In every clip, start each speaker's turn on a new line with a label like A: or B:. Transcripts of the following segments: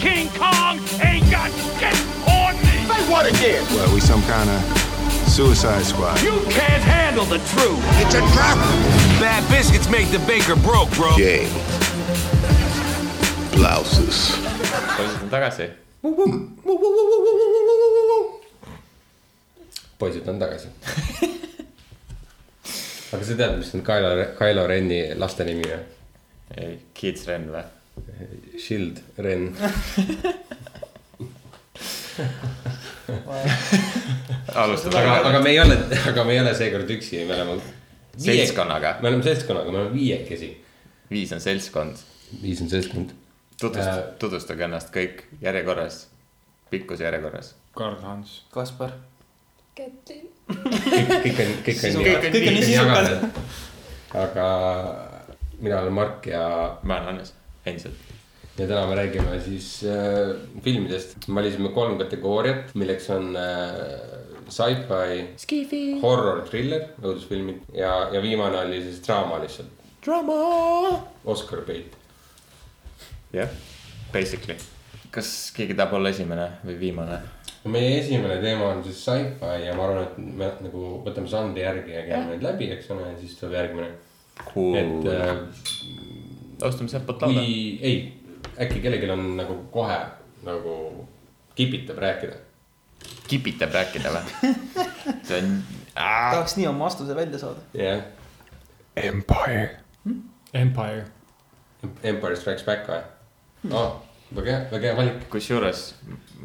A: King Kong ain't got shit on me.
B: Say what again?
C: Well, we some kind of suicide squad.
A: You can't handle the truth.
B: It's a trap.
D: Bad biscuits make the baker broke, bro.
E: Gang. Blouses.
F: poisid on tagasi . poisid on tagasi . aga sa tead , mis on Kylo , Kylo Reni laste nimi või ?
G: ei , Kids Ren või ?
F: Shield Ren .
G: alustame
F: aga ,
G: aga...
F: aga me ei ole , aga me ei ole seekord üksi , me oleme .
G: Seltskonnaga.
F: me oleme seltskonnaga , me oleme viiekesi .
G: viis on seltskond .
F: viis on seltskond .
G: tutvust-
F: Äh. ,
G: tutvustage ennast kõik järjekorras , pikkuse järjekorras .
H: Karl-Hans .
D: Kaspar .
I: Kätlin .
F: kõik on , kõik on .
G: Kõik on nii
F: sisukad . aga mina olen Mark ja ,
G: ma olen Hannes , endiselt .
F: ja täna me räägime siis äh, filmidest . valisime kolm kategooriat , milleks on äh, sci-fi , horror , thriller , õudusfilmid ja , ja viimane oli siis draama lihtsalt . draama . Oscar Bait .
G: jah , basically . kas keegi tahab olla esimene või viimane ?
F: no meie esimene teema on siis sci-fi ja ma arvan , et me nagu võtame žanri järgi ja käime neid läbi , eks ole , ja siis tuleb järgmine . et
G: Cool .
F: äh,
G: alustame sealtpoolt
F: kui
G: lauda .,
F: ei , äkki kellelgi on nagu kohe nagu kipitab rääkida .
G: kipitab rääkida või ? see on , Ah!
J: tahaks nii oma vastuse välja saada .
F: jah ,
H: Empire . Empire .
F: Empire Strikes Back või ? aa , väga hea , väga hea valik .
G: kusjuures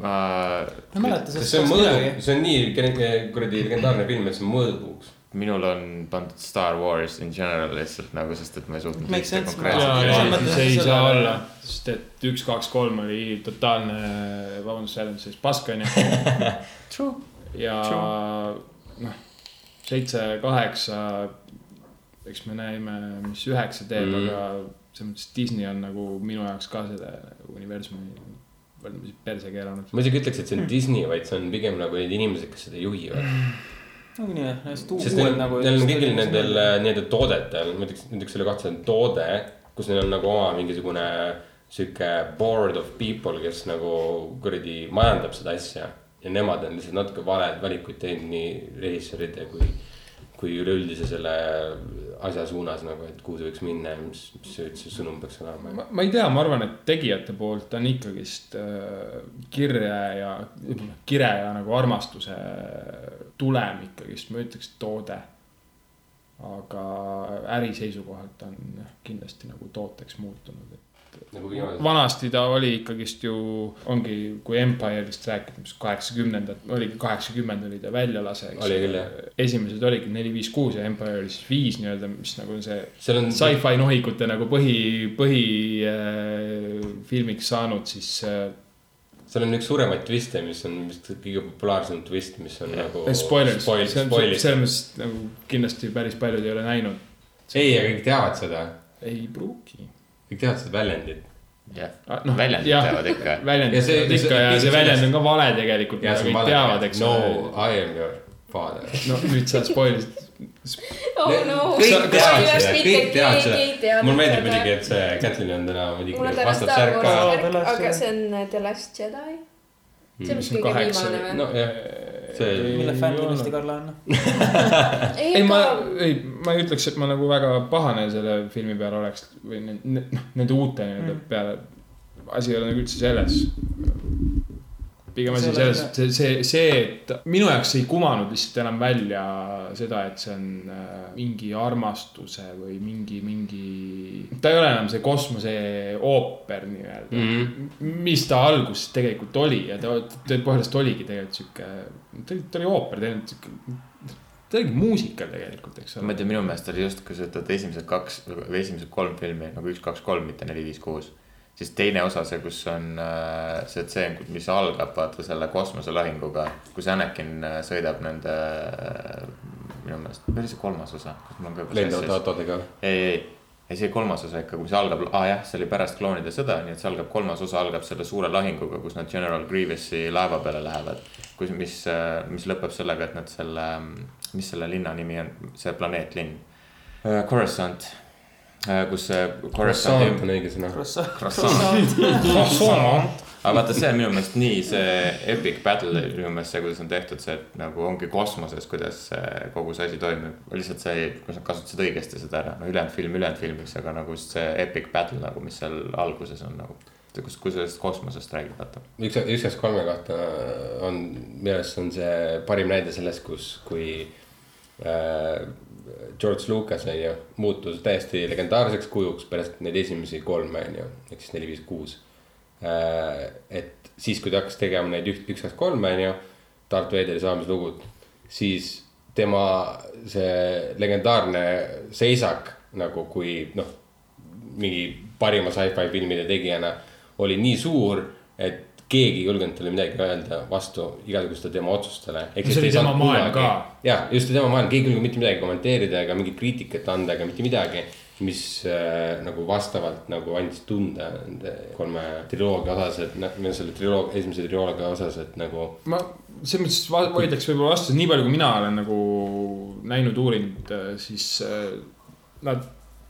G: ma ,
J: ma ei mäleta sellest
F: see on mõõdu , see on nii kene- kuradi legendaarne film , et see on mõõdupuuks .
G: minul on pandud Star Wars in general lihtsalt nagu , sest et ma ei suutnud
J: Makes
G: ühte
J: sense.
H: ja ,
J: Jaa,
G: konkreetset
J: jaa.
H: ja
J: Ma
H: siis
J: mõtlen
H: ei
J: selle-
H: saa olla , sest et üks , kaks , kolm oli totaalne , vabandust , säärmises pask onju . ja noh , seitse , kaheksa , eks me näime , mis üheksa teeb
F: Mhm.
H: mm. , aga selles mõttes Disney on nagu minu jaoks ka seda universumi võrdlemisi perse keeranud .
F: ma isegi ütleks , et see on Disney , vaid see on pigem nagu need inimesed , kes seda juhivad .
J: ongi nii , hästi
F: sest
J: uued
F: neil
J: nagu .
F: neil on kõigil nendel äh, nii-öelda toodetel , ma ütleks , näiteks selle kahtlasel toode , kus neil on nagu oma mingisugune sihuke board of people , kes nagu kuradi majandab seda asja . ja nemad on lihtsalt natuke valed valikuid teinud nii režissööride kui , kui üleüldise selle asja suunas nagu , et kuhu see võiks minna ja mis , mis see üldse sõnum peaks olema .
H: Ma, ma ei tea , ma arvan , et tegijate poolt on ikkagist äh, kirje ja , kire ja nagu armastuse tulem ikkagist , ma ütleks toode . aga äri seisukohalt on jah, kindlasti nagu tooteks muutunud , et
F: nagu viimased ,
H: vanasti ta oli ikkagist ju , ongi , kui Empire'ist rääkida , mis kaheksakümnendad , oligi kaheksakümmend oli ta väljalase , eks
F: Oli küll, jah. .
H: esimesed oligi neli , viis , kuus ja Empire oli siis viis nii-öelda , mis nagu on see
F: Seal on-
H: sci-fi nohikute nagu põhi , põhifilmiks äh, saanud siis äh,
F: seal on üks suuremaid twiste , mis on vist kõige populaarsem twist , mis on nagu .
H: spoiler ,
F: spoil ,
H: selles
F: spoilid .
H: mõttes nagu kindlasti päris paljud ei ole näinud .
F: ei , aga kõik teavad seda ,
H: ei pruugi .
F: kõik teavad seda väljendit
G: jah
H: noh, ,
G: väljendid
H: jah.
G: teavad ikka .
H: väljend
F: Ja see-
H: teavad ikka ja see väljend on ka vale tegelikult ,
F: ja
H: mida
F: see on
H: kõik
F: vale .
H: teavad , eks
F: no I am your father .
H: no nüüd sa spoil'isid ,
I: oh no .
F: kõik teavad seda , kõik teavad seda . mulle meeldib muidugi , et see Kätlin on täna
I: mul on
F: muidugi
I: täna
F: vastab
I: Star
F: särk ka .
I: Warsi
J: The
I: värk ,
J: Last
I: aga
J: Jedi.
I: see on äh, The Last Jedi .
F: Hmm.
I: see on vist
H: See on
I: kõige
H: kaheksa-
I: viimane või ?
F: nojah , see ,
J: mille
H: Ei
J: fänn
H: ole.
J: kindlasti Karl on .
H: ei ma , ei , ma ei ütleks , et ma nagu väga pahane selle filmi peale oleks või ne- ne- noh, nende uute nii-öelda peale . asi ei ole nagu üldse selles . pigem asi
J: See
H: on
J: ei ole-
H: selles , et see , see , see , et minu jaoks ei kumanud lihtsalt enam välja seda , et see on äh, mingi armastuse või mingi , mingi . ta ei ole enam see kosmoseooper nii-öelda mm . -hmm. mis ta alguses tegelikult oli ja ta tõepoolest oligi tegelikult sihuke , ta oli , ta oli ooper tegelikult sihuke ta oligi muusika tegelikult , eks
G: ma
H: ole
G: ei . tea , minu meelest oli just , kui sa ütled esimesed kaks või esimesed kolm filmi nagu üks , kaks , kolm , mitte neli , viis , kuus . siis teine osa , see , kus on äh, see tseen , mis algab vaata selle kosmoselahinguga , kus Anakin äh, sõidab nende äh, , minu meelest , või oli see kolmas osa ?
F: lendavad autodega .
G: ei , ei , ei see kolmas osa ikka , kui see algab , aa ah, jah , see oli pärast kloonide sõda , nii et see algab , kolmas osa algab selle suure lahinguga , kus nad General Grievous'i laeva peale lähevad . kus , mis , mis lõpeb sellega , et nad selle , mis selle linna nimi on , see planeetlinn . Coruscant , kus see Coruscanti
F: croissant on õige sõna .
J: Croissant .
G: Croissant. aga vaata , see on minu meelest nii see epic battle , minu meelest see , kuidas on tehtud see , et nagu ongi kosmoses , kuidas see kogu see asi toimib . lihtsalt see , kui sa kasutasid õigesti seda ära , no ülejäänud film ülejäänud filmiks , aga nagu just see epic battle nagu , mis seal alguses on nagu . kus , kui sellest kosmosest räägib , vaata .
F: üks , üks kaks kolme kohta on , minu arust on see parim näide sellest , kus , kui äh, George Lucas on ju , muutus täiesti legendaarseks kujuks pärast neid esimesi kolme on ju , ehk siis neli , viis , kuus . et siis , kui ta hakkas tegema neid üht , üks , kaks , kolme on ju , Darth Vaderi saamislugud , siis tema see legendaarne seisak nagu kui noh mingi parima sci-fi filmide tegijana oli nii suur , et keegi ei julgenud talle midagi öelda vastu igasuguste tema otsustele .
H: See oli tema maailm ka. .
F: ja just tema maailm , keegi ei julge mitte midagi kommenteerida ega mingit kriitikat anda ega mitte midagi , mis äh, nagu vastavalt nagu andis tunda nende kolme triloogia osas , et noh , selle triloogia , esimese triloogia osas , et nagu
H: ma selles mõttes va- vaidleks võib-olla vastu , nii palju , kui mina olen nagu näinud , uurinud , siis äh, nad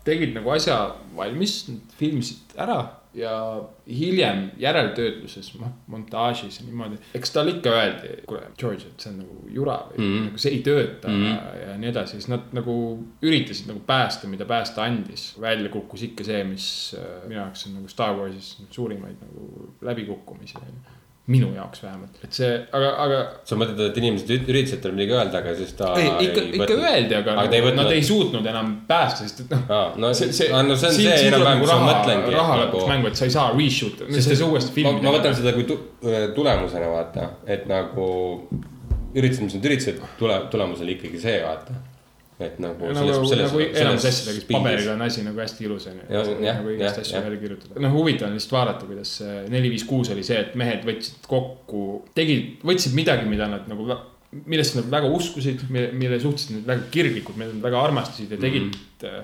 H: tegid nagu asja valmis , filmisid ära ja hiljem järeltöötluses , noh montaažis ja niimoodi . eks talle ikka öeldi , kuule , George , et see on nagu jura või mm -hmm. nagu see ei tööta mm -hmm. ja, ja nii edasi , siis nad nagu üritasid nagu päästa , mida päästa andis . välja kukkus ikka see , mis äh, minu jaoks on nagu Star Warsis suurimaid nagu läbikukkumisi on ju minu jaoks vähemalt , et see , aga , aga
F: sa mõtled , et inimesed üt- üritasid talle midagi öelda , aga siis ta .
H: ei, ikka , ikka öeldi , aga,
F: aga ta ei
H: nagu,
F: võtnud
H: nad ei suutnud enam päästa , sest et noh .
F: Aa, no aa, Ah, no see on see enam-vähem, mis ma mõtlengi, et
H: raha
F: nagu-
H: lõpuks mängu , et sa ei saa reshoot , sa ei saa uuesti
F: ma,
H: filmi .
F: ma võtan seda kui tu, tulemusena vaata , et nagu üritasid , mis nad üritasid , tule , tulemus oli ikkagi see vaata . et nagu .
H: nagu , nagu enamus asjadega , paberiga on asi nagu hästi ilus on
F: Ja-
H: ju .
F: jah,
H: nagu igast
F: jah,
H: asju
F: jah.
H: välja kirjutada . noh , huvitav on lihtsalt vaadata , kuidas see neli , viis , kuus oli see , et mehed võtsid kokku , tegid , võtsid midagi , mida nad nagu , millesse nad väga uskusid , mille , mille suhtes nad väga kirglikud , mida nad väga armastasid ja tegid
F: Mhm.
H: mm -hmm.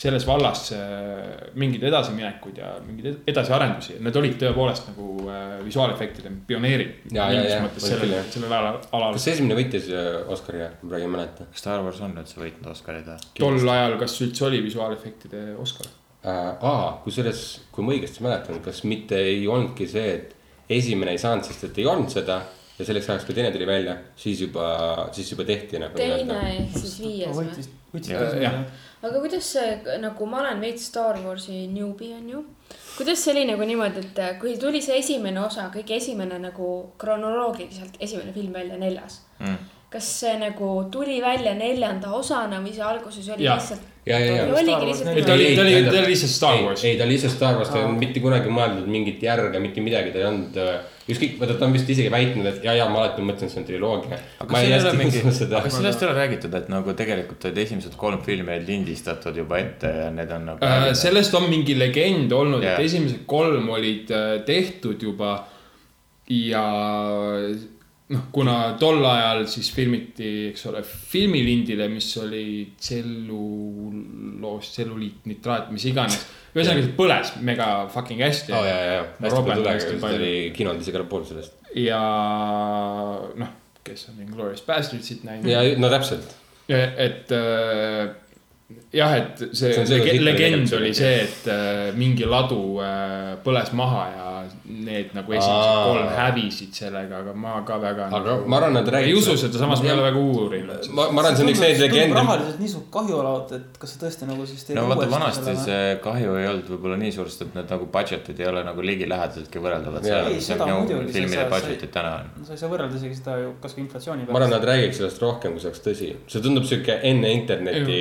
H: selles vallas äh, mingeid edasiminekud ja mingeid ed- edasiarendusi , nad olid tõepoolest nagu äh, visuaalefektide pioneerid .
F: Ja- ja- ja, oli küll,
H: sellel
F: jah. ,
H: sellel alal , alal
F: kas . see esimene võitis äh, Oscari või , ma praegu ei mäleta
G: Star Wars on üldse võitnud Oscarid või ?
H: tol ajal , kas üldse oli visuaalefektide Oscar ?
F: äh, . aa , kusjuures , kui ma õigesti mäletan , kas mitte ei olnudki see , et esimene ei saanud , sest et ei olnud seda ja selleks ajaks , kui teine tuli välja , siis juba , siis juba tehti nagu .
I: teine ehk siis viies või ?
J: võitis , võitis
G: Jah.
J: esimene
H: Jah. .
I: aga kuidas see nagu , ma olen veits Star Warsi newbie onju . kuidas see oli nagu niimoodi , et äh, kui tuli see esimene osa , kõige esimene nagu kronoloogiliselt esimene film välja , neljas
F: Hmm.
G: Mm.
I: kas see nagu tuli välja neljanda osana või see alguses oli
H: Jah.
I: lihtsalt ,
F: ja , ja , ja .
I: oligi
H: ei ,
I: lihtsalt
H: ta oli ,
F: Ei,
H: ta oli ,
F: tähendab-
H: ta oli lihtsalt Star Wars .
F: ei , ta oli ise Star Wars , ta ei olnud mitte kunagi mõeldud mingit järge , mitte midagi , ta ei olnud , ükskõik , vaata ta on vist isegi väitnud , et ja , ja ma alati mõtlesin , et see on triloogia .
G: aga
F: ma ei
G: siin ei ole
F: hästi
G: mingi ,
F: usu seda
G: aga . sellest ei ole räägitud , et nagu tegelikult olid esimesed kolm filmi olid lindistatud juba ette ja need on nagu
H: Äh, . sellest on mingi legend olnud yeah. ,
G: Jah.
H: et esimesed kolm olid äh, tehtud juba ja noh , kuna tol ajal siis filmiti , eks ole , filmilindile , mis oli tselluloos , tselluliitnitraat , mis iganes . ühesõnaga , see põles mega fucking hästi
F: ja , ja , ja , hästi palju
H: Robert
F: tulega ,
H: hästi
F: sest ta oli
H: palju
F: kinod isegi alla pool sellest .
H: ja noh , kes on Inglourious Bastardsit
G: Mm.
H: näinud .
F: ja no täpselt ,
H: et äh, jah , et see,
F: See
H: see
F: on see, kus
H: lege
F: Hitler
H: legend
F: tegelikult
H: oli
F: oli.
H: see , et äh, mingi ladu äh, põles maha ja need nagu esimesed
F: Aa.
H: kolm hävisid sellega , aga ma ka väga .
F: aga ma arvan , nad
H: ei
F: räägivad .
H: usu seda , samas ma ei ole väga uurinud .
F: ma , ma arvan , see on üks neid legende .
J: rahaliselt nii suur kahju olevat , et kas sa tõesti nagu siis teed
G: no vaata ,
J: uuesti
G: vanasti
J: selle-
G: see kahju ei olnud võib-olla nii suur , sest et need nagu budget'id ei ole nagu ligilähedaseltki võrreldavad
F: Jaa.
G: sellega ,
J: Ei,
G: mis on
J: seda
G: minu
J: muidugi, see
G: filmide
J: sa- sa ei-
G: budget'id täna on .
J: no sa ei saa võrrelda isegi seda ju kasvõi inflatsiooni
F: ma arvan , nad räägiks sellest rohkem , kui see oleks tõsi . see tundub sihuke enne interneti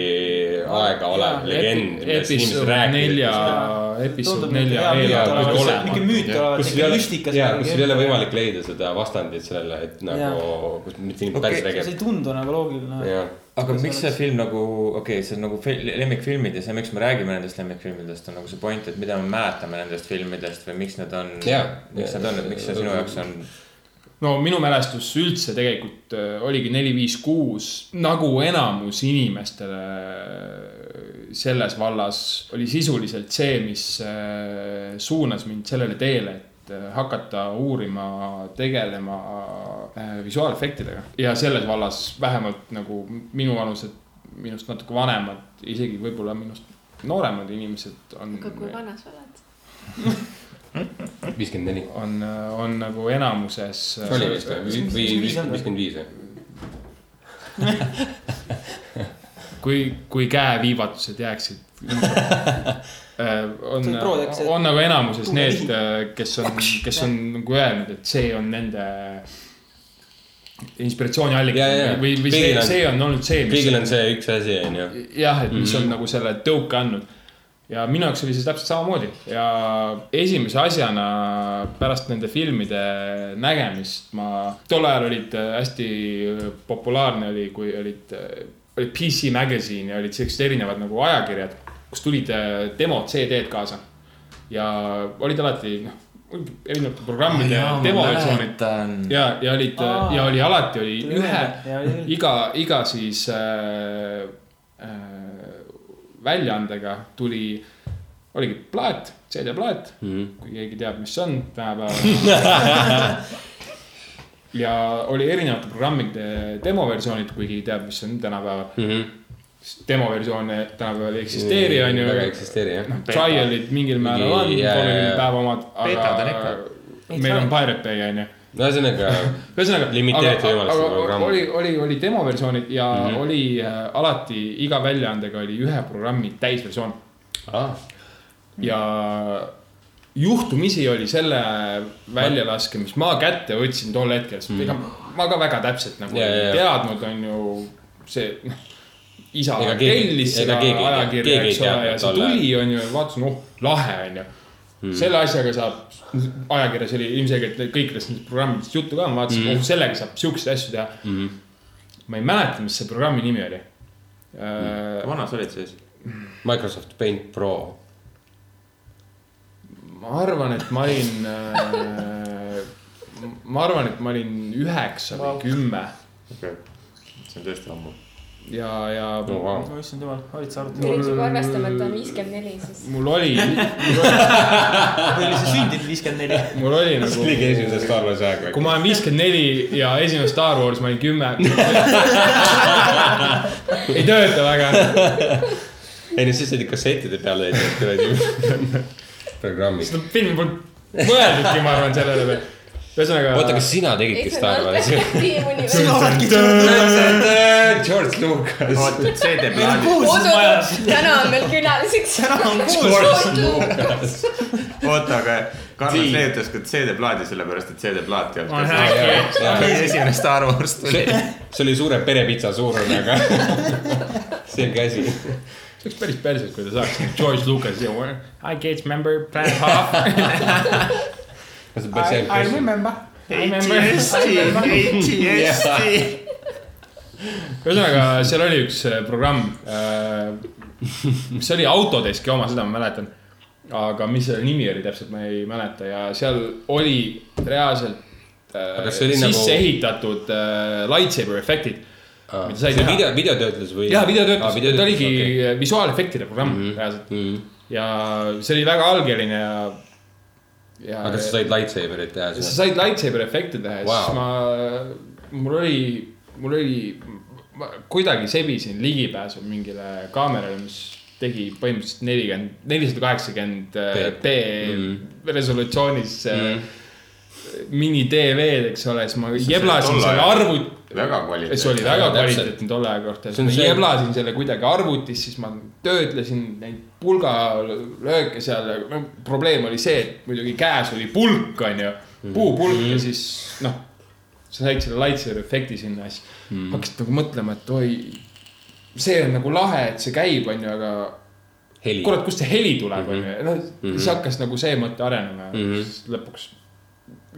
F: aega
J: Jaa,
F: olev legend , millest inimesed
H: episood nelja
F: räägivad .,
H: episood
J: Tundub
H: nelja
J: nagu hea
H: eelarve
J: mõte
H: peaks
J: olevat.
H: olema.
J: Mingi müüt olevat,
F: kus
J: mingi
F: ei ole ,
J: müstika
F: jaa ,
J: seal
F: kus
J: mingi
F: ei ole
J: ette-
F: võimalik leida seda vastandit sellele , et nagu , kus mitte inimene päris
J: see
F: räägib
J: ei . tundu nagu loogiline .
F: jah ,
G: aga miks see film nagu , okei okay, , see on nagu fi- lemmikfilmid ja see , miks me räägime nendest lemmikfilmidest , on nagu see point , et mida me mäletame nendest filmidest või miks need on
F: Jaa.
G: miks need on , et miks see sinu jaoks on
H: no minu mälestus üldse tegelikult äh, oligi neli , viis , kuus , nagu enamus inimestele äh, selles vallas oli sisuliselt see , mis äh, suunas mind sellele teele , et äh, hakata uurima , tegelema äh, visuaalefektidega ja selles vallas vähemalt nagu minuvanused , minust natuke vanemad , isegi võib-olla minust nooremad inimesed on .
I: aga kui vana sa oled ?
F: viiskümmend neli .
H: on , on nagu enamuses . äh,
F: see oli vist või , või viiskümmend viis või ?
H: kui , kui käeviivatused jääksid Äh, on
J: See on Prodexi- ,
H: on nagu enamuses
J: Tunne
H: need , kes on , kes on nagu öelnud , et see on nende inspiratsiooniallik
F: Ja, ja, ja.
H: või , või see
F: Kõigil , on-
H: see on olnud see , mis
F: kõigil on see üks asi , onju .
H: jah , et mis on nagu selle tõuke andnud . ja minu jaoks oli see täpselt samamoodi ja esimese asjana pärast nende filmide nägemist ma , tol ajal olid äh, hästi populaarne oli , kui olid , olid PC Magazine ja olid siuksed erinevad nagu ajakirjad , kus tulid äh, demo CD-d kaasa ja olid alati noh , erinevate programmide oh, demoversioonid ja , ja olid äh,
J: Aa.
H: ja oli alati oli
J: Tuli
H: ühe
J: meelde, ja oli küll.
H: iga , iga siis äh, äh, väljaandega tuli , oligi plaat , CD-plaat mm ,
F: Mhm.
H: -hmm. kui keegi teab , mis see on tänapäeval . ja oli erinevate programmide demoversioonid , kui keegi teab , mis see on tänapäeval mm . -hmm. demoversioone tänapäeval ei eksisteeri , onju .
F: väga Mhm. ei eksisteeri jah .
H: Trial'id mingil määral on ,
F: Jaa, jaa,
H: kolmekümne
F: jaa.
H: päeva omad ,
G: Betad on
H: aga meil on Pirate Bay onju .
F: no ühesõnaga ,
H: ühesõnaga .
F: Limiteeritud võimalus on programm.
H: oli , oli , oli demoversioonid ja
F: Mhm.
H: mm -hmm. oli äh, alati iga väljaandega oli ühe programmi täisversioon
F: Ah.
H: ja juhtumisi oli selle väljalaske , mis ma kätte võtsin tol hetkel , sest ega ma ka väga täpselt nagu
F: Mhm. Ja, ja,
H: ei
F: ja.
H: teadnud , on ju see noh, isa
F: Ega keegi-
H: tellis
F: ega
H: seda
F: keegi ei tea-
H: ajakirja ,
F: keegi ei
H: eks ole ,
F: teadnud
H: ja see
F: tol ajal. Hmm.
H: tuli , on ju , vaatasin , oh , lahe , on ju . selle asjaga saab , ajakirjas oli ilmselgelt kõikidest nendest programmidest juttu ka , ma
F: Hmm.
H: vaatasin , oh , sellega saab siukseid asju teha mm . -hmm. ma ei mäleta , mis see programmi nimi oli . Äh,
F: Hmm.
G: vana sa olid siis ?
F: Microsoft Paint Pro .
H: ma arvan , et ma olin äh, , ma arvan , et ma olin üheksa või kümme
G: okei , see on tõesti ammu .
H: ja , ja
F: no Oh, vau .
J: no issand jumal , olid sa arvutiga ?
I: nüüd juba arvestame , et on viiskümmend neli , siis .
H: mul oli ,
J: või oli see sündinud viiskümmend neli ?
H: mul oli nagu ,
F: kõige esimese Star Warsi aeg
H: kui . ma olen viiskümmend neli ja esimene Star Wars ma olin kümme . ei tööta väga ,
F: ei no siis olid kassettide peal olid kuradi programmid .
H: seda filmi polnud mõeldudki , ma arvan , sellele veel . ühesõnaga .
F: oota , kas sina tegidki Star Warsi ?
I: oota ,
F: George Lucas .
G: oota , CD-plaadid ,
I: oota , täna on meil külaliseks .
G: oota , aga Karl Leetus ka CD-plaadi sellepärast , et CD-plaat ei olnud ka see esimene Star Wars tuli .
F: see oli suure perepitsa suurune , aga selge asi .
H: see oleks päris perses , kui ta saaks George Lucas ja I get member , plan half .
F: kas see peaks jääma keskkonna ?
J: remember .
H: ühesõnaga , seal oli üks äh, programm , mis oli Autodeski oma , seda ma mäletan . aga mis selle nimi oli täpselt , ma ei mäleta ja seal oli reaalselt äh,
F: Aga see oli
H: sisse
F: nagu-
H: nagu... ehitatud äh, lightsaber efektid . mida sai
F: see
H: teha.
F: video , videotöötlus Mhm. või ?
H: ja videotöötlus , ta oligi okay. visuaalefektide programm mm -hmm. reaalselt ja see oli väga algeline ja, ja .
F: aga sa said lightsaberit teha
H: sa
F: siis ?
H: said lightsaber efekte teha ja wow. siis
F: Wow.
H: ma , mul oli , mul oli , ma kuidagi sebisin ligipääsu mingile kaamerale , mis tegi põhimõtteliselt nelikümmend , nelisada kaheksakümmend B resolutsioonis mm. mini TV-d , eks ole , siis ma jeblasin
G: tol
H: selle
G: ajal.
H: arvuti ,
G: väga
H: see oli
G: kvaliteetne .
H: väga
F: täpselt.
H: kvaliteetne tolle aja kohta ,
F: See
H: siis
F: on
H: ma
F: see-
H: jeblasin selle kuidagi arvutis , siis ma töötlesin neid pulgalööke seal , no probleem oli see , et muidugi käes oli pulk , onju ,
F: Mm.
H: puupulk ja siis noh , sa said selle lightsaber efekti sinna ja siis mm. hakkasid nagu mõtlema , et oi , see on nagu lahe , et see käib , onju , aga
F: heli . Mhm.
H: kurat , kust see heli tuleb , onju , noh , siis hakkas nagu see mõte arenema ja mm -hmm. siis lõpuks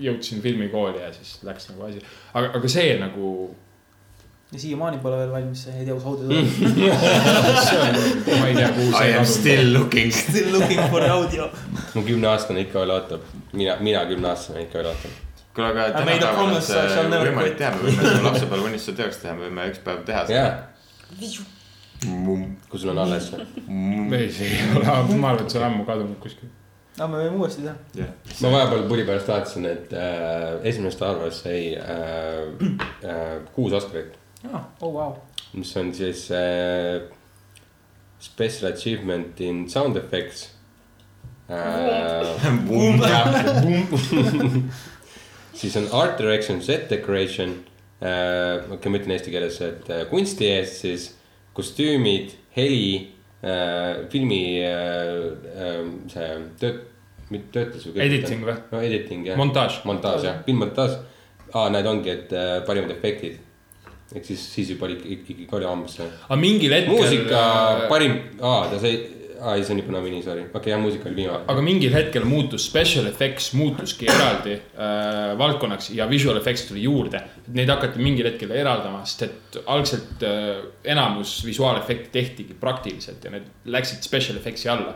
H: jõudsin filmikooli ja siis läks nagu asi , aga , aga see nagu
J: ja siiamaani pole veel valmis see , ei tea , kus Audi
F: Mm.
J: tuleb .
H: see on , ma ei tea , kuhu
G: I
H: see
G: am
H: kadus .
G: still looking .
J: Still looking for audio .
F: mu kümneaastane ikka veel ootab . mina , mina kümneaastane ikka veel ootan .
G: kuule , aga
J: I made a
G: tänapäeval on
J: promise I shall
G: see
J: never
G: võimalik
J: quit.
G: teha , me võime selle lapsepõlveunistuse teoks teha , me võime üks päev teha
F: jaa
G: seda .,
F: kui sul on alles .
H: ei , see ei ole , ma arvan , et see on ammu kadunud kuskil .
J: aga Ah, me võime uuesti teha .
F: ma vahepeal pudi pärast vaatasin , et äh, esimene Star Wars sai äh, äh, kuus Oscarit ,
J: oh vau .
F: mis on siis äh, Special Achievement in Sound Effects siis on art direction , set decoration , okei , ma ütlen eesti keeles , et äh, kunsti eest siis kostüümid , heli , filmi äh, äh, see tööt- , mitte töötlus .
H: Editing või?
F: no editing jah .
H: Montaaž.
F: montaaž jah , filmmontaaž , aa need ongi , et äh, parimad efektid ehk siis , siis juba oli ikkagi korjahambusse .
H: aga mingil hetkel . äh,
F: muusika parim , aa ta sai , aa ei , see on juba nagunii , sorry , okei okay, , jah , muusika oli viimane .
H: aga mingil hetkel muutus special effects muutuski eraldi äh, valdkonnaks ja visual effects tuli juurde . Neid hakati mingil hetkel eraldama , sest et algselt äh, enamus visuaalefekte tehtigi praktiliselt ja need läksid special effects'i alla .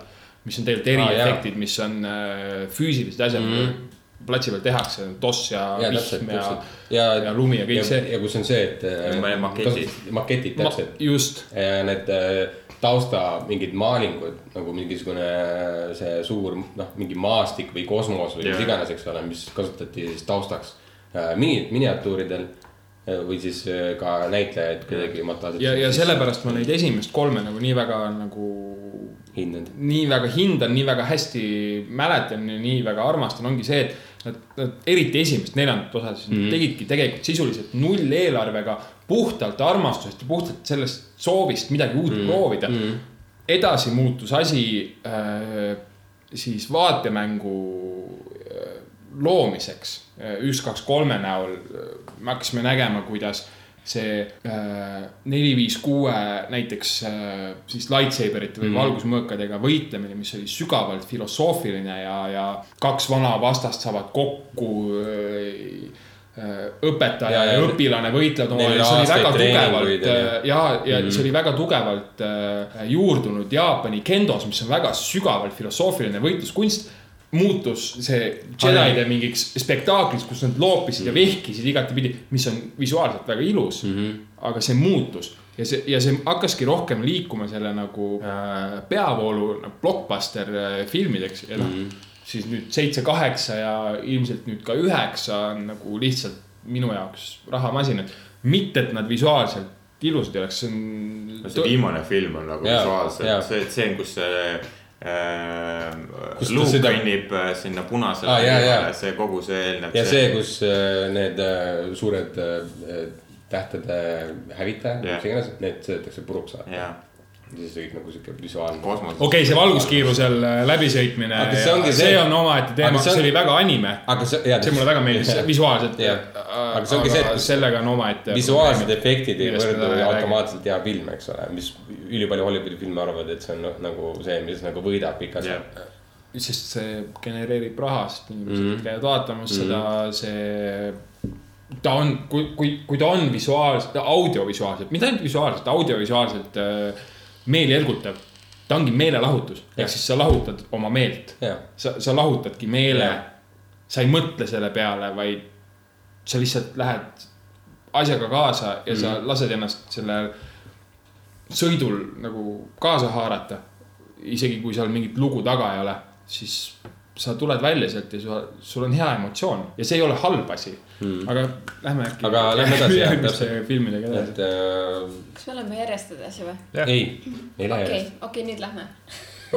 H: mis on tegelikult
F: Aa, jaa.
H: eriefektid , mis on äh, füüsilised asjad mm , -hmm. platsi peal tehakse , toss ja, ja
F: ja täpselt ,
H: vihm ja,
F: täpselt .
H: ja, ja lumi ja kõik see .
F: ja kus on see , et . äh,
G: Ma ei- maketid. .
F: maketid täpselt .
H: just ,
F: Need äh, tausta mingid maalingud nagu mingisugune see suur noh , mingi maastik või kosmos või mis
G: Jaa.
F: iganes , eks ole , mis kasutati siis taustaks äh, mini- , miniatuuridel äh, või siis äh, ka näitlejaid kuidagi montaažiks .
H: ja , ja . sellepärast ma neid esimest kolme nagu nii väga nagu
F: hindad .
H: nii väga hindan , nii väga hästi mäletan ja nii väga armastan , ongi see , et nad , nad eriti esimest neljandat osa siis mm -hmm. tegidki tegelikult sisuliselt nulleelarvega puhtalt armastusest ja puhtalt sellest soovist midagi uut mm -hmm. proovida mm . -hmm. edasi muutus asi äh, siis vaatemängu äh, loomiseks eh, üks , kaks , kolme näol äh, me hakkasime nägema , kuidas see eh, neli , viis , kuue näiteks äh, siis lightsaberit
F: Mhm.
H: või mm. valgusmõõkadega võitlemine , mis oli sügavalt filosoofiline ja , ja kaks vana vastast saavad kokku . õpetaja ja,
F: Ja,
H: ja,
F: ja
H: ja õpilane võitlevad
F: neil oli
H: omavahel , see oli väga
F: aastaid treeninguid
H: tugevalt
F: ja-
H: äh, ja , ja mm. see oli väga tugevalt äh, juurdunud Jaapani kendos , mis on väga sügavalt filosoofiline võitluskunst . muutus see Jedi'de mingiks spektaakliks , kus nad loopisid mm. ja vehkisid igatepidi , mis on visuaalselt väga ilus mm . -hmm. aga see muutus ja see , ja see hakkaski rohkem liikuma selle nagu äh, peavoolu nagu blockbuster äh, filmideks ja noh mm -hmm. siis nüüd seitse , kaheksa ja ilmselt nüüd ka üheksa on nagu lihtsalt minu jaoks rahamasinad . mitte , et nad visuaalselt ilusad ei oleks , see
G: no see
H: on .
G: viimane film on nagu
F: Jaa, jaa.
G: visuaalselt , see stseen , kus see äh,
F: Kus ta
G: Luke
F: seda-
G: kõnnib äh, sinna punasele
F: Aa, jaa, jaa.
G: ah, , see kogu see eelnev .
F: ja see , kus äh, need äh, suured äh, tähtede hävitajad ,
G: Jah.
F: mis iganes , need sõidetakse puruks .
G: jah ,
F: siis see kõik nagu siuke visuaalne .
G: kosmoses .
H: okei okay, , see valguskiirusel läbisõitmine
F: Aga , see ongi
H: see,
F: see-
H: see on omaette
F: aga
H: teema ,
F: see
H: see,
F: on-
H: see oli väga anime .
F: aga see , jaa .
H: see mulle väga meeldis visuaalselt .
F: Jah. Aga see ongi see, et kus-
H: sellega on omaette .
F: visuaalsed efektid ei
H: millest me
F: võrdu
H: täna ei räägi.
F: automaatselt hea film , eks ole , mis ülipalju Hollywoodi filme arvavad , et see on noh, nagu see , mis nagu võidab pikas
G: Jah.
F: yeah. .
H: sest see genereerib raha , sest inimesed mm -hmm.
F: Mhm.
H: käivad vaatamas mm -hmm. seda , see . ta on , kui , kui , kui ta on visuaalselt , audiovisuaalselt , mitte ainult visuaalselt , audiovisuaalselt äh, meeli ergutav . ta ongi meelelahutus ,
F: Jah.
H: ehk siis sa lahutad oma meelt .
F: Jah.
H: sa , sa lahutadki meele
F: Jah. .
H: sa ei mõtle selle peale , vaid sa lihtsalt lähed asjaga kaasa ja mm -hmm.
F: Mhm.
H: sa lased ennast sellel sõidul nagu kaasa haarata . isegi kui seal mingit lugu taga ei ole , siis sa tuled välja sealt ja sa, sul on hea emotsioon ja see ei ole halb asi mm. . aga lähme äkki .
F: Mhm. Aga lähme edasi, jah,
H: järgmiste filmidega edasi .
F: et äh,
I: kas me oleme järjest edasi või ?
F: ei , ei lähe
I: okei
F: järjest ,
I: okei , nüüd lähme .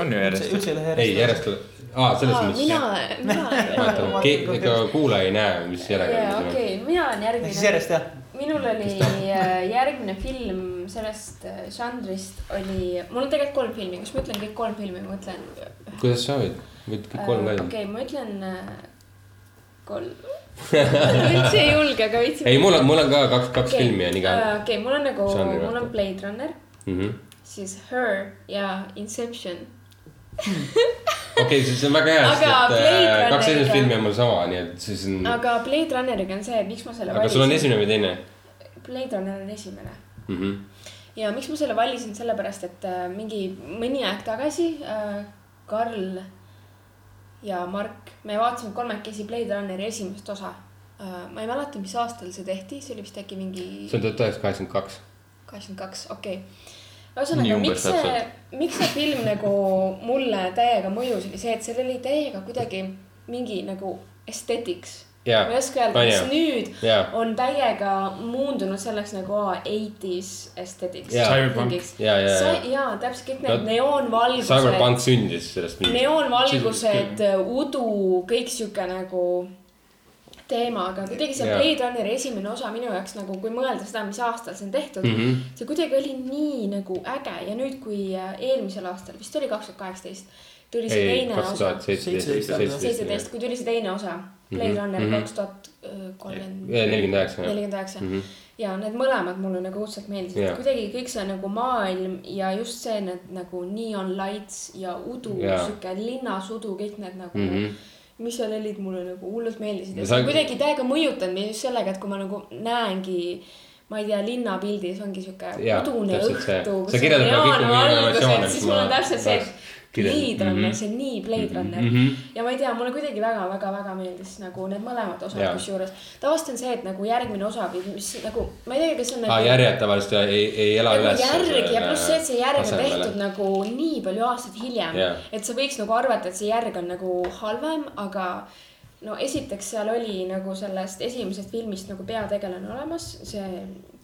G: on ju järjest .
J: üldse ei lähe
F: ei
J: järjest .
F: järjest , aa selles
I: mina
F: mõttes ,,
I: mina
F: vaata , ega kuulaja ei näe , mis
I: jaa ,
F: järjekord on .
I: okei , mina olen
J: siis
I: järgmine .
J: järjest jah ,
I: minul oli äh, järgmine film sellest äh, žanrist oli , mul on tegelikult kolm filmi , kas ma ütlen kõik kolm filmi , ma mõtlen .
F: kuidas sa võid , võid kõik kolm välja .
I: okei , ma ütlen äh, kolm . üldse ei julge , aga veits .
F: ei , mul on , mul on ka kaks , kaks okay. filmi on iga
I: okei , okei , mul on nagu ,
F: žanri
I: mul on
F: kohta.
I: Blade Runner ,
F: mm -hmm. .
I: siis Her ja Inception .
F: okei , siis see on väga hea , sest et
I: Aga
F: äh,
I: Blade
F: kaks esimest
I: Runneriga-
F: filmi on mul sama , nii et siis on ,
I: aga Blade Runneriga on see , et miks ma selle
F: Mm. aga sul on esimene või teine
I: Blade Runner on esimene
F: mm ? -hmm.
I: ja miks ma selle valisin , sellepärast et äh, mingi mõni aeg tagasi äh, Karl ja Mark , me vaatasime kolmekesi Blade Runneri esimest osa äh, . ma ei mäleta , mis aastal see tehti , see oli vist äkki mingi
F: see on tuhat üheksasada kaheksakümmend kaks .
I: kaheksakümmend kaks , okei
G: Nii
I: ühesõnaga ,
G: umbes
I: miks see
G: täpselt. ,
I: miks see film nagu mulle täiega mõjus , oli see , et seal oli täiega kuidagi mingi nagu aesthetics
F: Jaa.
I: ma ei oska öelda ,
F: Ah,
I: kas
F: jaa.
I: nüüd
F: Jaa.
I: on täiega muundunud selleks nagu aa, 80s aesthetics .
F: Jaa.
H: Cyberpunk.
F: Jaa, jaa, jaa.
I: jaa , täpselt kõik
F: No,
I: need neoonvalgused ,
F: Cyberpunk sündis sellest mingist .
I: neoonvalgused , äh, udu , kõik sihuke nagu teema , aga kuidagi see
F: Jaa.
I: Blade Runneri esimene osa minu jaoks nagu , kui mõelda seda , mis aastal see on tehtud mm ,
F: Mhm.
I: see kuidagi oli nii nagu äge ja nüüd , kui äh, eelmisel aastal , vist oli kaks tuhat kaheksateist , tuli see
F: ei ,
I: teine
F: kaks
I: osa
F: tuhat seitseteist .
I: seitseteist , kui tuli see teine osa , Blade Runner kaks tuhat kolmkümmend ,
F: Mhm. Äh, nelikümmend üheksa , jah .
I: nelikümmend üheksa . ja need mõlemad mulle nagu õudselt meeldisid
F: Jaa.
I: yeah. , kuidagi kõik see nagu maailm ja just see , need nagu neon lights ja udu
F: Jaa.
I: yeah. , sihuke linnasudu , kõik need nagu mm ,
F: Mhm.
I: -hmm. mis seal olid , mulle nagu hullult meeldisid
F: Ja
I: ja
F: sa-
I: see on kuidagi täiega mõjutanud mind just sellega , et kui ma nagu näengi ma ei tea , linnapildis ongi sihuke
F: Jaa,
I: udune
F: täpselt see.
I: õhtu ,
F: Sa kirjeldad praegu kõik mu emotsioone,
I: siis
F: mis
I: mul on
F: ma Mhm.
I: täpselt see , et
F: kirjeldan.
I: Blade Runner , see on nii
F: Mm-hmm.
I: Blade Runner mm . -hmm. ja ma ei tea , mulle kuidagi väga-väga-väga meeldis nagu need mõlemad osad
F: Jaa.
I: kusjuures . tavaliselt on see , et nagu järgmine osa või mis nagu , ma ei teagi , kas see on
F: aa ,
I: nagu
F: järjed tavaliselt ei , ei ela
I: nagu
F: üles .
I: järg ja pluss see , et see järg on tehtud nagu nii palju aastaid hiljem
F: Jaa.
I: et sa võiks nagu arvata , et see järg on nagu halvem , aga no esiteks seal oli nagu sellest esimesest filmist nagu peategelane olemas , see ,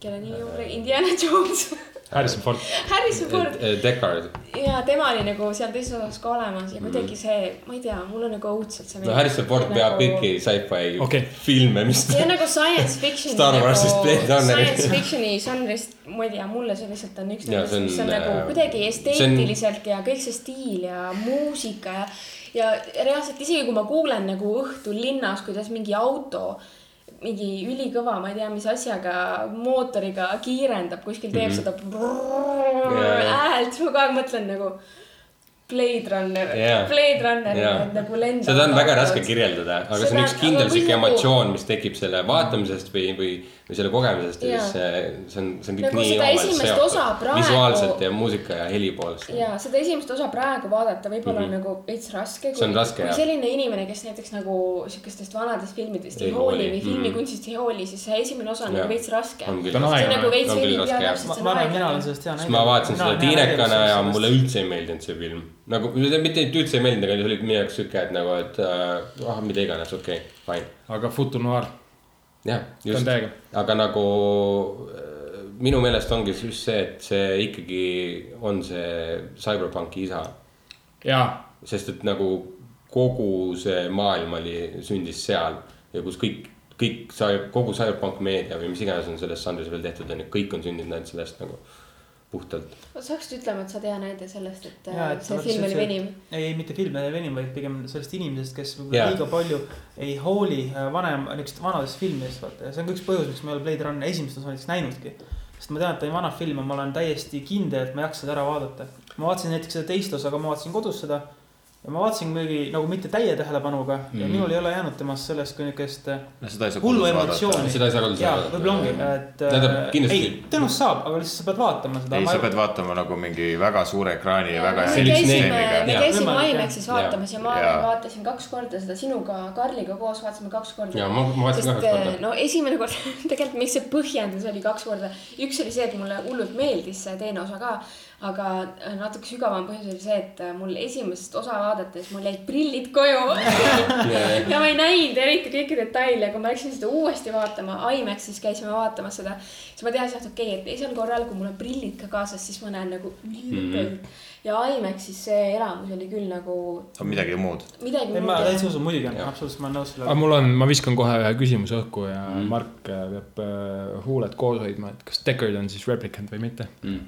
I: kelle nimi on
F: Äh.
I: Indiana Jones ,
H: Harrison Ford .
I: Harrison Ford
F: Deckard ,
I: ja tema oli nagu seal teises osas ka olemas ja kuidagi see , ma ei tea , mulle nagu õudselt see
F: no Harrison Ford peab kõiki sci-fi
H: Okei.
F: filme , mis
I: Nagu see on nagu science fiction'i
F: Star Warsist Blade
I: nagu ,
F: Runneri.
I: science fiction'i žanrist , ma ei tea , mulle see lihtsalt on üks
F: Jaa, see
I: nendest , mis on
F: on,
I: nagu
F: äh,
I: kuidagi
F: see on-
I: esteetiliselt ja kõik see stiil ja muusika ja , ja reaalselt isegi kui ma kuulen nagu õhtul linnas , kuidas mingi auto mingi ülikõva , ma ei tea , mis asjaga , mootoriga kiirendab , kuskil teeb mm -hmm.
F: Jaa,
I: seda
F: jaa.
I: häält , siis ma kogu aeg mõtlen nagu Blade Runner
F: Jaa.
I: Blade Runner
F: Jaa.
I: need nagu lendavad .
F: seda on väga raske kirjeldada , aga see on
I: Seda-
F: üks kindel
I: aga kui
F: sihuke
I: nagu-
F: emotsioon , mis tekib selle vaatamisest või , või , või selle kogemusest ja
I: Jaa.
F: siis see , see on , see on kõik
I: Nagu
F: nii
I: seda esimest osa praegu-
F: visuaalselt ja muusika ja heli poolest .
I: ja seda esimest osa praegu vaadata võib-olla mm -hmm. nagu veits raske .
F: Mhm. See on raske,
I: kui
F: jah.
I: selline inimene , kes näiteks nagu sihukestest vanadest filmidest ei
F: Ei
I: hooli
F: hooli.
I: või
F: Mhm.
I: filmikunstist ei hooli , siis see esimene osa on
F: Jaa.
I: nagu veits raske .
F: on küll
H: Ta on
I: see
F: raske
I: on
H: aeglane.
I: nagu veits
F: Ta on küll
I: veidi
F: raske,
I: teada ,
F: jah.
I: sest
J: ma
I: see
J: ma
I: on
J: arvan , et mina olen
I: aeglane .
J: sellest hea näide .
F: siis ma vaatasin seda tiinekana ja mulle üldse ei meeldinud see film . nagu mitte et üldse ei meeldinud , aga see oli minu jaoks siuke , et nagu , et äh, ah , mida iganes , okei okay, , fine .
H: aga Futu Noir ,
F: jah ,
H: ta on
F: just ,
H: täiega .
F: aga nagu äh, minu meelest ongi just see , et see ikkagi on see Cyberpunki isa ,
H: jaa ,
F: sest et nagu kogu see maailm oli , sündis seal ja kus kõik , kõik sai , kogu Cyberpunk meedia või mis iganes on selles žanris veel tehtud , on ju , kõik on sündinud ainult sellest nagu puhtalt .
I: sa hakkasid ütlema , et sa oled hea näide sellest , et
J: Jaa,
I: äh,
J: et
I: see
J: oleks
I: film oli
J: üldse-
I: venim .
J: ei , mitte film ei venim , vaid pigem sellest inimesest , kes
F: Jaa.
J: võib-olla liiga palju ei hooli äh, vanem , niisugust vanadest filmidest , vaata . ja see on ka üks põhjus , miks ma ei ole Blade Runner esimest osa näiteks näinudki . sest ma tean , et ta on vana film ja ma olen täiesti kindel , et ma ei jaksa seda ära vaadata . ma vaatasin näiteks seda teist osa , aga ma vaatasin kodus seda . ja ma vaatasin muidugi nagu mitte täie tähelepanuga mm
F: Mhm.
J: -hmm. ja minul ei ole jäänud temast sellest kui niisugust äh,
G: no seda ei saa
J: hullu
G: kodus vaadata.
J: emotsiooni .
F: Seda ei saa kodus
J: jaa ,
F: vaadata.
J: võib-olla ongi , et .
F: Tähendab, kindlasti-
J: ei , tõenäoliselt saab , aga lihtsalt sa pead vaatama seda .
G: ei , sa pead vaatama nagu mingi väga suure ekraani ja väga
I: me
F: see oli üks
I: käisime ,
F: neemiga.
I: me
F: Jaa.
I: käisime
J: Võimalik, jah.
I: IMAX-is vaatamas ja ma
G: Jaa.
I: vaatasin kaks korda seda sinuga , Karliga koos vaatasime kaks korda .
F: Jaa, ma- ma vaatasin ka
I: Sest,
F: kaks korda.
I: eh, no esimene kord tegelikult , miks see põhjendus oli kaks korda , üks oli see , et mulle hullult meeldis see teine osa ka , aga eh, natuke sügavam põhjus oli see , et eh, mul esimest osa vaadates mul jäid prillid koju ja ma ei näinud eriti kõiki detaile , kui ma läksin seda uuesti vaatama , IMAX-is käisime vaatamas seda , siis ma teadsin , et okei okay, , et teisel korral , kui mul on prillid ka kaasas , siis ma näen nagu ülipõld
F: Mhm.
I: mm. ja IMAX-is see elamus oli küll nagu
G: on midagi muud .
I: midagi
J: ei , ma
I: muud .
J: täitsa usun , muidugi on , absoluutselt ma olen nõus
H: aga
J: sellega .
H: mul on , ma viskan kohe ühe küsimuse õhku ja
F: Mhm.
H: mm. Mark äh, peab äh, huuled koos hoidma , et kas Deckard on siis replicant või mitte .
F: Mhm.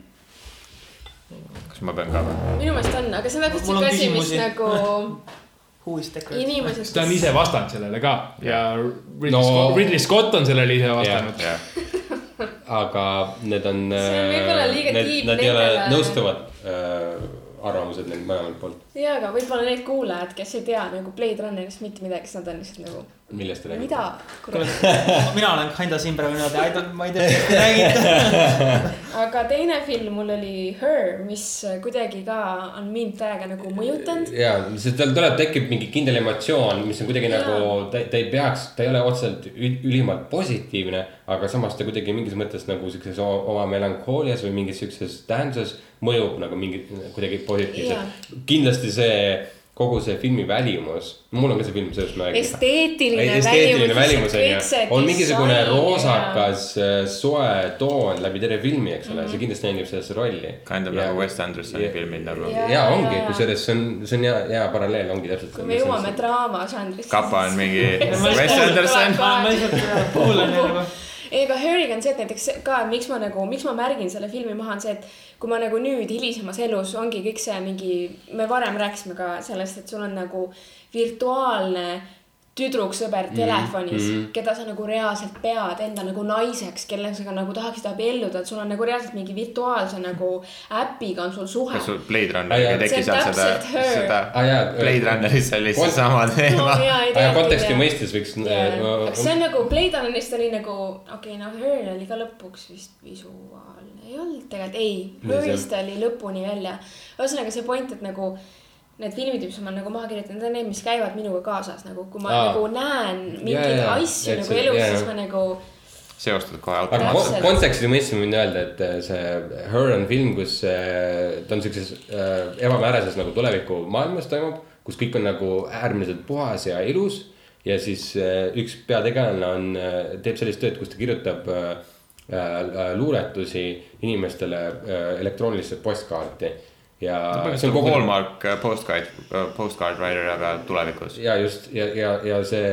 G: kas ma pean ka või ?
I: minu meelest on , aga see on täpselt
J: Mul on
I: siuke asi , mis
J: küsimusi.
I: nagu
J: Who is Deckard ?
I: inimesed .
H: ta on ise vastanud sellele ka ja Ridley, no.
F: No-
H: Scott, Ridley Scott on sellele ise vastanud .
G: jah ,
F: aga need on .
I: See on võib-olla liiga tiib
F: Nad ei ole
I: nendele-
F: nõustuvad äh, arvamused neil mõlemalt poolt ,
I: ja , aga võib-olla need kuulajad , kes ei tea nagu Blade Runnerist mitte midagi , siis nad on lihtsalt nagu ,
F: millest te räägite .
I: mida , kurat .
J: mina olen kinda siin praegu niimoodi , I don't , ma ei tea , millest te räägite .
I: aga teine film mul oli Her , mis kuidagi ka on mind täiega nagu mõjutanud .
F: ja , sest tal tuleb , tekib mingi kindel emotsioon , mis on kuidagi
I: Jaa.
F: nagu , ta , ta ei peaks , ta ei ole otseselt ü- ülimalt positiivne , aga samas ta kuidagi mingis mõttes nagu siukses o- oma melankoolias või mingis siukses tähenduses mõjub nagu mingi , kuidagi
I: Jaa.
F: positiivselt . kindlasti see kogu see filmi välimus , mul on ka see film , sellest ma räägin .
I: esteetiline .
F: esteetiline välimus on ju , on mingisugune roosakas äh, soe toon läbi terve filmi , eks ole , see kindlasti mängib sellesse rolli .
G: Kind of nagu Wes Andersoni
F: ja-
G: filmid nagu
I: ja-
F: ja ongi
I: ja- ,
F: kusjuures see on , see on hea , hea paralleel ongi täpselt .
I: kui me jõuame . draama žanrisse .
G: kapa on mingi Wes
I: kuulan
G: Anderson .
I: kogu aeg.
J: ma lihtsalt kuulan nagu .
I: ei , aga Harry'ga on see , et näiteks ka , miks ma nagu , miks ma märgin selle filmi maha , on see , et kui ma nagu nüüd hilisemas elus ongi kõik see mingi , me varem rääkisime ka sellest , et sul on nagu virtuaalne tüdruksõber
G: Mhm,
I: telefonis mm , -hmm. keda sa nagu reaalselt pead enda nagu naiseks , kellega sa nagu tahaksid abielluda , et sul on nagu reaalselt mingi virtuaalse nagu äpiga on sul suhe
G: kas sul Blade
F: Ah,
G: Runneriga
F: jaa.
G: ei teki
I: See on
G: seal seda ,
I: täpselt her.
G: seda
F: Ah, jaa.
G: Blade Runneris oli
F: Kon-
G: seesama
I: No,
G: teema .
I: jaa, ei
F: aga
I: teagi,
F: konteksti
I: jah.
F: mõistes võiks . äh,
I: aga see on nagu Blade Runnerist oli nagu , okei okay, , no Her oli ka lõpuks vist visuaalne , ei olnud tegelikult , ei ,
F: Nii see-
I: Herist oli lõpuni välja . ühesõnaga see point , et nagu need filmid , mis ma olen nagu maha kirjutanud , need on need , mis käivad minuga kaasas nagu , kui ma
F: Aa.
I: Aa. nagu näen mingeid
F: jaa,
I: yeah,
F: jaa.
I: asju
F: Et
I: yeah, nagu
F: see-
I: elus
F: jaa,
I: yeah, , siis
F: jah.
I: ma nagu
G: seostad kohe
F: aga
I: Täpselt.
F: kon-
G: automaatselt .
F: konteksti mõistes ma võin öelda , et äh, see Her on film , kus äh, ta on siukses äh, ebamäärases nagu tulevikumaailmas toimub , kus kõik on nagu äärmiselt puhas ja ilus . ja siis äh, üks peategelane on , teeb sellist tööd , kus ta kirjutab äh, äh, luuletusi inimestele äh, elektroonilisse postkaarti ja .
G: see on kogu Hallmark äh, postcard , postcard writer , aga tulevikus .
F: ja just ja , ja , ja see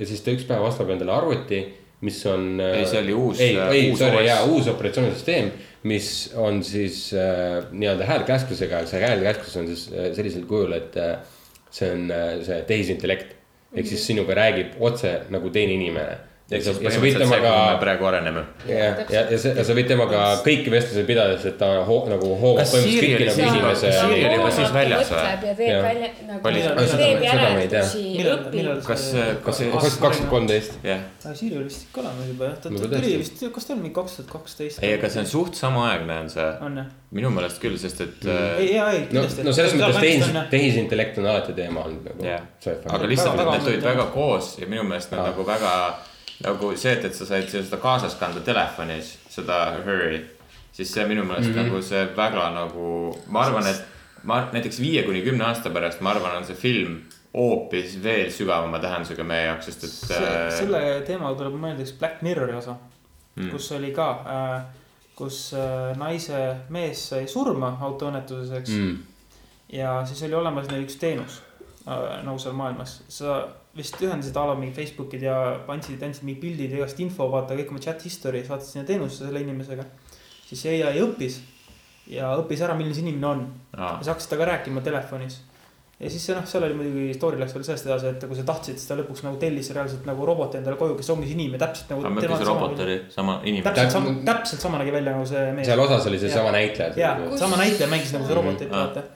F: ja siis ta üks päev ostab endale arvuti , mis on .
G: Ei, see oli uus,
F: ei ,
G: äh,
F: ei ,
G: uus
F: see oli
G: OS.
F: jaa , uus operatsioonisüsteem , mis on siis äh, nii-öelda häälkäsklusega , see häälkäsklus on siis äh, sellisel kujul , et äh, see on äh, see tehisintellekt . ehk siis sinuga räägib otse nagu teine inimene . ja sa ja sa võid temaga
G: praegu areneme .
F: ja , ja , ja sa , ja sa võid temaga kõiki vestlusi pidades , et ta hoo, nagu hoogab
G: Kas
F: põhimõtteliselt
G: Siri
F: kõiki
G: oli
F: nagu
G: siis-
F: inimese .
G: Siri oli juba siis väljas või?
I: nagu mõtleb ja teeb
F: Jaa.
I: välja nagu
G: Oli-
J: Aa, seda
I: teeb
F: ma- seda ma ei tea.
I: järeldusi ,
J: millal ,
I: õpib
J: millal .
G: Kas, äh, kas see-
F: kaks tuhat . kolmteist .
G: jah ,
J: Siiri oli vist ikka olemas juba jah , ta
F: Võib-olla
J: ta tuli
F: tõesti.
J: vist , kas ta oli mingi kaks tuhat kaksteist ?
G: ei , aga see on suht samaaegne on see ,
J: on jah ,
G: minu meelest küll , sest et
J: ei ,
G: äh,
J: ei , ei
F: no ,
J: kindlasti .
F: no selles mõttes tehis , tehisintellekt on alati teema olnud nagu
G: jah ,
F: yeah.
G: aga . lihtsalt
J: Väga-
G: need tulid
J: väga-
G: väga koos ja minu meelest nad nagu väga nagu see , et , et sa said seda kaasas kanda telefonis , seda Hurry , siis see minu meelest
J: Mhm.
G: nagu see väga nagu , ma arvan , et ma näiteks viie kuni kümne aasta pärast , ma arvan , on see film hoopis veel sügavama tähendusega meie jaoks , sest et äh,
J: selle teemaga tuleb mõelda üks Black Mirrori osa mm. , kus oli ka äh, , kus äh, naise mees sai surma autoõnnetuses , eks mm. . ja siis oli olemas neil üks teenus äh, nagu seal maailmas , sa vist ühendasid a la mingi Facebookid ja andsid , andsid mingi pildid ja igast info , vaata kõik oma chat history , saatsid sinna teenusse selle inimesega . siis see ai õppis ja õppis ära , milline see inimene on
G: Aa.
J: ja sa hakkasid temaga rääkima telefonis . ja siis see noh , seal oli muidugi story läks veel sellest edasi , et kui sa tahtsid , siis ta lõpuks nagu tellis reaalselt nagu roboti endale koju , kes ongi see inimene täpselt nagu .
G: aga mõtle , see robot oli sama inimene .
J: täpselt sama , täpselt sama nägi välja nagu see mees .
F: seal osas oli
J: Jaa.
F: seesama näitleja .
J: ja
I: Kus-
J: sama näitleja mängis nagu seda robotit
G: aa.
J: vaata .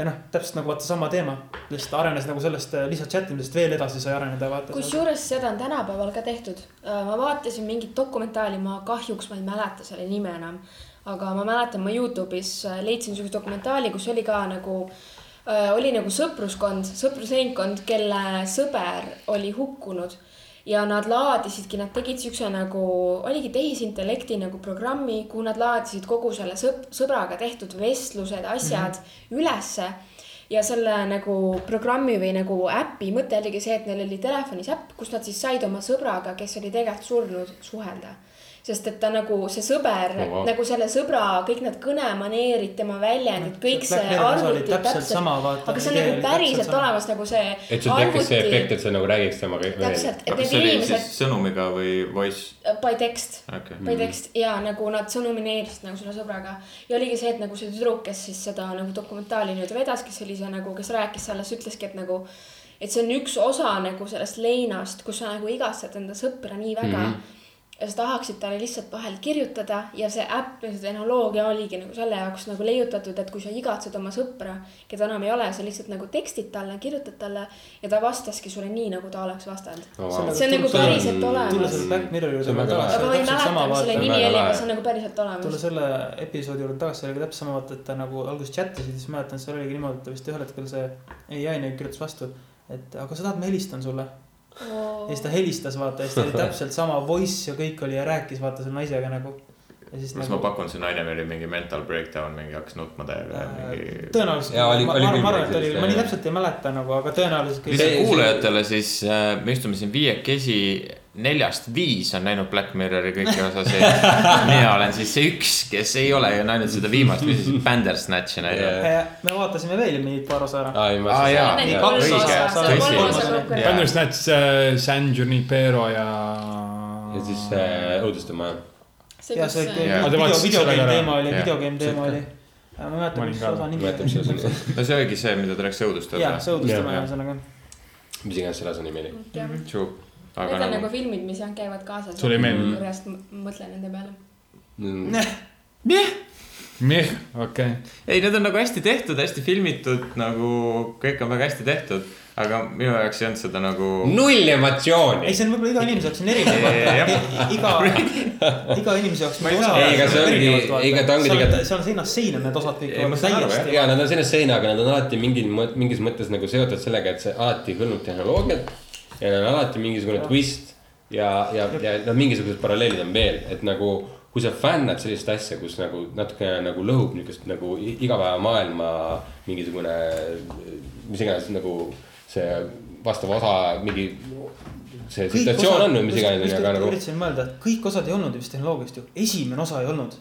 J: ja noh , täpselt nagu vaata sama teema , lihtsalt arenes nagu sellest äh, lihtsalt chat imisest veel edasi sai areneda vaata .
I: kusjuures seda on tänapäeval ka tehtud . ma vaatasin mingit dokumentaali , ma kahjuks ma ei mäleta selle nime enam , aga ma mäletan , ma Youtube'is äh, leidsin niisuguse dokumentaali , kus oli ka nagu , oli nagu sõpruskond , sõprusringkond , kelle sõber oli hukkunud ja nad laadisidki , nad tegid siukse nagu , oligi tehisintellekti nagu programmi , kuhu nad laadisid kogu selle sõp- , sõbraga tehtud vestlused , asjad mm
J: Mhm.
I: -hmm. ülesse ja selle nagu programmi või nagu äpi mõte oligi see , et neil oli telefonis äpp , kus nad siis said oma sõbraga , kes oli tegelikult surnud , suhelda . sest et ta nagu see sõber
F: Oh, wow.
I: oh, , nagu selle sõbra kõik need kõnemaneerid , tema väljendid , kõik
J: Black
I: see
J: Mirroris oli
I: arvuti
J: täpselt sama, vaata,
I: aga see on
J: idee
I: nagu
J: oli täpselt
I: päriselt
J: sama.
I: olemas nagu see .
F: et sul tekkis see efekt , et sa nagu räägiks temaga .
I: täpselt , et
G: aga
I: need
G: see oli siis
I: inimesed
G: sõnumiga või voice ?
I: äh, by text
G: Okei.
I: by text ja nagu nad sõnumineerisid nagu selle sõbraga ja oligi see , et nagu see tüdruk , kes siis seda nagu dokumentaali nüüd vedas , kes oli see nagu , kes rääkis sellest , ütleski , et nagu , et see on üks osa nagu sellest leinast , kus sa nagu igatsed enda sõpra nii väga mm . -hmm ja sa tahaksid talle lihtsalt vahel kirjutada ja see äpp ja see tehnoloogia oligi nagu selle jaoks nagu leiutatud , et kui sa igatsed oma sõpra , keda enam ei ole , sa lihtsalt nagu tekstid talle , kirjutad talle ja ta vastaski sulle nii , nagu ta oleks vastanud . see on nagu päriselt
J: tulla
I: olemas .
J: selle Black Mirrori
F: See
J: juurde
F: on väga lahe.
J: tagasi
I: aga ma , ei
J: täpselt
I: mäleta ,
J: sama
I: mis selle
J: vaata .
I: nimi oli ,
F: Väga
I: aga
F: lahe.
I: see on nagu päriselt
J: tulla
I: olemas .
J: selle episoodi juurde tagasi , see oli ka täpselt sama vaata , et ta nagu alguses chat'is ja siis mäletan , seal oligi niimoodi , et ta vist ühel hetkel see ai nagu kirjutas vastu , et aga sa tahad , ma helistan sulle . ja siis ta helistas vaata ja siis ta oli täpselt sama voice ja kõik oli ja rääkis vaata selle naisega nagu . ja siis
G: siis ma pakun , see naine oli mingi mental breakdown , mingi hakkas nutma täiega ja mingi .
J: äh, tõenäoliselt .
F: Jaa, oli-
J: ma
F: oli
J: ma
F: küll
J: arvan , et oli ,
F: sellist,
J: ma nii
F: jah.
J: täpselt ei mäleta nagu , aga tõenäoliselt
F: See-
J: küll
F: see- .
G: kuulajatele siis äh, , me istume siin viiekesi , neljast viis on näinud Black Mirrori kõiki osasid . mina olen siis see üks , kes ei ole ju näinud seda viimast , mis siis Bandersnatchi näinud .
J: me vaatasime veel mingi paar osa ära .
F: aa , ei ma .
G: aa Ah, jaa ,
I: Enne
J: kolm
G: õige
J: osa, , seal on kolm osa kokku.
G: tõsi .
H: Bandersnatch , äh, San Junipero ja .
F: ja siis äh, õudustemaja .
I: see ,
J: ja see
I: kus
G: Jaa.
J: video
H: Aga te , vaatasite selle
J: videogeim
H: ka ära?
J: teema oli ,
G: Jaa.
J: videogeim teema oli . ma ei
H: Ma
J: mäleta ,
H: olin
J: mis
H: ka-
J: osa nimi
F: mäletab ,
J: oli .
F: see oli ,
G: no see oligi see , mida tuleks õudustada .
J: jaa , see õudustama
G: Jaa.
J: ühesõnaga .
F: mis iganes selle asja nimi oli .
I: jah .
G: True ,
I: Need
G: aga
I: on
G: nagu
I: nagu filmid , mis jah käivad kaasas .
H: Sulle ei meeldi?
I: järjest m- mõtlen nende peale . Oh
H: meh , okei .
G: ei , need on nagu hästi tehtud , hästi filmitud , nagu kõik on väga hästi tehtud , aga minu jaoks ei olnud seda nagu .
F: null emotsiooni
J: ei ,. see on võib-olla iga inimese jaoks on
G: Jah.
J: erinev . iga , iga inimese jaoks .
F: Ei, ega see ongi- ega ta ongi
J: tegelikult .
F: tegelikult-
J: seal on seinast seina need osad kõik .
G: Ei, ma saan aru,
F: ja nad on selles seinaga , nad on alati mingil , mingis mõttes nagu seotud sellega , et see alati hõlmab tehnoloogiat ja neil on alati mingisugune twist ja , ja , ja noh , mingisugused paralleelid on veel , et nagu kui sa fännad sellist asja , kus nagu natukene nagu lõhub niisugust nagu i- igapäevamaailma mingisugune , mis iganes nagu see vastav osa , mingi see situatsioon on või mis iganes , aga
J: nagu .
F: nagu
J: üritasin mõelda , et kõik osad ei olnud ju vist tehnoloogiast ju , esimene osa ei olnud .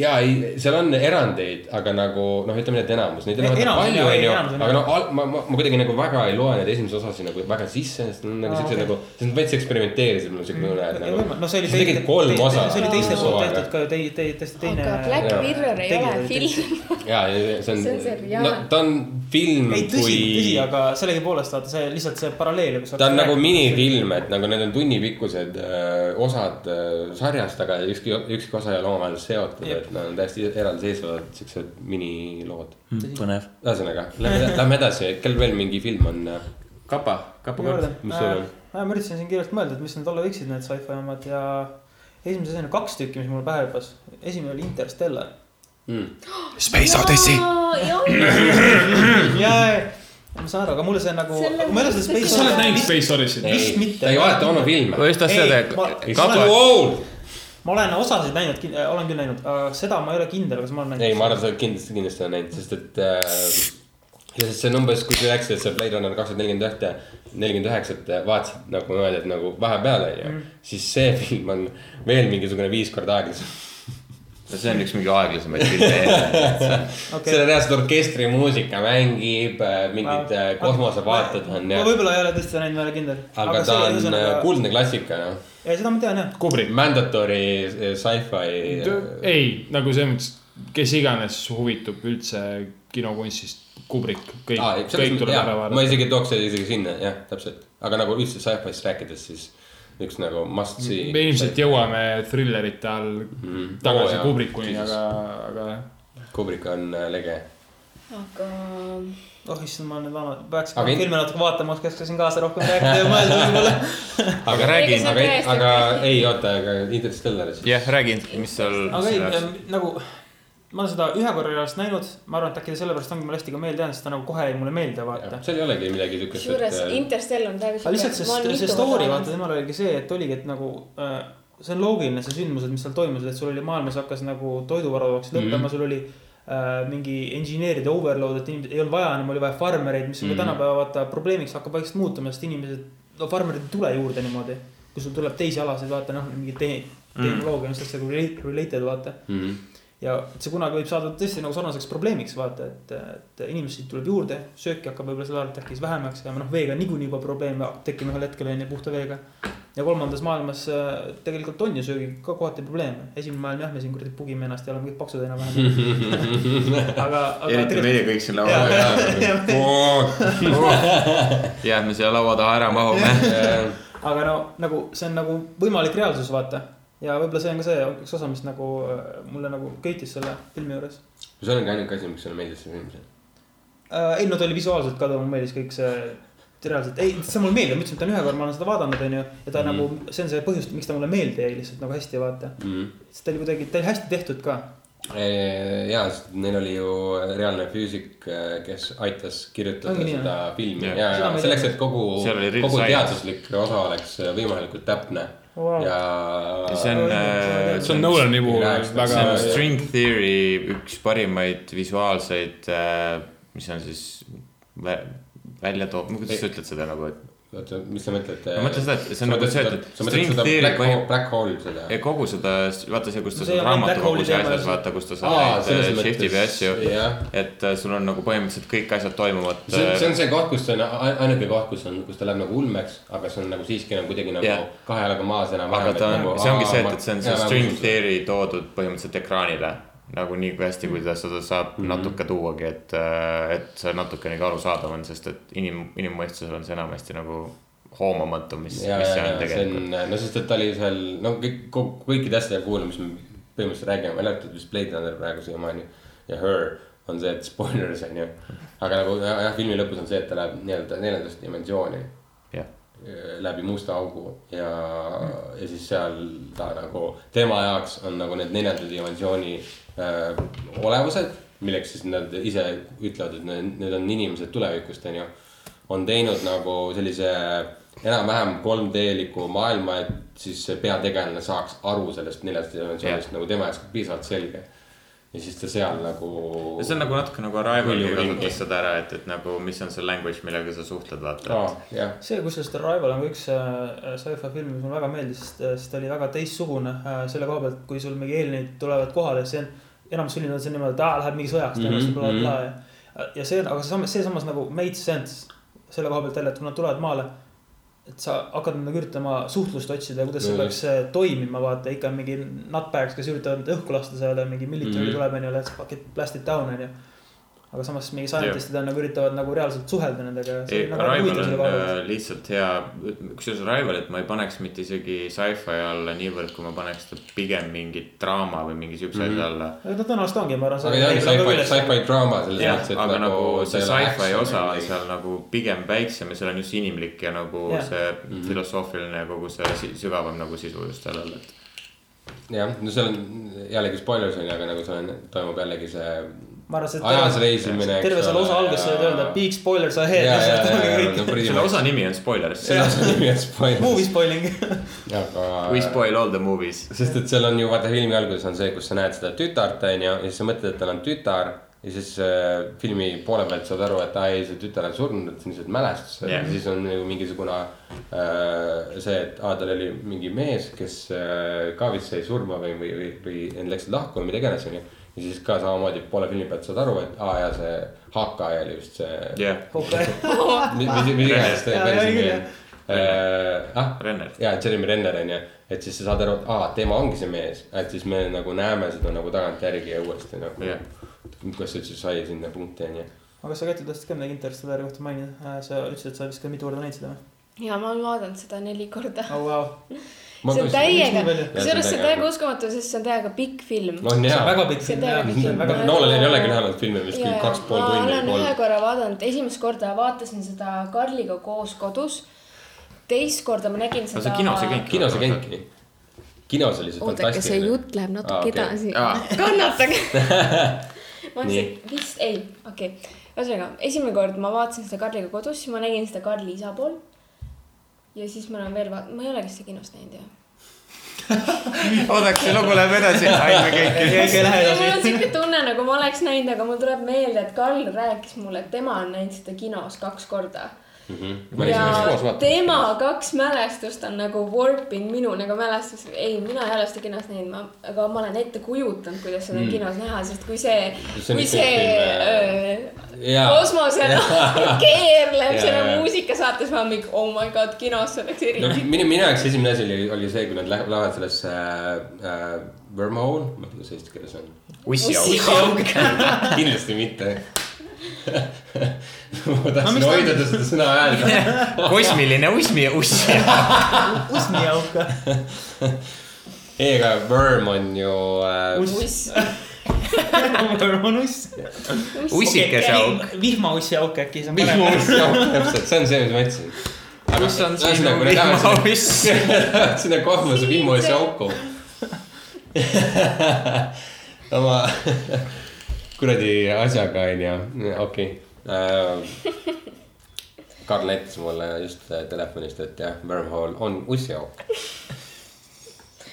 F: ja ei , seal on erandeid , aga nagu noh , ütleme , et enamus , neid on
J: E-
F: väga
J: enamus on
F: palju ,
J: jah, ei,
F: onju ,
J: enamus on
F: aga
J: jah.
F: noh , ma , ma , ma kuidagi nagu väga ei loe neid esimesi osasid nagu väga sisse , sest nad on nagu
J: Aa,
F: siuksed
J: okei. Mm,
F: nagu , sest nad veits eksperimenteerisid mul siuke tunne , et nagu .
J: no see oli
F: tegid kolm osa .
J: see oli teiste poolt tehtud ka ju , tei- , tei- , teine .
I: aga Black
F: Jaa.
I: Mirror ei ole film .
F: ja , ja see on ,
I: See on seriaal.
F: no ta on film
J: ei , tõsi , tõsi ,
F: kui ,
J: aga sellegipoolest vaata see lihtsalt see paralleel .
F: ta on nagu . minifilm , et nagu need on tunnipikkused öö, osad öö, sarjast , aga ükski , ükski osa ei ole omavahel seotud ,
J: Jep.
F: et nad on täiesti eraldiseisvad siuksed minilood .
G: Mm, põnev .
F: ühesõnaga , lähme , lähme edasi , kel veel mingi film on ,
G: kapa , kapa kord .
F: mis sul on ?
J: Äh, ma üritasin siin kiirelt mõelda , et mis need olla võiksid , need sci-fi omad ja esimese asjana kaks tükki , mis mul pähe hüppas . esimene oli Interstellar .
F: mm. .
I: Space Odyssey .
J: ja , ma saan aru , aga mulle see nagu .
I: Selle-
J: ma ei ole seda Space .
H: kas sa oled näinud Space Odyssey't ?
J: Vist
F: ei
J: mitte. ,
F: ta ei vaata oma filme .
G: ma just tahtsin
J: Ei,
G: öelda
J: ma- ,
G: kapa
J: ma ,
F: old .
J: ma olen osasid näinud , olen küll näinud , aga seda ma ei ole kindel , kas ma olen näinud .
F: ei , ma arvan , sa oled kindlasti , kindlasti oled näinud , sest et äh, . ja sest see on umbes , kui sa rääkisid , et sa Blade Runner kaks tuhat nelikümmend ühte , nelikümmend üheksat vaatasid nagu niimoodi , et nagu vahepeal on
H: Mm.
F: ju . siis see film on veel mingisugune viis korda aeglasem
G: see on üks mingi aeglasemaid filme .
F: okay. . seal on reaalselt orkestrimuusika mängib , mingid äh, kosmosevaated on
J: ja .
F: ja
J: ma . võib-olla ei ole tõesti seda näinud , ma ei ole kindel .
F: aga ta on äh, . kuldne klassika noh .
J: ei , seda ma tean jah .
H: Kubrick .
F: Mandatory äh, sci-fi .
H: ei , nagu selles mõttes , kes iganes huvitub üldse kinokunstist , Kubrick , kõik ,
F: aa ,
H: kõik tuleb ära
F: ma
H: vaadata .
F: isegi tooks selle isegi sinna , jah , täpselt . aga nagu üldse sci-fi'st rääkides , siis üks nagu must see .
H: me ilmselt jõuame thrillerite all
F: Mm. Oo,
H: tagasi
F: jaa.
H: Kubrickuni ,
F: Jesus.
H: aga , aga jah .
F: Kubrick on äh, lege .
I: aga
J: oh issand , ma nüüd vana , peaks
F: Aga
J: aga...
F: in-
J: filme natuke vaatama , oskaks ka siin kaasa rohkem rääkida ja mõelda võib-olla .
F: aga räägi ,
I: see on
F: aga ,
I: täiesti
F: aga
I: okei.
F: ei oota , aga Interstellar siis .
G: jah , räägi , mis seal .
J: aga ei , nagu ma olen seda ühe korra ei ole seda näinud , ma arvan , et äkki ta sellepärast ongi mulle hästi ka meelde jäänud , sest ta nagu kohe jäi mulle meelde vaata .
F: seal ei olegi midagi siukest ,
I: kusjuures
F: et . äh,
I: Interstellar on täiega
J: aga lihtsalt see , see story , vaata , temal oligi see , et oligi , et nagu äh, see on loogiline , see sündmused , mis seal toimusid , et sul oli maailmas hakkas nagu toiduvarad hakkasid
F: Mhm.
J: lõppema mm , -hmm. sul oli äh, mingi engineeride overload , et inimesed ei olnud vaja enam , oli vaja farmereid , mis on mm
F: Mhm.
J: -hmm. tänapäeva vaata probleemiks hakkab vaikselt muutuma , sest inimesed , no farmerid ei tule juurde niimoodi . kui sul tuleb teisi alasid , vaata noh , mingi te- ,
F: Mhm.
J: tehnoloogia on sellesse nagu relate- related , vaata . ja et see kunagi võib saada tõesti nagu sarnaseks probleemiks vaata , et , et inimesi tuleb juurde , sööki hakkab võib-olla selle arvelt äkki siis vähemaks jääma , noh , veega on niikuinii juba probleem tekkima ühel hetkel on ju puhta veega . ja kolmandas maailmas äh, tegelikult on ju söögiga ka kohati probleeme , esimene maailm jah , me siin kuradi pugime ennast ja oleme kõik paksud enam-vähem , aga , aga
G: eriti
J: tegelikult
G: meie kõik siin laua taga . jah , me siia laua taha ära mahume .
J: aga no nagu see on nagu võimalik reaalsus , vaata . ja võib-olla see on ka see üks osa , mis nagu äh, mulle nagu köitis selle filmi juures
F: see ongi ainuke asi , miks sulle meeldis see film seal .
J: äh, . ei no ta oli visuaalselt ka , ta mulle meeldis kõik see , reaalselt , ei , see mulle meeldib , ma ütlesin , et ta on ühe korra , ma olen seda vaadanud , onju . ja ta mm. nagu , see on see põhjus , miks ta mulle meelde jäi lihtsalt nagu hästi , vaata . sest ta oli kuidagi , ta oli hästi tehtud ka .
F: ja , sest neil oli ju reaalne füüsik , kes aitas kirjutada
J: Ongi nii,
F: seda filmi
G: Jah.
F: ja ,
J: Seda
F: ja
J: ma ei
F: selleks , et
J: teadnud.
F: kogu ,
G: Seal oli real
F: kogu
G: science.
F: teaduslik osa oleks äh, võimalikult täpne
J: Wow.
F: ja .
G: see on ,
H: see on Nolani
F: Ei
H: puhul
F: näeks,
G: see
H: väga
G: on , string theory üks parimaid visuaalseid , mis on siis vä- välja toob , kuidas sa ütled seda nagu , et
F: oota , mis sa mõtled ?
G: Ma mõtlen seda, et see on nagu see, et
F: sa mõtled
G: string
F: seda
G: theory
F: Black
G: põhi-
F: Hole , Black Hole seda
G: ja ? kogu seda , vaata see , kus ta
J: See
G: seal
J: ei ole ainult
G: raamatukogus
J: Black
G: ja
J: Hole'i
G: asjas ,
J: teema,
G: vaata , kus ta
F: Aa,
G: saab
F: selles
G: neid shift'i või
F: mõttes,
G: asju
F: jah. .
G: et äh, sul on nagu põhimõtteliselt kõik asjad toimuvad . äh,
F: see on , see on see koht , kus see on ai- ainuke koht , kus on , kus ta läheb nagu ulmeks , aga see on nagu siiski nagu kuidagi nagu
G: Jah.
F: yeah. kahe jalaga maas nagu enam-vähem .
G: aga ta on , see ongi see , et , et see on see string
F: nagu-
G: theory toodud põhimõtteliselt ekraanile nagu nii hästi , kui ta seda saab mm -hmm. natuke tuuagi , et , et see natukenegi arusaadav on , sest et inim , inimmõistusel on see enamasti nagu hoomamatu , mis ,
F: ja ,
G: mis see
F: ja ,
G: on
F: ja see
G: tegelikult .
F: on , no sest , et ta oli seal , no kõik , kõikide asjadega kuulame , mis me põhimõtteliselt räägime , välja arvatud vist Blade Runner praegu siiamaani ja Her on see , et spoilers on ju . aga nagu jah , jah , filmi lõpus on see , et ta läheb nii-öelda neljandasse dimensiooni
G: jah ,
F: eh, läbi musta augu ja , ja siis seal ta nagu , tema jaoks on nagu need neljanda dimensiooni äh, olevused , milleks siis nad ise ütlevad , et need, need on inimesed tulevikust , onju . on teinud nagu sellise enam-vähem 3D-liku maailma , et siis see peategelane saaks aru sellest neljandast dimensioonist yeah. nagu tema jaoks piisavalt selge . ja siis ta seal nagu .
G: see on nagu natuke nagu Arrival'i
F: Hullu ringi.
G: kasutas seda ära , et , et nagu , mis on see language , millega sa suhtled , vaata .
F: aa , jah ,
J: see , kusjuures The Rival on ka üks äh, sci-fi film , mis mulle väga meeldis , sest , sest ta oli väga teistsugune äh, selle koha pealt , kui sul mingi eelneid tulevad kohale , see on . enamus filmid on see niimoodi , et aa , läheb mingi sõjaks
F: Mhm,
J: tõenäoliselt
F: mhm.
J: mm , -hmm. ja , ja see , aga samas , see samas nagu made sense selle koha pealt jälle , et kui nad tulevad maale . et sa hakkad nagu üritama suhtlust otsida ja kuidas see
F: Mhm.
J: peaks äh, toimima , vaata ikka mingi nutbags , kes üritavad õhku lasta seal ja mingi military mm
F: Mhm.
J: -hmm. tuleb onju , let's fuck it , blast it down onju aga samas mingi
G: Jah.
J: scientist'id on nagu üritavad nagu reaalselt suhelda nendega .
G: ei , Rival on äh, lihtsalt hea , kusjuures Rivalit ma ei paneks mitte isegi sci-fi alla niivõrd , kui ma paneks ta pigem mingi draama või mingi siukse asja alla .
J: no tõenäoliselt ongi , ma arvan .
F: aga ta on sci-fi , sci-fi draama selles
J: Jah,
F: mõttes , et
G: aga nagu see
F: ta ei ole
G: sci-fi
F: action
G: osa
F: või midagi.
G: seal nagu pigem väiksem ja seal on just inimlik ja nagu
J: Jah.
G: see filosoofiline ja kogu see si- sügavam nagu sisu just seal all , et .
F: jah , no seal on jällegi spoilers on ju , aga nagu seal on , toimub jällegi see
J: ma arvan , see
F: ajas
J: terve-
F: reisimine .
J: terve selle osa alguses said öelda big spoilers ahead
F: ja , ja , ja , ja ,
J: yeah, .
F: no pretty
G: selle
F: much .
G: osa nimi on spoilers .
F: selle osa nimi on spoilers .
J: Movie spoiling .
G: We
F: aga ,
G: spoil all the movies .
F: sest et seal on ju vaata filmi alguses on see , kus sa näed seda tütart , onju , ja siis sa mõtled , et tal on tütar . ja siis äh, filmi poole pealt saad aru , et aa ei , see tütar on surnud , et see on lihtsalt mälestus
G: Jah.
F: yeah. . siis on nagu mingisugune äh, see , et aa , tal oli mingi mees , kes äh, ka vist sai surma või , või , või , või läksid lahku või mida iganes , onju . ja siis ka samamoodi poole filmi pealt saad aru , et aa ja see Hakaja oli vist see
G: jah ,
F: mis , mis mis iganes
J: Jaa, jaa, küll, jah.
F: teeb . ah ,
G: Renner.
F: ja Jeremy Renner onju , et siis sa saad aru , et aa , tema ongi see mees , et siis me nagu näeme seda nagu tagantjärgi ja uuesti nagu
G: Jah. .
F: kuidas see üldse sai sinna punkti onju .
J: aga sa Käti tahtsid ka midagi Interstellari kohta mainida , sa ütlesid , et sa vist ka mitu korda näid seda või ?
I: ja ma olen vaadanud seda neli korda .
J: oh vau ,
I: see on täiega
J: miks nii palju? ,
I: kusjuures see on täiega
F: Jaa,
I: uskumatu , sest see on täiega pikk film .
F: on
J: see on
F: hea .
J: väga pikk
I: See on
J: film
I: täiega
J: jah ,
I: pikk
J: see on väga
I: film.
J: pikk .
F: Nolan ei olegi näidanud filmi vist küll kaks pool
I: ma
F: tundi
I: olen
F: või
I: ühe
F: kolm .
I: korra vaadanud , esimest korda vaatasin seda Karliga koos kodus . teist korda ma nägin
G: no
I: seda .
G: see kinos ei käinud .
F: kinos ei . käinudki . kinos oli see
I: oodake , see
F: fantastiline .
I: jutt läheb
F: Aa,
I: natuke
F: okei.
I: edasi
G: Aa. .
I: kannatage . ma
F: Nii.
I: mõtlesin , vist ei , okei okay. . ühesõnaga , esimene kord ma vaatasin seda Karliga kodus , siis ma nägin seda Karli isa pool . ja siis ma olen veel vaadanud , ma ei ole vist seda kinos näinud ju .
G: oodake , see lugu läheb edasi , saime kõik .
J: keegi ei lähe
I: ja mul on
J: edasi .
I: siuke tunne , nagu ma oleks näinud , aga mul tuleb meelde , et Karl rääkis mulle , et tema on näinud seda kinos kaks korda .
F: ma nägin
I: ja
F: seda koos vaatamas .
I: tema kaks mälestust on nagu warp in minu nagu mälestus , ei , mina ei ole seda kinos näinud , ma , aga ma olen ette kujutanud , kuidas seda mm. kinos näha , sest kui see ,
F: See on
I: kui
F: üks
I: see
F: selline-
I: öö,
F: Jaa.
I: kosmosel keerleb
F: Jaa,
I: selle
F: jaa.
I: muusikasaates , ma olen mingi , oh my god , kinos see oleks
F: no
I: eriti .
F: minu , minu jaoks esimene asi oli , oli see , kui nad lähevad lähevad sellesse äh, äh, wormhole , ma ei tea , kuidas eesti keeles on
G: ussiauk .
I: Oh
F: kindlasti mitte ma tahtsin
J: miks ta-
F: hoiduda seda sõna öelda .
G: kosmiline usmi , ussiauk .
J: usmiauka .
F: ei , aga worm on ju äh, ,
I: uss ,
J: on uss .
G: Ussikeseauk.
J: vihmaussiauk äkki , see on parem .
F: täpselt , see on see , mis ma ütlesin .
G: kus on sinu
F: ühesõnaga , me läheme
G: vihmauss ?
F: sinna , sinna kosmose vihmasse auku . oma kuradi asjaga onju , okei okay. . Karl näitas mulle just äh, telefonist , et jah , wormhole on ussiauk .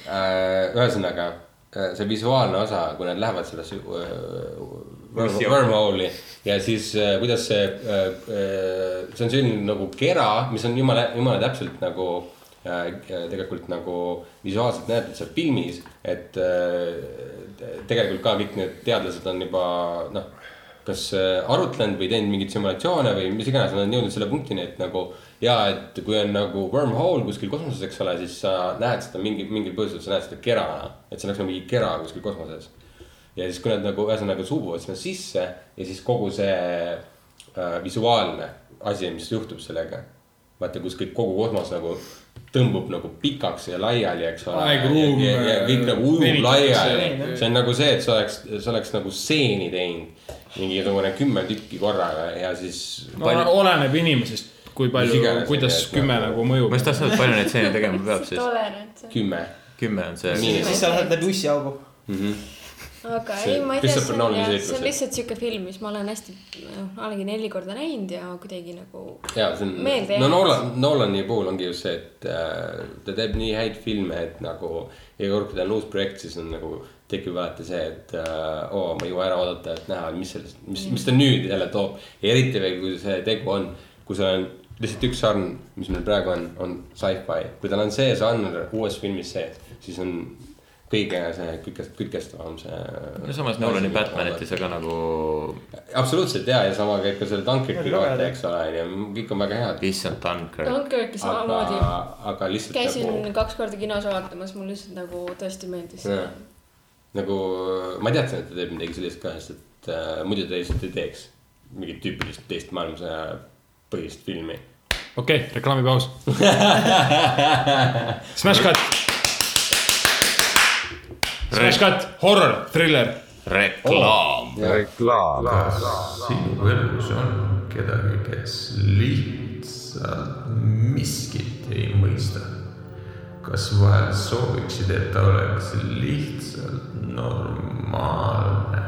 F: Äh, ühesõnaga , see visuaalne osa , kui nad lähevad sellesse äh,
G: Ussiauku.
F: wormhole'i ja siis äh, kuidas see , see on selline nagu kera , mis on jumala , jumala täpselt nagu äh, tegelikult nagu visuaalselt näidatud seal filmis , et äh, tegelikult ka kõik need teadlased on juba noh kas äh, arutlenud või teinud mingeid simulatsioone või mis iganes , nad on jõudnud selle punktini , et nagu ja et kui on nagu wormhole kuskil kosmoses , eks ole , siis sa näed seda mingi , mingil põhjusel sa näed seda kerana , et see oleks nagu mingi kera kuskil kosmoses . ja siis , kui nad nagu ühesõnaga suubuvad sinna sisse ja siis kogu see äh, visuaalne asi , mis juhtub sellega . vaata , kus kõik kogu kosmos nagu tõmbub nagu pikaks ja laiali , eks ole .
H: Aegruum,
F: ja, ja, ja kõik nagu ujub
H: venitatakse.
F: laiali , see on nagu see , et sa oleks , sa oleks nagu stseeni teinud mingisugune kümme tükki korraga ja siis
H: no, . oleneb inimesest , kui palju
F: Mis iganes, ,
H: kuidas
F: et
H: kümme
F: nagu-
H: nagu
G: ma
H: mõjub
G: just . tahtsin , et palju neid stseene tegema peab
I: siis
G: siis .
I: tolerants .
F: kümme .
G: kümme on
F: Nii.
G: see .
J: siis sa lähed läbi ussiaugu .
I: aga
F: See-
I: ei , ma ei tea ,
F: Christopher
I: see on,
F: Nolan'i
I: jah-
F: seiklus,
I: see on
F: jah.
I: lihtsalt siuke film , mis ma olen hästi , ma olengi neli korda näinud ja kuidagi nagu
F: ja see on
I: Meelde ,
F: no
I: jäänud.
F: Nolan , Nolani puhul ongi just see , et äh, ta teeb nii häid filme , et nagu iga kord , kui tal on uus projekt , siis on nagu tekib alati see , et äh, oo , ma ei jõua ära oodata , et näha , mis sellest , mis , mis ta nüüd jälle toob . eriti veel , kui see tegu on , kui seal on lihtsalt üks sarn , mis meil praegu on , on sci-fi , kui tal on see sarn uues filmis sees , siis on kõige see kükest , kütkestavam see .
G: no samas Nolani Batmanitis , aga nagu
F: absoluutselt ja , ja sama käib ka selle Dunkirki kohta , eks ole , onju , kõik on väga head .
G: Issand Dunkirk .
I: Dunkirki samamoodi .
F: aga , aga lihtsalt
I: käisin
F: nagu ,
I: kaks korda kinos vaatamas , mulle lihtsalt nagu tõesti meeldis .
F: jah. nagu ma teadsin , et ta teeb midagi sellist ka , sest et äh, muidu ta lihtsalt ei teeks mingit tüüpilist teist maailmasõja põhist filmi .
H: okei , reklaamipaus . Smash cut . Smash cut , horror , thriller .
G: reklaam .
B: sinu elus on kedagi , kes lihtsalt miskit ei mõista . kas vahel sooviksid , et ta oleks lihtsalt normaalne ?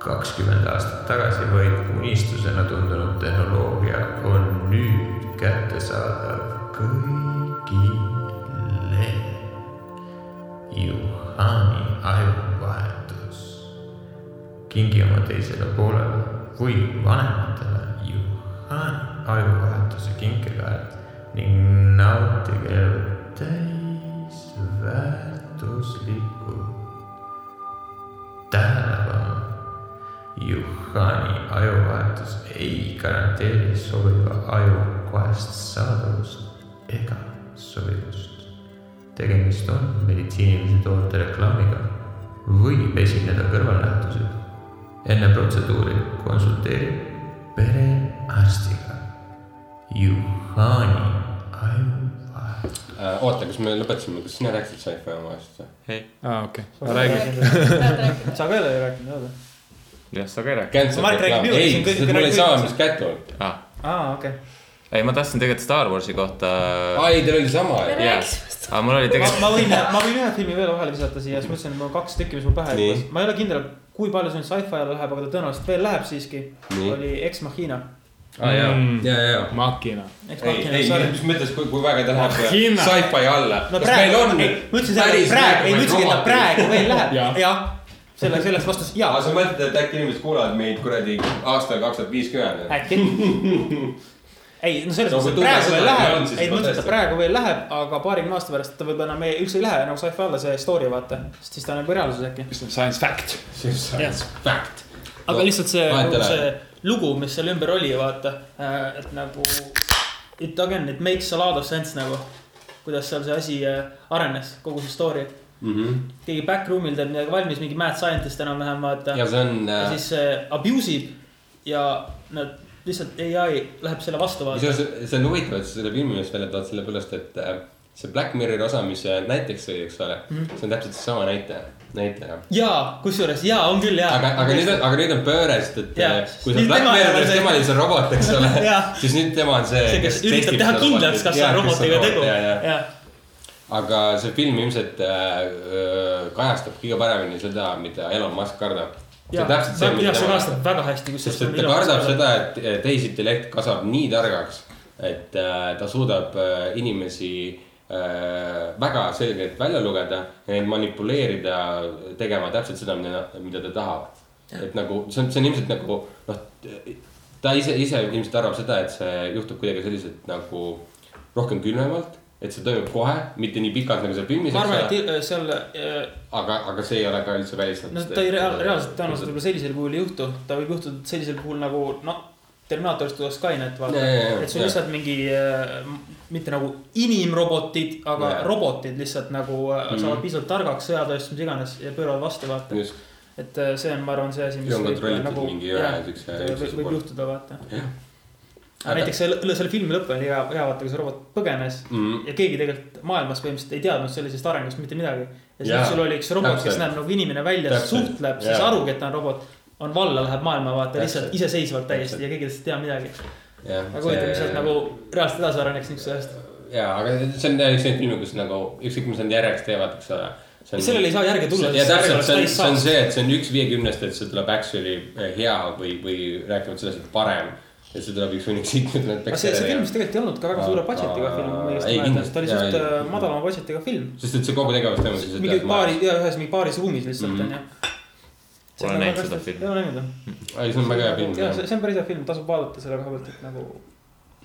B: kakskümmend aastat tagasi vaid unistusena tundunud tehnoloogia on nüüd kättesaadav kõigile . Juhani ajuvahetus kingi oma teisele poolele või vanematele Juhani ajuvahetuse kinkekaelt ning nautige elu täisväärtuslikku tähelepanu . Juhani ajuvahetus ei garanteeri sobiva aju kohest saadavust ega sobivust tegemist on meditsiinilise toote reklaamiga , võib esineda kõrvalnähtusid . enne protseduuri konsulteeri perearstiga . Juhani ajuvahetus .
F: Äh, oota , kas me lõpetasime , kas sina rääkisid sci-fi oma asjast või ?
H: aa , Ah, okei .
J: sa ka ei ole rääkinud , oled või ?
G: jah , sa ka ei rääkinud .
F: Cancel
J: Mark räägib
F: reklaam ,
J: juurde,
F: ei
J: siin , kõik-
F: mul ei
J: kõik-
F: saa , mis kätte olnud .
G: aa ,
J: aa , okei .
G: ei , ma tahtsin tegelikult Star Warsi kohta .
F: aa , ei , teil oli sama .
G: jah , aga mul oli
J: ma
G: tegelikult ,
J: ma võin , ma võin ühe filmi veel vahele visata siia , siis mõtlesin , et mul on kaks tükki , mis mul pähe
F: Nii.
J: hüppas . ma ei ole kindel , kui palju see nüüd sci-fi alla läheb , aga ta tõenäoliselt veel läheb siiski .
F: Nii.
J: oli Ex Machina .
F: aa , jaa , jaa , jaa .
H: Makina .
J: Ex
F: ei , ei ,
J: Mm. sorry. Ah,
F: mis mõttes , kui , kui väga ta läheb
H: Hinna.
F: sci-fi alla .
J: no praegu , ei , ma ütlesin seda ,
F: nagu
J: et praegu , ei ma ütlesingi , et ta praegu veel läheb
H: Jah. ,
J: jah . selle , selles vastus jaa
F: aga . sa mõtled , et äkki inimesed kuulavad meid kuradi aastal kaks tuhat viiskümmend ?
J: äkki . ei , no selles
F: No
J: mõttes ,
F: kui
J: et
F: tugev sõnaline
J: praegu veel läheb
F: on, , siis
J: ei
F: ma
J: ma mõtlesin , et ta
F: tõesti-
J: praegu veel läheb , aga paarikümne aasta pärast ta võib-olla enam ei- üldse ei lähe enam sci-fi alla see story vaata , sest siis ta on juba reaalsus äkki .
H: Science fact .
F: see on science fact .
J: aga lihtsalt see ,
F: vahet ei
J: nagu
F: ole.
J: see lugu , mis seal ümber oli , vaata , et nagu it again , it makes a lot of sense nagu , kuidas seal see asi äh, arenes , kogu see story .
F: Mhm.
J: keegi backroom'il teeb midagi valmis , mingi mad scientist enam-vähem vaata .
F: ja see on ,
J: ja siis äh, abuse ib ja nad lihtsalt ai läheb selle vastu vaata .
F: kusjuures see on huvitav , et sa selle filmi just välja tood , sellepärast et äh, see Black Mirror osa , mis äh, näiteks oli , eks ole ,
J: Mhm.
F: see on täpselt seesama näitaja , näitaja .
J: jaa , kusjuures jaa , on küll jaa .
F: aga , aga nüüd on , aga nüüd on pööre , sest et
J: Jaa.
F: äh, kui see
J: Nüüd
F: Black
J: tema ei ole
F: Mirror ,
J: see-
F: tema oli see robot , eks ole
J: Jaa.
F: siis nüüd tema on see .
J: see , kes üritab teha kindlaks , kas see on robotiga tegu . jah ,
F: aga see film ilmselt äh, äh, kajastab kõige paremini seda , mida Elon Musk kardab . see
J: ja
F: on täpselt see , mida
J: see
F: tema
J: kajastab väga hästi ,
F: sest et ta kardab seda , et tehisintellekt kasvab nii targaks , et äh, ta suudab äh, inimesi äh, väga selgelt välja lugeda ja neid manipuleerida , tegema täpselt seda , mida , mida ta tahab . et nagu see on , see on ilmselt nagu noh , ta ise , ise ilmselt arvab seda , et see juhtub kuidagi selliselt nagu rohkem külmemalt , et see toimub kohe , mitte nii pikalt nagu seal filmis .
J: ma arvan , et i- seal , äh,
F: aga , aga see ei ole ka üldse välistatud .
J: no ta ei rea- , reaalselt tõenäoliselt võib-olla sellisel kujul ei juhtu , ta võib juhtuda et sellisel puhul nagu noh , Terminaatorist tuleb Skynet , vaata
F: Ja, ja, ja, ,
J: et sul
F: ja.
J: lihtsalt mingi äh, mitte nagu inimrobotid , aga
F: Ja.
J: robotid lihtsalt nagu äh, saavad piisavalt targaks sõjatööst , mis iganes ja pööravad vastu , vaata .
F: just ,
J: et äh, see on , ma arvan , see asi , mis
F: See on
J: võib,
F: kontrollitud
J: nagu-
F: mingi ühe
J: jah,
F: siukse
J: võib-
F: üksuse
J: võib
F: poolt.
J: juhtuda , vaata .
F: jah .
J: aga näiteks selle , selle filmi lõpp oli hea , hea vaata , kui see robot põgenes
F: Mhm.
J: ja keegi tegelikult maailmas põhimõtteliselt ei teadnud sellisest arengust mitte midagi . ja
F: Jaa,
J: siis sul oli üks robot , kes
F: täpselt.
J: näeb nagu inimene välja ,
F: Täpselt,
J: suhtleb , siis
F: jaa.
J: arvab , et ta on robot , on valla , läheb maailma , vaata
F: Täpselt.
J: lihtsalt iseseisvalt täiesti
F: Täpselt.
J: ja keegi lihtsalt ei tea midagi .
F: jah .
J: aga huvitav , mis sealt nagu reaalselt edasi areneks niisuguse asjast .
F: ja , aga see on üks neid filme , kus nagu ükskõik , mis nad järjeks teevad , eks ole .
J: Sellele ei saa järge tulla,
F: ja
J: sest see
F: täpselt ,
J: oleks
F: Mm. see on ,
J: täis
F: see on
J: saak.
F: see , et see on üks viiekümnest , et see tuleb actually eh, hea või , või rääkimata sellest , et parem . et see tuleb üks hunnik siit , et nad
J: aga see , see film , mis tegelikult ei olnud ka väga suure budget'iga film , ma õigesti
F: Ei,
J: mäletan , ta oli
F: kindlasti,
J: suht
F: jaa,
J: äh,
F: ei.
J: madalama budget'iga film .
F: sest et see Mhm. kogu tegevus toimus lihtsalt .
J: mingi paari , ühes mingi paaris ruumis lihtsalt onju .
G: Pole näinud seda filmi.
J: ei ole näinud jah .
F: ei , see on väga hea
J: ja see ,
F: film .
J: see on päris hea film , tasub vaadata selle koha pealt , et nagu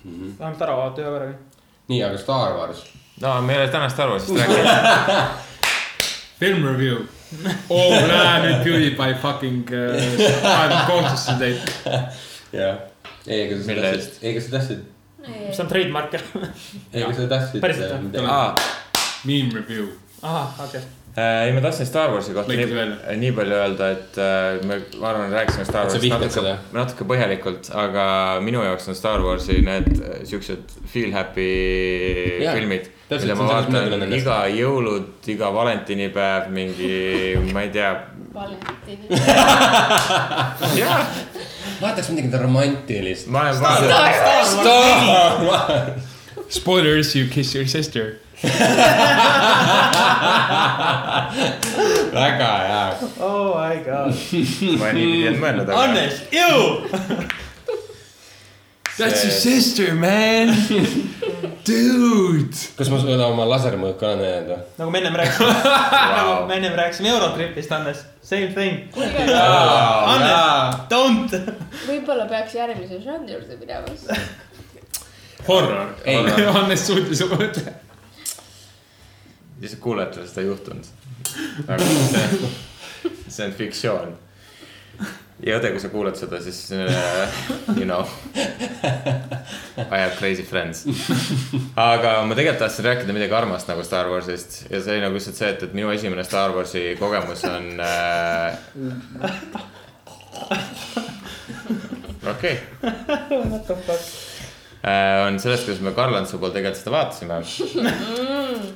F: Mhm.
J: vähemalt ära vaadata ühe korraga .
F: nii , aga Star Wars .
G: no me ei ole tänast aru , sest räägime .
H: film review . oo , näe nüüd PewDiePie fucking äh, kohtusse teid .
F: jah . ei , ega sa
G: Mille
F: tahtsid , ei , ega sa tahtsid ,
J: mis on trademark jah ?
F: ei , ega sa eh, tahtsid .
J: Päriselt või?
G: aa ,
H: Meme review .
J: ahah , okei .
G: Äh, ei , ma tahtsin Star Warsi kohta
H: Lõikasid
G: nii,
H: välja.
G: nii palju öelda , et äh, me , ma arvan , rääkisime Star
F: Et sa
G: Warsist
F: vihkad
G: natuke
F: seda? ,
G: natuke põhjalikult , aga minu jaoks on Star Warsi need äh, siuksed feel happy
F: Jaa,
G: yeah, filmid ,
F: täpselt,
G: mida
F: see
G: ma
F: on selles mõttes
G: vaatan
F: nendest.
G: iga jõulud , iga valentinipäev , mingi , ma ei tea ,
I: Valentini .
G: jah ,
F: vaataks midagi romantilist .
G: ma olen vaadanud
F: Star Wars .
H: Spoilers , you kiss your sister .
F: väga hea
J: oh my god .
G: ma niipidi ei mõelnud , aga
J: Hannes , jõu .
H: That's your sister , man . Dude .
F: kas ma suudan oma lasermõõk ka näidata või ?
J: nagu me ennem rääkisime , nagu
G: wow.
J: me ennem rääkisime Eurotripist , Hannes . Same thing .
F: Anne .
J: Don't .
I: võib-olla peaks järgmise žanri juurde minema .
H: Horror .
F: Ei.
H: Hannes suutis oma mõtte .
G: lihtsalt kuulajatele seda ei juhtunud . aga see , see on fiktsioon . ja õde , kui sa kuulad seda , siis uh, you know . I have crazy friends . aga ma tegelikult tahtsin rääkida midagi armast nagu Star Warsist ja see oli nagu lihtsalt see , et , et minu esimene Star Warsi kogemus on uh... . okei okay. .
J: What the fuck .
G: on sellest , kuidas me Karlantsu pool tegelikult seda vaatasime .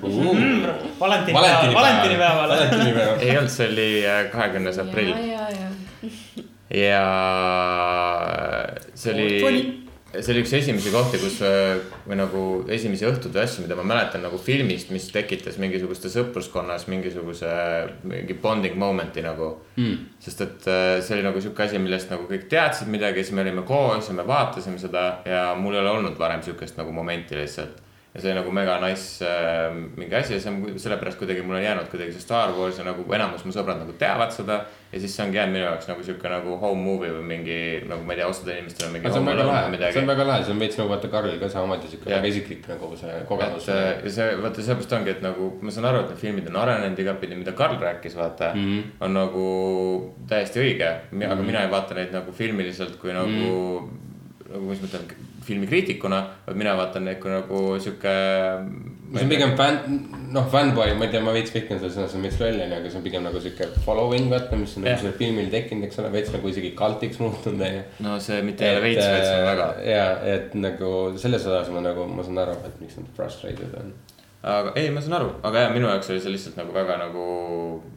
F: Mm.
J: valentinipäeval , valentinipäeval .
F: valentinipäeval .
G: ei olnud , see oli äh, kahekümnes aprill .
I: ja , ja , ja .
G: ja see oli , see oli üks esimesi kohti , kus äh, või nagu esimesi õhtuid või asju , mida ma mäletan nagu filmist , mis tekitas mingisuguste sõpruskonnas mingisuguse mingi bonding moment'i nagu mm. . sest et äh, see oli nagu sihuke asi , millest nagu kõik teadsid midagi , siis me olime koos ja me vaatasime seda ja mul ei ole olnud varem sihukest nagu momenti lihtsalt ja see oli nagu mega nice äh, mingi asi ja see on ku- sellepärast kuidagi mul on jäänud kuidagi see Star Wars ja nagu enamus mu sõbrad nagu teavad seda . ja siis see ongi jäänud minu jaoks nagu sihuke nagu home movie või mingi nagu ma ei tea , osadel inimestel on mingi
F: see on
G: home
F: väga
G: alone või
F: lahe , see
G: midagi .
F: on väga lahe , see on veits nagu vaata Karlil ka samamoodi siuke
G: Jah.
F: väga isiklik nagu see
G: et
F: kogemus .
G: äh, ja see vaata sellepärast ongi , et nagu ma saan aru , et need filmid on arenenud igatpidi , mida Karl rääkis , vaata mm .
F: Mhm.
G: -hmm. on nagu täiesti õige , aga mm -hmm. mina ei vaata neid nagu filmiliselt kui nagu mm ,
F: Mhm.
G: -hmm. nagu mis ma ütlen , filmikriitikuna , vaid mina vaatan neid kui nagu sihuke .
F: see on pigem fänn , noh , fännboi , ma ei tea , ma veits vihkan seda sõna , see on veits loll onju , aga see on pigem nagu siuke following vaata , mis on
G: Jah.
F: nagu sellel filmil tekkinud , eks ole , veits nagu isegi kaltiks muutunud onju .
G: no see mitte ei ole veits , vaid see on
F: äh,
G: väga .
F: ja , et nagu selles osas ma nagu , ma saan aru , et miks nad frustrated on .
G: aga ei , ma saan aru , aga jah , minu jaoks oli see lihtsalt nagu väga nagu ,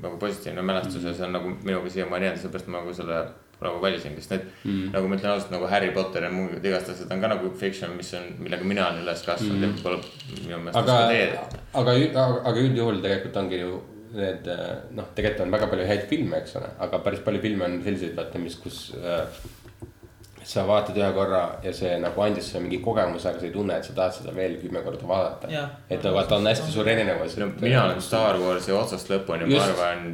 G: nagu positiivne mälestus ja see on nagu minuga siiamaani jäänud , sellepärast ma nagu selle nagu valisingi , sest need mm. nagu ma ütlen ausalt nagu Harry Potter ja muud igast asjad on ka nagu fiction , mis on , millega mina olen üles kasvanud mm. ja võib-olla minu meelest
F: aga
G: oskad teed .,
F: aga , aga üldjuhul tegelikult ongi ju need äh, noh , tegelikult on väga palju häid filme , eks ole , aga päris palju filme on selliseid , vaata , mis , kus äh, sa vaatad ühe korra ja see nagu andis sulle mingi kogemuse , aga sa ei tunne , et sa tahad seda veel kümme korda vaadata
J: Jah. .
F: et no vaata , on hästi suur erinevus .
G: mina olen Star Warsi otsast lõpuni , ma
F: Just.
G: arvan ,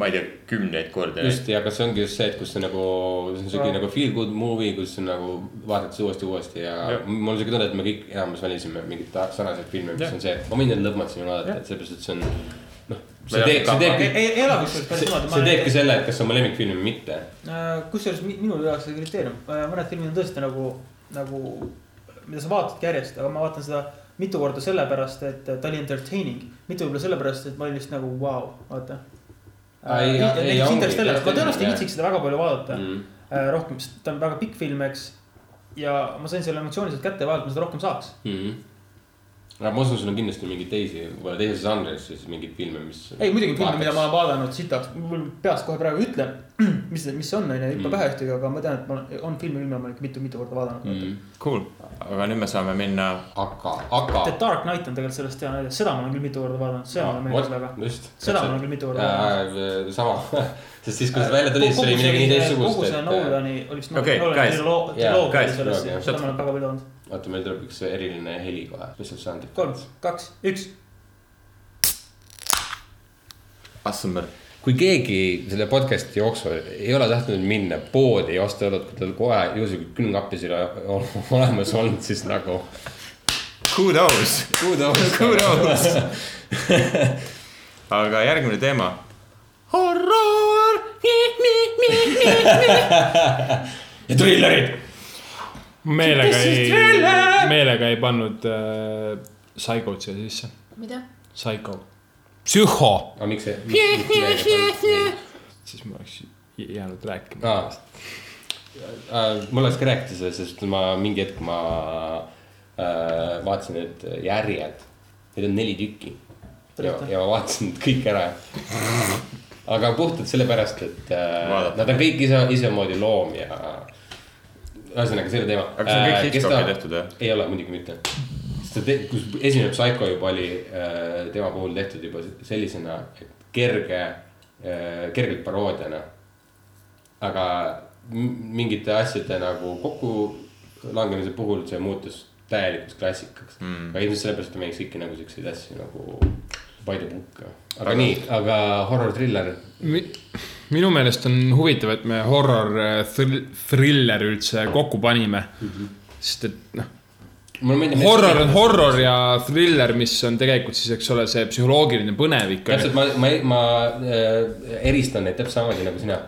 G: ma ei tea , kümneid kordi .
F: just ja , aga see ongi just see , et kus see nagu , see on siuke nagu feel good movie , kus sa nagu vaatad seda uuesti , uuesti ja, ja. mul on siuke tunne , et me kõik enamus valisime mingit ta- sarnaseid filme , mis ja. on see , et ma võin neid lõpmatuseni vaadata , et seepärast , et see on noh , see
G: ei
F: teeb , see
G: hakka
J: ei ,
F: teebki ,
J: ei , ei ole kusjuures päris
F: see,
J: niimoodi .
F: see teebki selle , et kas see on mu lemmikfilm või mitte .
J: Äh, kusjuures mi- minu jaoks oli kriteerium , mõned filmid on tõesti nagu , nagu , mida sa vaatadki järjest , aga ma vaatan seda mitu korda sellepärast , et ta oli entertaining . mitte võib-olla sellepärast , et ma olin lihtsalt nagu vau wow, , vaata .
F: Aa, ei, ei, ei,
J: näiteks
F: ongi,
J: Interstellar , ma tõenäoliselt ei
F: jah.
J: viitsiks seda väga palju vaadata mm.
F: Mm.
J: rohkem , sest ta on väga pikk film , eks . ja ma sain selle emotsiooniliselt kätte ja vahel ma seda rohkem saaks .
F: Mm. aga ma usun , sul on kindlasti mingeid teisi , võib-olla teises žanris siis mingeid filme , mis .
J: ei , muidugi filme , mida ma olen vaadanud sitaks , mul peast kohe praegu ei ütle , mis , mis see on , onju ,
F: Mm.
J: ei hüppa pähe ühtegi , aga ma tean , et ma olen , on filme küll , mida ma olen ikka mitu-mitu korda vaadanud mm. .
G: Cool , aga nüüd me saame minna .
F: aga , aga
J: The . Dark Knight on tegelikult sellest hea näide , seda ma olen küll mitu korda vaadanud ,
F: Ah,
J: seda ma olen meeles väga .
F: just .
J: seda ma olen küll mitu korda vaadanud .
F: Äh, sama , sest siis , kui see välja tuli , siis oli midagi nii teistsugust .
J: kogu Äh, see Nolani , oli vist
G: Okei,
J: okay, Nolani
G: guys.
F: Jaa,
J: triloo- triloogia oli
G: guys,
J: sellest ,
F: triloogia,
J: seda ma olen väga palju vaadanud .
F: oota , äh, meil tuleb üks eriline heli kohe , mis seal soundib ?
J: kolm , kaks , üks .
G: Assemble .
F: kui keegi selle podcast'i jooksul ei ole tahtnud minna poodi ja osta õlut , kui tal kohe juhuslikult külmkappis ei ole ole- olemas olnud , siis nagu .
G: Kudos .
F: kuulda-
G: Kudos . aga järgmine teema . horror .
F: ja trillerid .
H: meelega ei , meelega ei pannud äh, Psychot siia sisse ,
I: mida ?
H: Psycho . psühho .
F: aga miks see ?
H: siis ma oleks jäänud rääkima .
F: aa , mul oleks ka rääkida sellest , sest ma mingi hetk ma äh, vaatasin need järjed , neid on neli tükki . ja , ja ma vaatasin need kõik ära . aga puhtalt sellepärast , et äh,
G: Vaadata.
F: nad on kõik ise , isemoodi loom ja ühesõnaga selle teema . Äh,
G: Aga see on kõik Hitchcocki tehtud, või?
F: ei ole muidugi mitte . sest ta te- , kus esimene Psycho juba oli äh, tema puhul tehtud juba sellisena , et kerge äh, , kergelt paroodiana aga m- mingite asjade nagu kokkulangemise puhul see muutus täielikuks klassikaks mm. . aga ilmselt sellepärast ta mängiks kõiki nagu siukseid asju nagu by the book . aga nii , aga horror thriller ,
H: minu meelest on huvitav , et me horror äh, thril- thriller üldse kokku panime mm .
F: Mhm.
H: -hmm. sest et noh ,
F: mulle meeldib .
H: horror on . horror ja thriller , mis on tegelikult siis , eks ole , see psühholoogiline põnevik .
F: täpselt , ma , ma , ma äh, eristan neid täpselt samamoodi nagu sina ,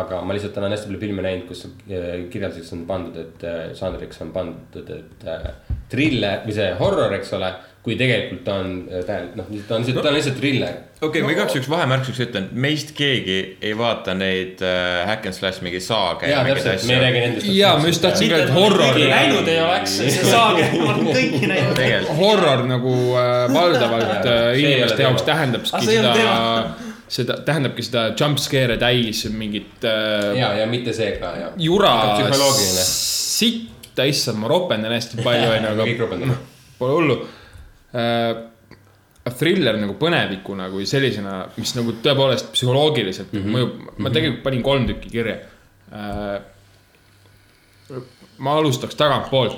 F: aga ma lihtsalt olen hästi palju filme näinud , kus äh, kirjelduseks on pandud , et äh, žanriks on pandud , et äh, thriller või see horror , eks ole , kui tegelikult ta on äh, tähendab , noh , ta on lihtsalt , ta on lihtsalt thriller
G: okei , ma igaks juhuks vahemärkuseks ütlen , meist keegi ei vaata neid äh, Hack n Slash mingi saaga
F: jaa ,
G: mingeid
F: täpselt , me ei räägi nendest .
H: ja ma just tahtsin ka , et horror ,
F: nagu
J: näinud ei oleks , see saage , ma olen kõiki näinud .
G: tegelikult ,
H: horror nagu äh, valdavalt äh,
F: See ei ole
H: inimeste
F: teema.
H: jaoks
J: Ah,
H: tähendabki
J: see ei ole
H: seda
J: teema. ,
H: seda tähendabki seda jumpscare'e täis mingit äh,
F: ja , ja mitte see ka ja .
H: jura
F: psühholoogiline .
H: sitta , issand , ma ropendan hästi palju ,
F: kõik
H: onju ,
F: ropendavad .
H: aga pole hullu äh, . thriller nagu põnevikuna kui sellisena , mis nagu tõepoolest psühholoogiliselt mm -hmm.
G: Mhm.
H: mõjub , ma tegelikult panin kolm tükki kirja äh, . ma alustaks tagantpoolt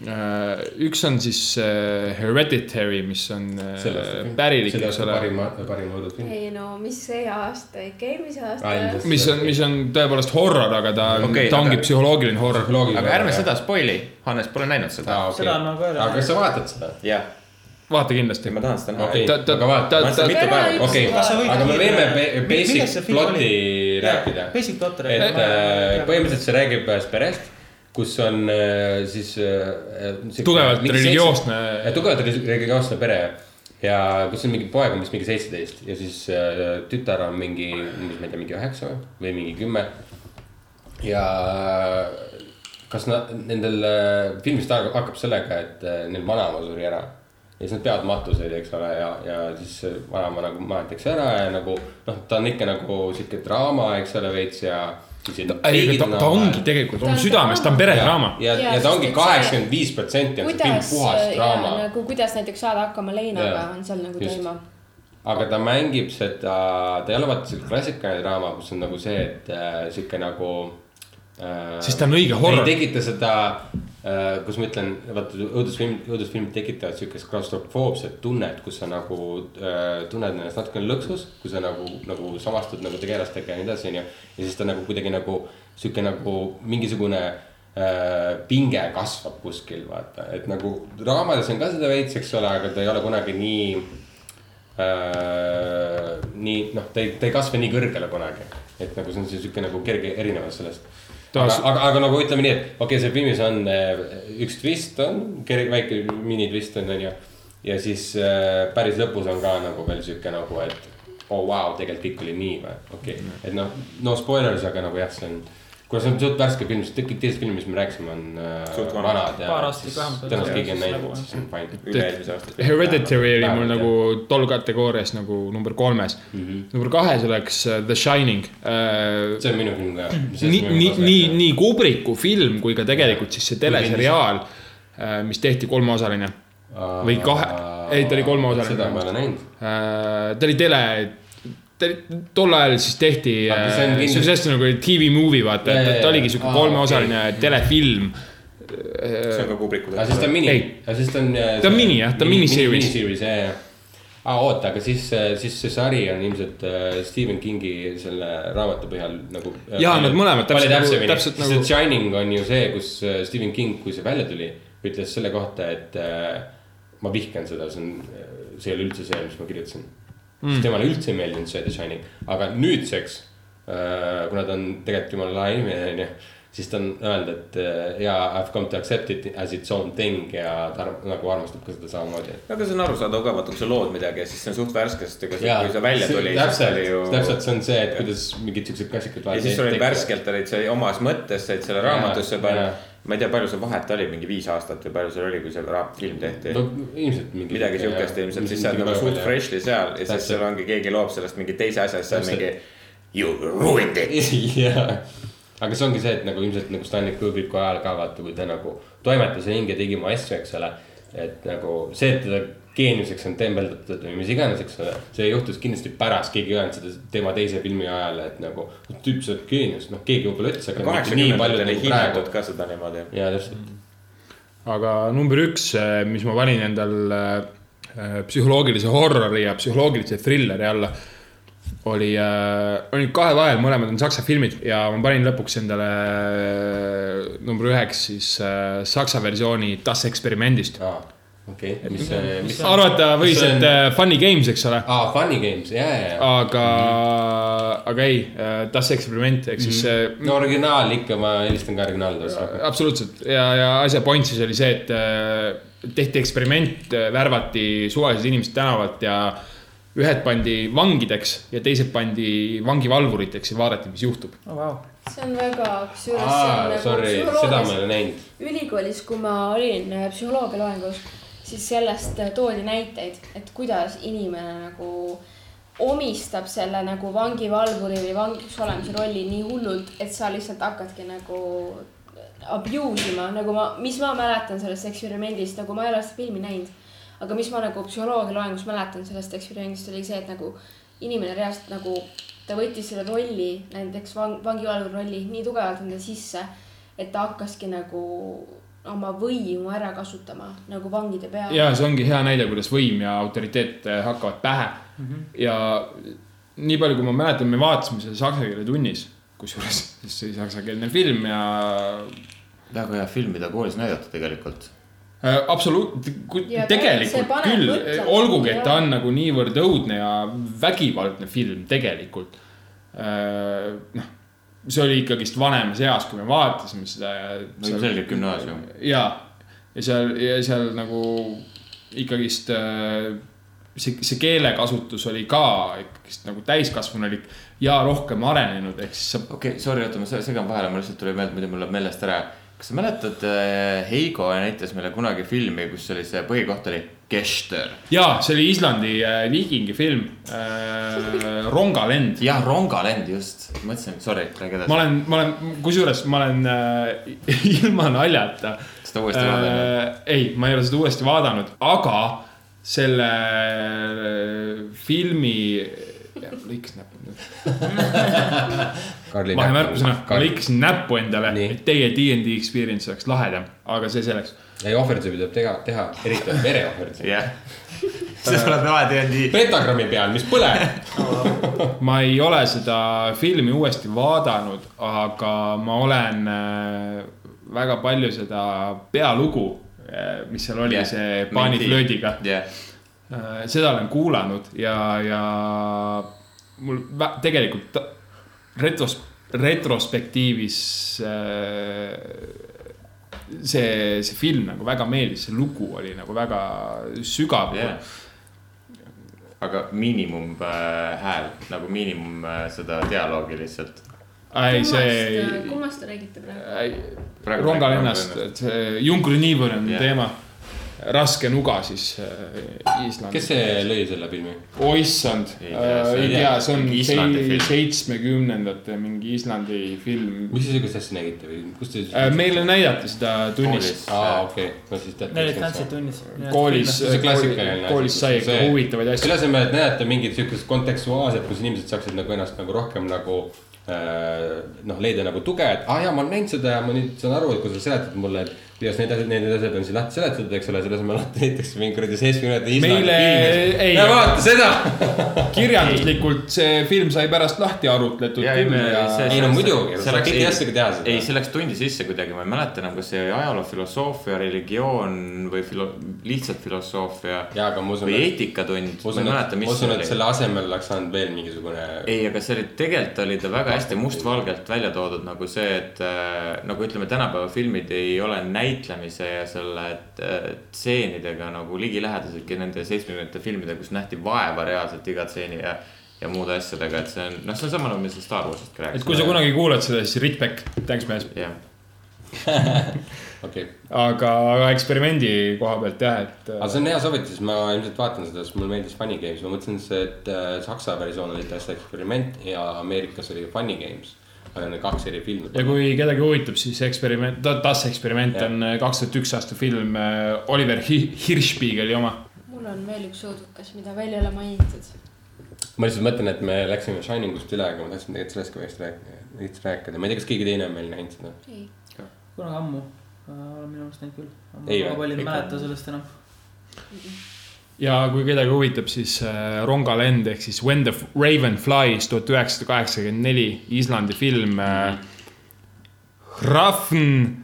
H: äh, . üks on siis äh, Hereditary , mis on äh, pärilik , eks ole
F: parim , parim õudusfilm .
E: ei no mis see aasta , ikka eelmise aasta
F: Ai, . mis-
H: mis on , mis on tõepoolest horror , aga ta on okay, ,
G: Okei,
H: ta ongi
G: aga-
H: aga... psühholoogiline horror .
G: aga ärme seda spoil'i , Hannes pole näinud seda .
J: Seda nagu ma ka ei ole
F: aga kas sa vaatad seda ?
G: jah ,
H: vaata kindlasti .
G: ma tahan seda näha
F: okei ,
H: ta- ta-
F: aga vaata
H: ta- .
G: ma olen seda
H: ta-
G: mitu päeva .
F: okei ,
J: Kas sa võid
F: aga me
J: kiirelt-
F: võime
J: Mi-
F: be-
J: millest see
F: basic
J: film
F: ploti
J: oli?
F: rääkida
J: Jaa, . basic plot rääkida.
F: et
J: Ma-
F: äh,
J: jaa.
F: põhimõtteliselt see räägib ühest perest , kus on äh, siis äh, .
H: Tugevalt religioosne-
F: tugevalt relig- religioosne pere ja kus on mingi poeg on vist mingi seitseteist ja siis äh, tütar on mingi , ma ei tea , mingi üheksa või- või mingi kümme . ja eh, kas nad , nendel äh, filmist aeg- hakkab sellega , et äh, neil vanaema suri ära . ja siis nad peavad matuseid , eks ole , ja , ja siis äh, vanaema nagu maetakse ära ja nagu noh , ta on ikka nagu sihuke draama , eks ole , veits ja
H: ei , ta , ta ongi tegelikult
I: Ta
H: oma
I: on
H: südames , ta on peredraama .
F: ja , ja,
I: Jaa,
F: ja ta ongi
I: sest et see-
F: kaheksakümmend viis protsenti on see film
I: kuidas ,
F: puhas draama ,
I: nagu kuidas näiteks saada hakkama leinaga
F: Jaa,
I: on seal nagu
F: just.
I: teema .
F: aga ta mängib seda , ta ei ole vaata siuke klassikaline draama , kus on nagu see , et äh, siuke nagu äh, .
H: Siis ta on õige horror.
F: ei tekita seda äh, , kuidas ma ütlen , vaata õudusfilm , õudusfilmid tekitavad siukest klaustrofoobset tunnet , kus sa nagu äh, tunned ennast natukene lõksus , kui sa nagu , nagu samastud nagu tegelastega ja nii edasi , onju . ja siis ta nagu kuidagi nagu siuke nagu mingisugune äh, pinge kasvab kuskil vaata , et nagu draamades on ka seda veits , eks ole , aga ta ei ole kunagi nii Äh, nii noh , ta ei , ta ei kasva nii kõrgele kunagi , et nagu see on siis sihuke nagu kerge erinevus sellest .
H: Ta-
F: aga , aga, aga nagu ütleme nii , et okei okay, , seal filmis on äh, üks twist on , kerge väike minitvist on , onju . ja siis äh, päris lõpus on ka nagu veel sihuke nagu , et oo oh, vau , tegelikult kõik oli nii või , okei okay. , et noh , no spoilers , aga nagu jah , see on kuna see on suht värske film , sest kõik teised filmid , mis me rääkisime , on äh,
G: Suht vanad.
F: vanad ja
J: Paar aastat
F: siis
J: vähemalt on
F: tõenäoliselt
J: see
F: keegi on
J: siis
F: näinud ,
J: nagu-
F: siis on fine .
G: üle-eelmise aasta .
H: Hereditary oli mul
F: Vähemalt,
H: nagu tol kategoorias nagu number kolmes mm .
F: Mhm.
H: -hmm. number kahes oleks äh, The Shining äh, .
F: see on minu film ka .
H: nii , nii , nii , nii Kubriku film kui ka tegelikult siis see teleseriaal , mis tehti kolmeosaline või kahe , ei , ta
F: seda ma ei
H: oli
F: ole
H: kolmeosaline .
F: näinud .
H: ta oli tele , ta oli , tol ajal siis tehti ,
F: Aga see on
H: see
F: kindlasti-
H: oli hästi nagu TV movie vaata ,
F: Jaa, jaa,
H: et ta oligi
F: jaa.
H: siuke
F: Aa,
H: kolmeosaline telefilm .
G: see on ka Kubriku
F: aga siis ta on mini
H: Ei. ,
F: aga siis ta on .
H: Ta on mini, jah, ta on miniseries.
F: miniseries , jah , jah . aa , oota , aga siis , siis see sari on ilmselt äh, Stephen Kingi selle raamatu põhjal nagu .
H: Jaa, nad mõlemad
F: täpselt
H: täpselt nagu-
F: nagu ,
H: täpselt
F: täpselt nagu .
H: nagu-
F: The Shining on ju see , kus äh, Stephen King , kui see välja tuli , ütles selle kohta , et äh, ma vihkan seda , see on , see ei ole üldse see , mis ma kirjutasin mm. . sest temale üldse ei meeldinud see The Shining , aga nüüdseks äh, , kuna ta on tegelikult jumala lahe inimene , onju , siis ta on öelnud , et äh, ja I have come to accept it as its own thing ja ta arv- nagu armastab ka seda samamoodi .
G: aga see on arusaadav ka , vaata , kui sa lood midagi ja siis see on suht värske , sest ega see- kui see välja tuli .
F: täpselt , täpselt see on see , et kuidas mingid siuksed klassikud .
G: ja siis sul oli . värskelt olid sa omas mõttes , said selle raamatusse
F: Jaa, jaa.
G: pannud . ma ei tea , palju see vahet oli , mingi viis aastat või palju seal oli , kui see ra- film tehti
F: no ? ilmselt mingi .
G: midagi siukest ilmselt , siis sa oled nagu suht . freshly seal ja
F: Täpselt.
G: siis seal ongi , keegi loob sellest mingi teise asja , siis sa oled
F: Täpselt.
G: mingi . You ruined it .
F: jaa , aga see ongi see , et nagu ilmselt nagu Stanley Kubriku ajal ka vaata , kui ta nagu toimetas ja hinge tegi oma asju , eks ole . et nagu see , et teda geeniuseks on tembeldatud või mis iganes , eks ole , see juhtus kindlasti pärast , keegi ei öelnud seda tema teise filmi ajal , et nagu tüüp , sa oled geenius , noh , keegi võib-olla ütles , aga mitte nii palju
G: kaheksakümnendatel ei
F: nagu praegu
G: hinnatud . ka Mm. seda niimoodi .
F: ja täpselt ,
H: aga number üks , mis ma valin endal äh, psühholoogilise horrori ja psühholoogilise thrilleri alla , oli , oli kahe vahel , mõlemad on saksa filmid ja ma panin lõpuks endale äh, number üheks siis äh, saksa versiooni Das Experimendist .
F: aa , okei , mis see , mis see .
H: arvata võis ,
F: see on-
H: et äh, Funny Games , eks ole ,
F: aa , Funny Games , ja , ja , ja .
H: aga , aga ei , Das Experiment ehk siis äh,
F: no originaal ikka , ma eelistan ka originaalidest .
H: absoluutselt ja , ja asja point siis oli see , et äh, tehti eksperiment , värvati suvalised inimesed tänavalt ja ühed pandi vangideks ja teised pandi vangivalvuriteks ja vaadati , mis juhtub .
J: oh, . Wow.
I: see on väga , kusjuures see on
F: aa ,
I: nagu
F: sorry , seda ma ei
I: psühholoogias
F: ole näinud .
I: ülikoolis , kui ma olin äh, psühholoogia loengus , siis sellest äh, toodi näiteid , et kuidas inimene nagu omistab selle nagu vangivalvuri või vangiks olemise rolli nii hullult , et sa lihtsalt hakkadki nagu äh, abuse ima , nagu ma , mis ma mäletan sellest eksperimendist , nagu ma ei ole seda filmi näinud , aga mis ma nagu psühholoogia loengus mäletan sellest eksperimendist oli see , et nagu inimene reaalselt nagu ta võttis selle rolli , näiteks vang- , vangivalvuri rolli nii tugevalt enda sisse , et ta hakkaski nagu oma võimu ära kasutama nagu vangide peal .
H: ja see ongi hea näide , kuidas võim ja autoriteet äh, hakkavad pähe mm . -hmm. ja nii palju , kui ma mäletan , me vaatasime seda saksa keele tunnis , kusjuures see oli saksakeelne film ja
G: väga hea film , mida koolis näidati tegelikult .
H: Äh, absoluut- ,
I: Ja see
H: tegelikult
I: paneb
H: küll
I: mõtlema, ,
H: olgugi , et ta
I: jah.
H: on nagu niivõrd õudne ja vägivaldne film tegelikult . noh , see oli ikkagist vanemas eas , kui me vaatasime seda ja .
G: no ilmselgelt . gümnaasium .
H: ja , ja seal , ja seal nagu ikkagist äh, see , see keelekasutus oli ka ikkagist nagu täiskasvanulik ja rohkem arenenud , ehk siis sa
G: okei okay, , sorry , oota , ma se- segan vahele , mul lihtsalt tuli meelde , muidu mul läheb meelest ära . kas sa mäletad , Heigo näitas meile kunagi filmi , kus oli see põhikoht oli Kester .
H: jaa , see oli Islandi äh, viikingi film äh, , Rongalend .
G: jah , Rongalend just , mõtlesin , sorry , räägi
H: ma
G: edasi .
H: olen , ma olen , kusjuures ma olen äh, ilma naljata .
G: Seda uuesti vaadanud?
H: ei , ma ei ole seda uuesti vaadanud , aga selle äh, filmi , lõikasin näppu nüüd . vahemärkusena , ma lõikasin näppu endale ,
F: Nii.
H: et teie DnD experience oleks lahedam , aga see selleks .
F: ei , ohverdusi tuleb teha , teha , eriti vereohverdusi .
G: jah , sa oled alati olnud nii .
F: petagrammi peal , mis põleb .
H: ma ei ole seda filmi uuesti vaadanud , aga ma olen äh, väga palju seda pealugu , mis seal oli , see paaniflöödiga .
G: jah ,
H: Äh, seda olen kuulanud ja , ja mul vä- tegelikult ta- retros , retrospektiivis äh, see , see film nagu väga meeldis , see lugu oli nagu väga sügav
G: jah . aga miinimum äh, hääl , nagu miinimum äh, seda dialoogi lihtsalt .
H: ei , see .
I: äh, kummast te räägite praegu ?
G: Praegu
H: rongalinnast ,
G: räägime
H: et see Junkriniivon on
G: Jah.
H: teema . raske nuga siis äh, Islandil .
F: kes see lõi selle filmi ?
H: oh issand ,
G: Ei tea, see
H: Äh, ei
G: on
H: tea ,
G: jah,
H: see on
G: mingi Islandi
H: sei-
G: film.
H: seitsmekümnendate mingi Islandi film .
F: mis te sihukest asja nägite või kust te ?
H: Äh, meile näidati seda tunnis .
F: aa , okei , no siis teate .
J: neil olid tantsid . tunnis .
H: koolis
F: See on , klassikaline asi.
H: koolis sai ikka
F: See-
H: huvitavaid
F: selle
H: asju .
F: asemel , et näidata mingit sihukest kontekstuaalset , kus inimesed saaksid nagu ennast nagu rohkem nagu äh, noh , leida nagu tuge , et aa ah, jaa , ma olen näinud seda ja ma nüüd saan aru , et kui sa seletad mulle , et kuidas need asjad , need need asjad on siin lahti seletatud , eks ole , selle asemel alati näiteks mingi kuradi seitsmekümnendate
H: Meile- ei.
F: näe vaata seda .
H: kirjanduslikult see film sai pärast lahti arutletud küll ja .
F: ei, no muidugi, sa saad kõiki asju teha seda.
G: ei , see läks tundi sisse kuidagi , ma ei mäleta enam , kas see oli ajaloo filosoofia , religioon või filo- , lihtsalt filosoofia
F: jaa , aga ma usun ,
G: või
F: et ,
G: eetikatund , ma
F: ma
G: ei
F: usun , et
G: mäleta ,,
F: ma
G: mis
F: usun ,
G: see
F: et
G: oli .
F: selle asemel oleks saanud veel mingisugune .
G: ei , aga see oli , tegelikult oli ta väga hästi mustvalgelt välja toodud nagu see , et äh, nagu ütleme , tänapäeva filmid ei ole näitlemise ja selle äh, tseenidega nagu ligilähedaseltki nende seitsmekümnendate filmidega , kus nähti vaeva reaalselt iga tseeni ja , ja muude asjadega , et see on , noh , see on sama nagu me seal Star Warsist ka rääkisime .
H: et kui sa kunagi kuulad seda , siis Rit Beck , tänks mees .
G: jah ,
F: okei ,
H: aga , aga eksperimendi koha pealt jah , et . äh,
F: aga see on hea soovitus , ma ilmselt vaatan seda , sest mulle meeldis Funny Games , ma mõtlesin , et äh, Saksa versioon oli täiesti eksperiment ja Ameerikas oli Funny Games . Need on kaks eri filmi .
H: ja kui kedagi huvitab , siis eksperiment , Das eksperiment
F: Jah.
H: on äh, kaks tuhat üks aasta film äh, Oliver Hi- Hirschspiegeli oma .
I: mul on veel üks õudukas , mida veel ei ole mainitud .
F: ma lihtsalt mõtlen , et me läksime Shiningust üle , aga ma tahtsin tegelikult sellest ka veits rääkida , veits rääkida , ma ei tea , kas keegi teine on meil näinud seda .
I: ei ,
J: kunagi ammu , olen minu meelest näinud küll . ma
F: Ei
J: väga
F: või?
J: palju ei
F: Ikka
J: mäleta
F: on.
J: sellest enam .
H: ja kui kedagi huvitab , siis äh, Rongalend ehk siis When the Raven Flies tuhat üheksasada kaheksakümmend neli Islandi film äh, . Hrafn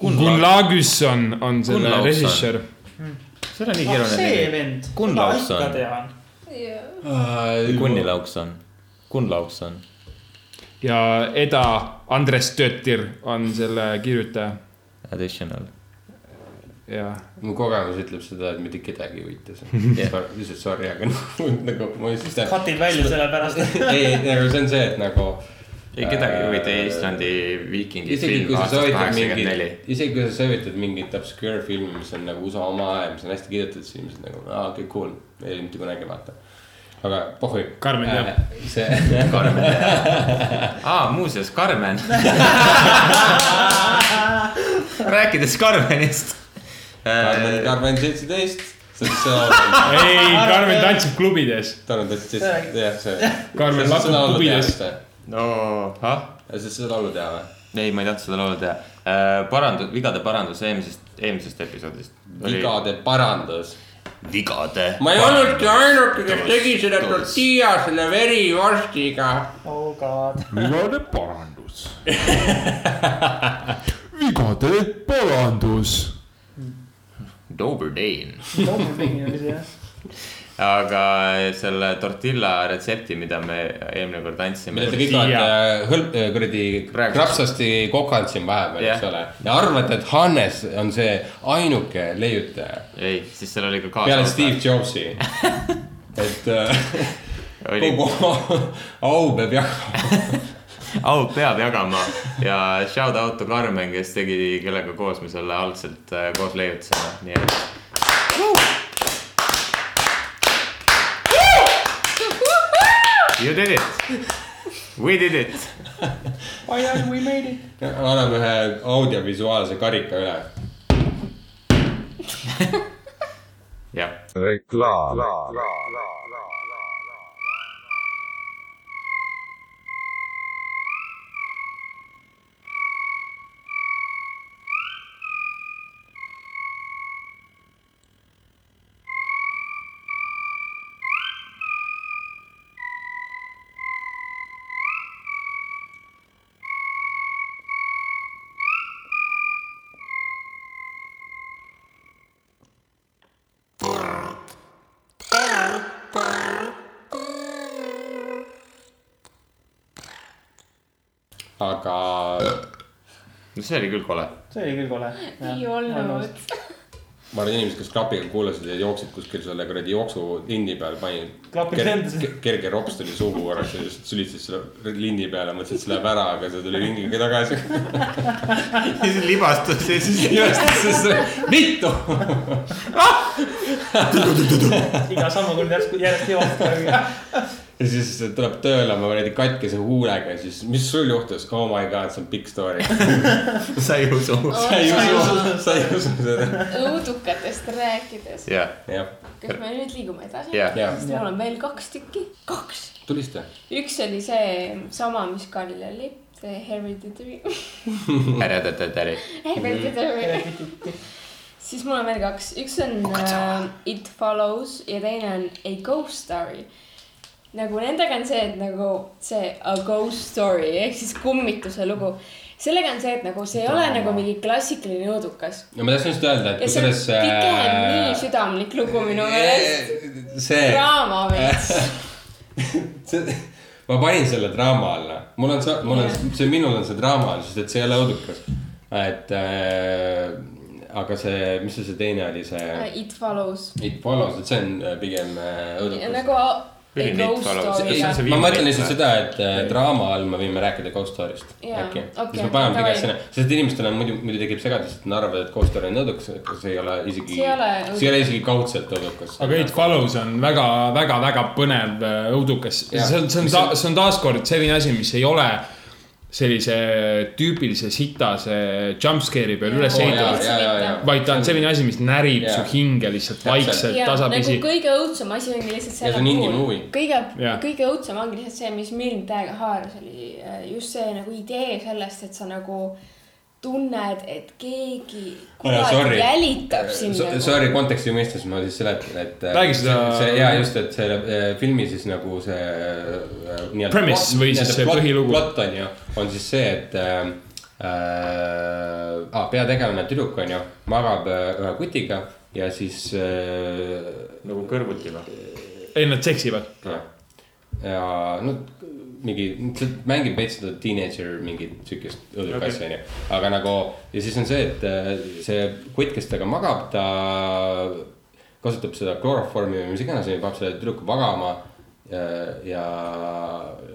H: Gunnlaugusson on selle
G: Gunnlaugsson.
H: režissöör .
G: see oli nii
J: ah ,
G: keeruline
J: see
G: nimi .
J: vend .
G: Gunnlaugsson.
J: ikka tean .
H: Äh,
G: Kunnilaukson , Kunlaukson .
H: ja Eda Andres Tötir on selle kirjutaja
G: Additional .
H: ja
F: mu kogemus ütleb seda , et mitte kedagi ei huvita see . lihtsalt sorry , aga noh, nagu ma lihtsalt .
J: Cut'id välja sellepärast .
F: ei , ei , nagu see on see , et nagu .
G: ei , kedagi ei huvita Islandi viikingi
F: isegi
G: film
F: kui sa
G: aastast
F: soovitad
G: kaheksakümmend neli
F: mingit , isegi kui sa soovitad mingit obscure filmi , mis on nagu USA oma aja , mis on hästi kirjutatud , siis inimesed nagu , aa , okei , cool , ei ole mitte kunagi vaata . aga pohhui .
H: Karmen teab. .
F: see ,
G: aa , muuseas , Karmen . rääkides Äh, Karmenist .
F: Karmen , Karmen seitseteist , see on see .
H: ei , Karmen tantsib klubides .
F: Tarmo tõstis , jah , see .
H: Karmen lakub klubides. .
G: no , ah ,
F: sa seda laulu teha või ?
G: ei , ma ei tahtnud seda laulu teha . parandus , vigade parandus eelmisest , eelmisest episoodist .
F: vigade parandus .
G: vigade .
F: ma ei olnudki ainuke , kes tegi seda tortilla selle verivorstiga .
J: oh god .
K: vigade parandus vigade parandus
G: Dober Dane .
J: Dobermanni oli see jah .
G: aga eh, selle tortilla retsepti , mida me eelmine kord andsime
F: mida . te kõik olete hõlp , kuradi
G: Praegu-
F: krapsasti kokanud siin vahepeal , eks
G: Jah.
F: ole . ja arvate , et Hannes on see ainuke leiutaja
G: ei , siis seal oli ka kaasa .
F: peale Steve . Jobsi . et äh,
G: oli
F: kogu au peab jagama .
G: au peab jagama ja shout out to Karmen , kes tegi , kellega koos me selle algselt äh, koos leiutasime , nii et . You did it , we did it .
F: anname ühe audiovisuaalse karika üle .
G: jah ,
K: reklaam .
F: aga
G: no see oli küll kole .
J: see oli küll kole .
I: ei olnud .
F: ma arvan , inimesed , kes klapiga kuulasid ja jooksid kuskil selle kuradi jooksutindi peal , panid .
J: Klapid lendasid.
F: kerge rops tuli suhu korraks ja lihtsalt sülitsid selle lindi peale , mõtlesid , et see läheb ära , aga see tuli ringiga tagasi .
G: ja siis libastus ja siis .
F: mitu .
J: iga sammuga oli järsku , järjest jõuab .
F: ja siis tuleb tööle oma kuradi katkese huulega ja siis , mis sul juhtus ? Oh my god , see on pikk story .
G: sa ei usu .
F: sa ei usu , sa ei usu seda .
I: õudukatest rääkides ,
G: jah ,
F: jah ,
I: kas me nüüd liigume edasi ?
G: jah ,
F: jah ,
I: sest mul on veel kaks tükki , kaks .
F: tulista .
I: üks oli see sama , mis Karlil oli , see Hereditary .
G: tere-tere-tere .
I: Hereditary . siis mul on veel kaks , üks on uh, It Follows ja teine on A Ghost Story . nagu nendega on see , et nagu see A Ghost Story ehk siis kummituse lugu , sellega on see , et nagu see ei ole nagu mingi klassikaline õudukas
F: no ma tahtsin just öelda , et
I: ja see on
F: kuidas
I: pigem nii südamlik lugu minu meelest .
F: see ,
I: draama veits .
F: see , ma panin selle draama alla , mul on see , mul on see , minul on see draama all , sest et see ei ole õudukas . et äh, aga see , mis see , see teine oli , see
I: Äh, It follows .
F: It Follows , et see on äh, pigem äh, õudukas .
I: nagu a- a
G: Üline It
I: ghost
G: Follows. See
I: story
G: on
I: jah
G: see
F: ma mõtlen
G: viimane
F: lihtsalt seda , et äh, draama all me võime rääkida ghost story'st
I: Jaa,
F: äkki
I: okei, .
F: siis me paneme
I: davai.
F: pigem sinna , sest inimestel on muidu , muidu tekib segadus , et nad arvavad , et ghost story on õudukas , aga see ei ole isegi ,
I: See ei ole
F: see ei ole isegi kaudselt õudukas .
H: aga It Follows on väga , väga , väga põnev äh, õudukas .
F: Jah.
H: see on , see on , see on taaskord selline asi , mis ei ole sellise tüüpilise sitase jumpscare'i peal üles
F: Oo, Oh, jaa,
H: ehitatud ,
F: jaa, jaa, jaa.
H: vaid ta on selline asi , mis närib
F: Jaa.
H: su hinge lihtsalt
F: Täpselt.
H: vaikselt ,
I: ja nagu
H: tasapisi .
I: kõige õudsem asi ongi lihtsalt
F: Ja
I: selle
F: see on indie movie.
I: kõige
H: Jah. ,
I: kõige õudsem ongi lihtsalt see , mis Miln täiega haaras , oli äh, just see nagu idee sellest , et sa nagu tunned , et keegi
F: jaa, sorry. Äh,
I: kuradi jälitab sind nagu.
F: So- . Sorry , konteksti mõistes ma siis seletan , et .
H: Räägi seda-
F: ja just , et selle äh, filmi siis nagu see äh, nii-öelda .
H: Premise või siis see põhilugu.
F: plott on ju , on siis see , et äh, äh, ah, peategelane tüdruk on ju , magab äh, ühe kutiga ja siis äh,
G: nagu kõrvuti või ?
H: ei , nad seksivad .
F: jah. ja no mingi , see mängib veits seda teenager mingit siukest õudut asja onju . aga nagu ja siis on see , et äh, see kutt , kes temaga magab , ta kasutab seda kloroformi või mis iganes , paneb selle tüdruku magama . ja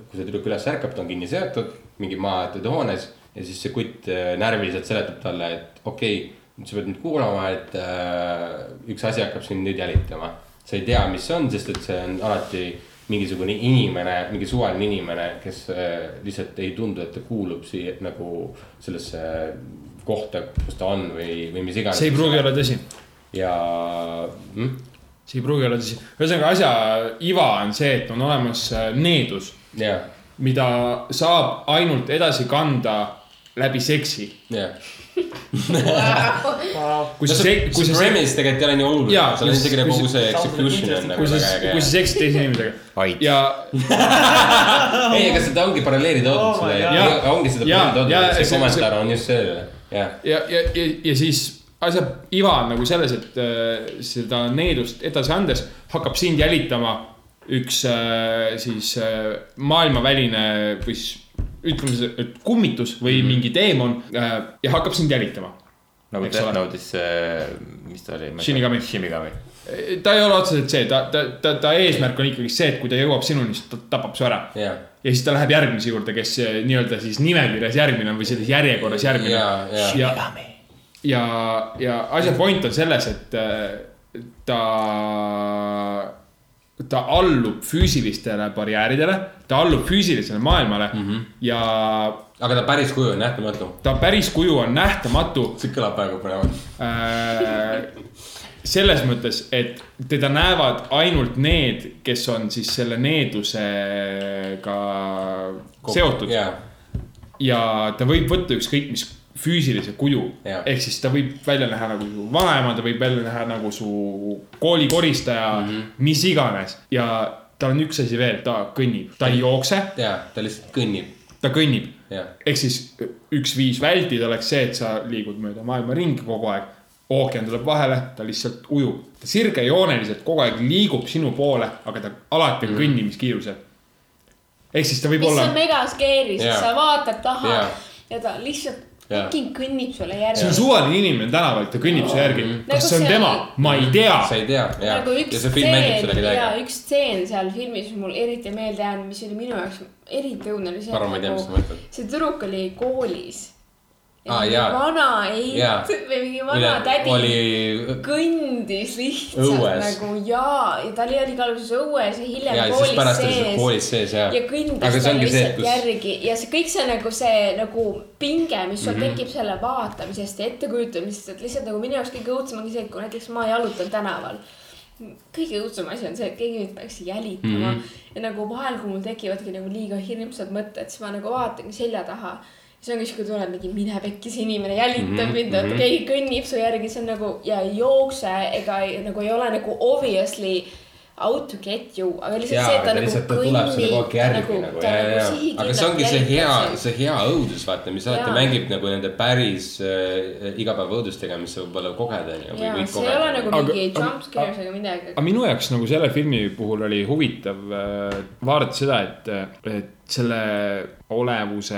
F: kui see tüdruk üles ärkab , ta on kinni seotud mingi maaetud hoones ja siis see kutt äh, närviliselt seletab talle , et okei okay, , sa pead nüüd kuulama , et äh, üks asi hakkab sind nüüd jälitama . sa ei tea , mis see on , sest et see on alati mingisugune inimene , mingi suvaline inimene , kes äh, lihtsalt ei tundu , et ta kuulub siia nagu sellesse kohta , kus ta on või , või mis iganes .
H: see ei pruugi olla tõsi
F: ja mm,
H: see ei pruugi olla tõsi , ühesõnaga asja iva on see , et on olemas äh, needus ,
F: jah ,
H: mida saab ainult edasi kanda läbi seksi .
F: jah .
H: kui sa , kui
F: see
H: sa ,
F: premise tegelikult ei ole nii oluline
H: Jaa, ,
F: seal on
H: kus-
F: isegi nagu
H: kus-
F: kogu see execution on
H: kui
F: nagu
H: sa
F: väga , äge
H: kui sa . seksid teise inimesega
G: Ait.
H: ja ,
F: ei , aga seda ongi paralleelid
J: Oh my
F: oodatud
J: god.
F: seda , ongi seda
H: Jaa,
F: paralleelid
H: jaa,
F: oodatud , see
H: see- see-
F: kommentaar on just sellele , jah .
H: ja , ja, ja , ja siis asja iva on nagu selles , et äh, seda needust edasi andes hakkab sind jälitama üks äh, siis äh, maailmaväline või siis ütleme , et kummitus või
F: Mhm.
H: mingi teemon äh, ja hakkab sind jälitama
G: nagu
H: Eks
G: Death
H: ole.
G: Note'is see , mis ta oli ?
H: Shinigami.
G: Shinigami .
H: ta ei ole otseselt see , ta , ta , ta , ta eesmärk on ikkagi see , et kui ta jõuab sinuni , siis ta tapab su ära .
F: Jah.
H: ja siis ta läheb järgmise juurde , kes eh, nii-öelda siis nimekirjas järgmine on või selles järjekorras järgmine .
F: Jaa, jaa.
H: ja , ja , ja asja point on selles , et eh, ta , ta allub füüsilistele barjääridele , ta allub füüsilisele maailmale mm
F: Mhm.
H: -hmm. ja
F: aga ta päris kuju on nähtamatu .
H: ta päris kuju on nähtamatu
F: see kõlab praegu põnevalt .
H: Äh, selles mõttes , et teda näevad ainult need , kes on siis selle needusega seotud
F: jah ,
H: ja ta võib võtta ükskõik mis füüsilise kuju
F: Jaa. .
H: ehk siis ta võib välja näha nagu su vanaema , ta võib välja näha nagu su koolikoristaja mm , -hmm. mis iganes ja tal on üks asi veel , ta kõnnib , ta ei jookse ,
F: jah , ta lihtsalt kõnnib ,
H: ta kõnnib
F: jah .
H: ehk siis äh, üks viis vältida oleks see , et sa liigud mööda maailma ringi kogu aeg . ookean tuleb vahele , ta lihtsalt ujub , ta sirgejooneliselt kogu aeg liigub sinu poole , aga ta alati on mm. kõnnimiskiirusel . ehk siis ta võib
I: mis
H: olla
I: on , mega scary ,
F: Jaa.
I: sest sa vaatad taha
F: Jaa.
I: ja ta lihtsalt
F: Jaa.
I: fucking kõnnib sulle
H: see on
I: järgi .
H: suvaline inimene tänaval , ta kõnnib su järgi .
I: Nagu
H: kas see on
I: see
H: tema
I: oli- ,
H: ma ei tea .
F: sa ei tea , jah .
I: nagu
F: ja
I: üks
F: see film mängib seda
I: stseen ja
F: kedagi .
I: üks stseen seal filmis mul eriti meelde jäänud , mis oli minu jaoks eriti õudne , oli see .
F: Ma arvan, ma ei tea, mis sa mõtled.
I: see tüdruk oli koolis .
F: Aa, jaa.
I: vana
F: Jaa.
I: eit või mingi vana tädi
F: oli ,
I: kõndis lihtsalt
F: Õues.
I: nagu jaa , ja ta oli, oli ka alguses õues ja hiljem
F: ja siis
I: koolis
F: pärast oli
I: sees
F: see koolis sees ja .
I: ja kõndis
F: aga see
I: tal
F: ongi see ,
I: lihtsalt
F: et
I: kus...
F: kus ,
I: järgi ja see kõik see nagu see nagu pinge , mis sul mm -hmm. tekib selle vaatamisest ja ettekujutamisest , et lihtsalt nagu minu jaoks kõige õudsem ongi see , et kui näiteks ma jalutan tänaval . kõige õudsem asi on see , et keegi mind peaks jälitama mm -hmm. ja nagu vahel , kui mul tekivadki nagu liiga hirmsad mõtted , siis ma nagu vaatangi selja taha . siis ongi siuke tunne , et mingi mine pekki , see inimene jälitab mind mm , -hmm. keegi kõnnib su järgi , see on nagu ja ei jookse ega ei- nagu ei ole nagu obviously out to get you , aga lihtsalt
F: jaa ,
I: see , et ta
F: aga
I: nagu
F: lihtsalt ta tuleb sulle kogu aeg järgi nagu , ja , ja , ja , aga see ongi see hea , see hea õudus , vaata , mis alati
I: Jaa.
F: mängib nagu nende päris äh, igapäeva õudustega , mis sa võib-olla koged , onju .
I: jaa , see ei ole nagu
H: Aga-
I: mingi
H: aga-
I: jumpscares ega midagi .
H: aga minu jaoks nagu selle filmi puhul oli huvitav äh, vaadata seda , et , et selle olevuse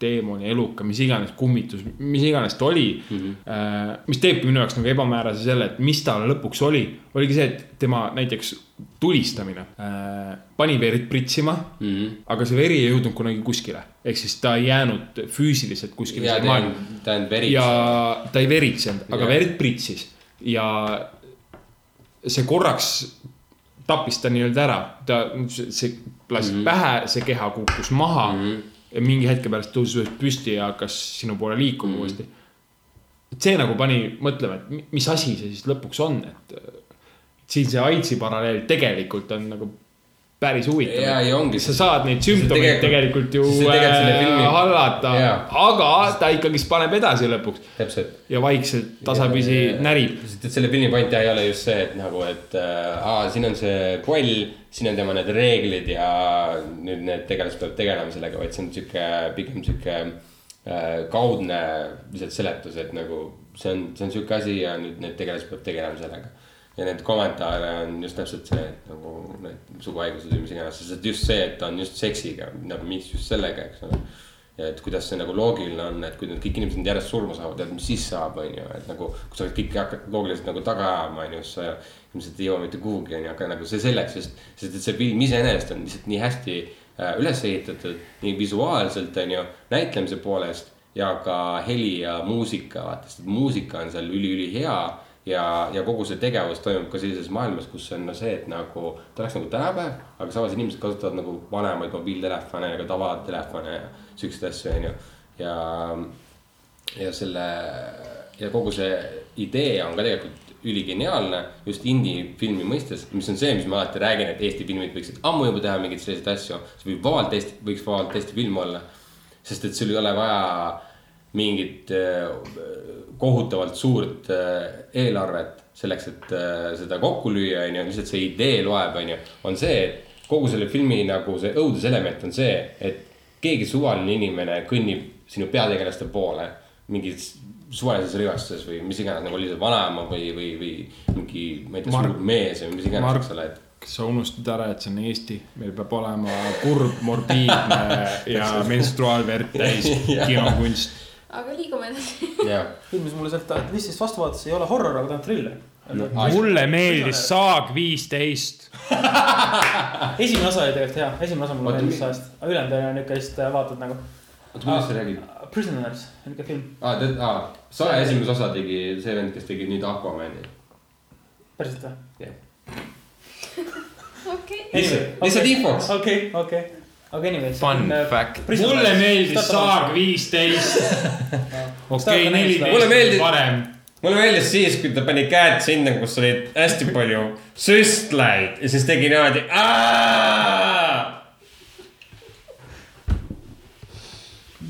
H: teemoni , eluka , mis iganes kummitus , mis iganes ta oli mm . -hmm. mis teebki minu jaoks nagu ebamäärase selle , et mis tal lõpuks oli , oligi see , et tema näiteks tulistamine äh, pani verd pritsima mm ,
F: Mhm.
H: -hmm. aga see veri ei jõudnud kunagi kuskile . ehk siis ta ei jäänud füüsiliselt kuskile .
F: ja ta on , ta on veri .
H: ja ta ei veritsenud , aga
F: Jah.
H: verd pritsis ja see korraks tappis ta nii-öelda ära , ta , see lasi
F: Mhm.
H: mm -hmm. pähe , see keha kukkus maha mm . -hmm. ja mingi hetke pärast tõusis uuesti püsti ja hakkas sinu poole liikuma mm
F: Mhm.
H: -hmm. uuesti . et see nagu pani mõtlema , et mi- mis asi see siis lõpuks on , et äh, siin see AIDSi paralleel tegelikult on nagu päris huvitav .
F: Jaa, ja ongi.
H: sa saad neid sümptomeid
F: tegelikult-
H: tegelikult ju
F: siis see tegelikult selle
H: äh,
F: filmi-
H: hallata
F: Jaa. ,
H: aga ta ikkagist paneb edasi lõpuks
F: täpselt .
H: ja vaikselt tasapisi närib .
F: sest et selle filmi point jah, ei ole just see , et nagu , et äh, aa, siin on see koll , siin on tema need reeglid ja nüüd need tegelased peavad tegelema sellega , vaid see on sihuke pigem sihuke äh, kaudne lihtsalt seletus , et nagu see on , see on sihuke asi ja nüüd need tegelased peavad tegelema sellega . ja need kommentaare on just täpselt see , et nagu need suguhaigused või mis iganes , sest et just see , et ta on just seksiga , nagu miks just sellega , eks ole ja et kuidas see nagu loogiline on , et kui nüüd kõik inimesed nüüd järjest surma saavad , et mis siis saab , onju , et nagu . kui sa kõiki hakkad loogiliselt nagu taga ajama , onju , siis sa ilmselt ei jõua mitte kuhugi , onju , aga nagu see selleks , sest . sest et see film iseenesest on lihtsalt nii hästi äh, üles ehitatud , nii visuaalselt , onju , näitlemise poolest . ja ka heli ja muusika , vaata , sest muusika on seal üliülihea ja , ja kogu see tegevus toimub ka sellises maailmas , kus on no see , et nagu ta oleks nagu tänapäev , aga samas inimesed kasutavad nagu vanemaid mobiiltelefone ja ka tavatelefone ja siukseid asju , onju . ja , ja selle ja kogu see idee on ka tegelikult üligeniaalne just indie-filmi mõistes , mis on see , mis ma alati räägin , et Eesti filmid võiksid ammu juba teha mingeid selliseid asju , see võib vabalt Eesti , võiks vabalt Eesti film olla . sest et sul ei ole vaja mingit äh, kohutavalt suurt äh, eelarvet selleks , et äh, seda kokku lüüa , onju , lihtsalt see idee loeb , onju , on see , et kogu selle filmi nagu see õuduselement on see , et keegi suvaline inimene kõnnib sinu peategelaste poole mingis suvalises rõivastuses või mis iganes , nagu oli see vanaema või , või , või mingi , ma ei tea ,
H: Mark-
F: suur mees või mis iganes ,
H: Mark-
F: eks ole , et
H: sa unustad ära , et see on Eesti , meil peab olema kurb , morbiidne ja menstruaalverd täis kinokunst .
I: aga liigume edasi .
F: jah ,
J: filmis mulle sealt , mis siis vastu vaatas , ei ole horror , aga ta on thriller .
L: mulle meeldis Saag viisteist .
J: esimene osa oli tegelikult hea , esimene osa mulle
L: Oota,
J: meeldis
L: mi-
J: sajast , aga ülejäänud oli niuke lihtsalt äh, vaatad nagu .
F: oota , millest sa räägid ?
J: Prisoners , niuke film ,
F: aa , tead , aa , Ah, saja esimese osa tegi see vend , kes tegi nüüd Aquamani .
J: päriselt või ?
E: okei .
F: lihtsalt , lihtsalt infoks .
J: okei , okei , aga anyways . Äh,
G: Fun fact.
L: mulle meeldis Saag viisteist . okei ,
F: mulle
L: neliteist
F: meeldis
L: on parem .,
F: mulle meeldis siis , kui ta pani käed sinna , kus oli hästi palju süstlaid ja siis tegi niimoodi .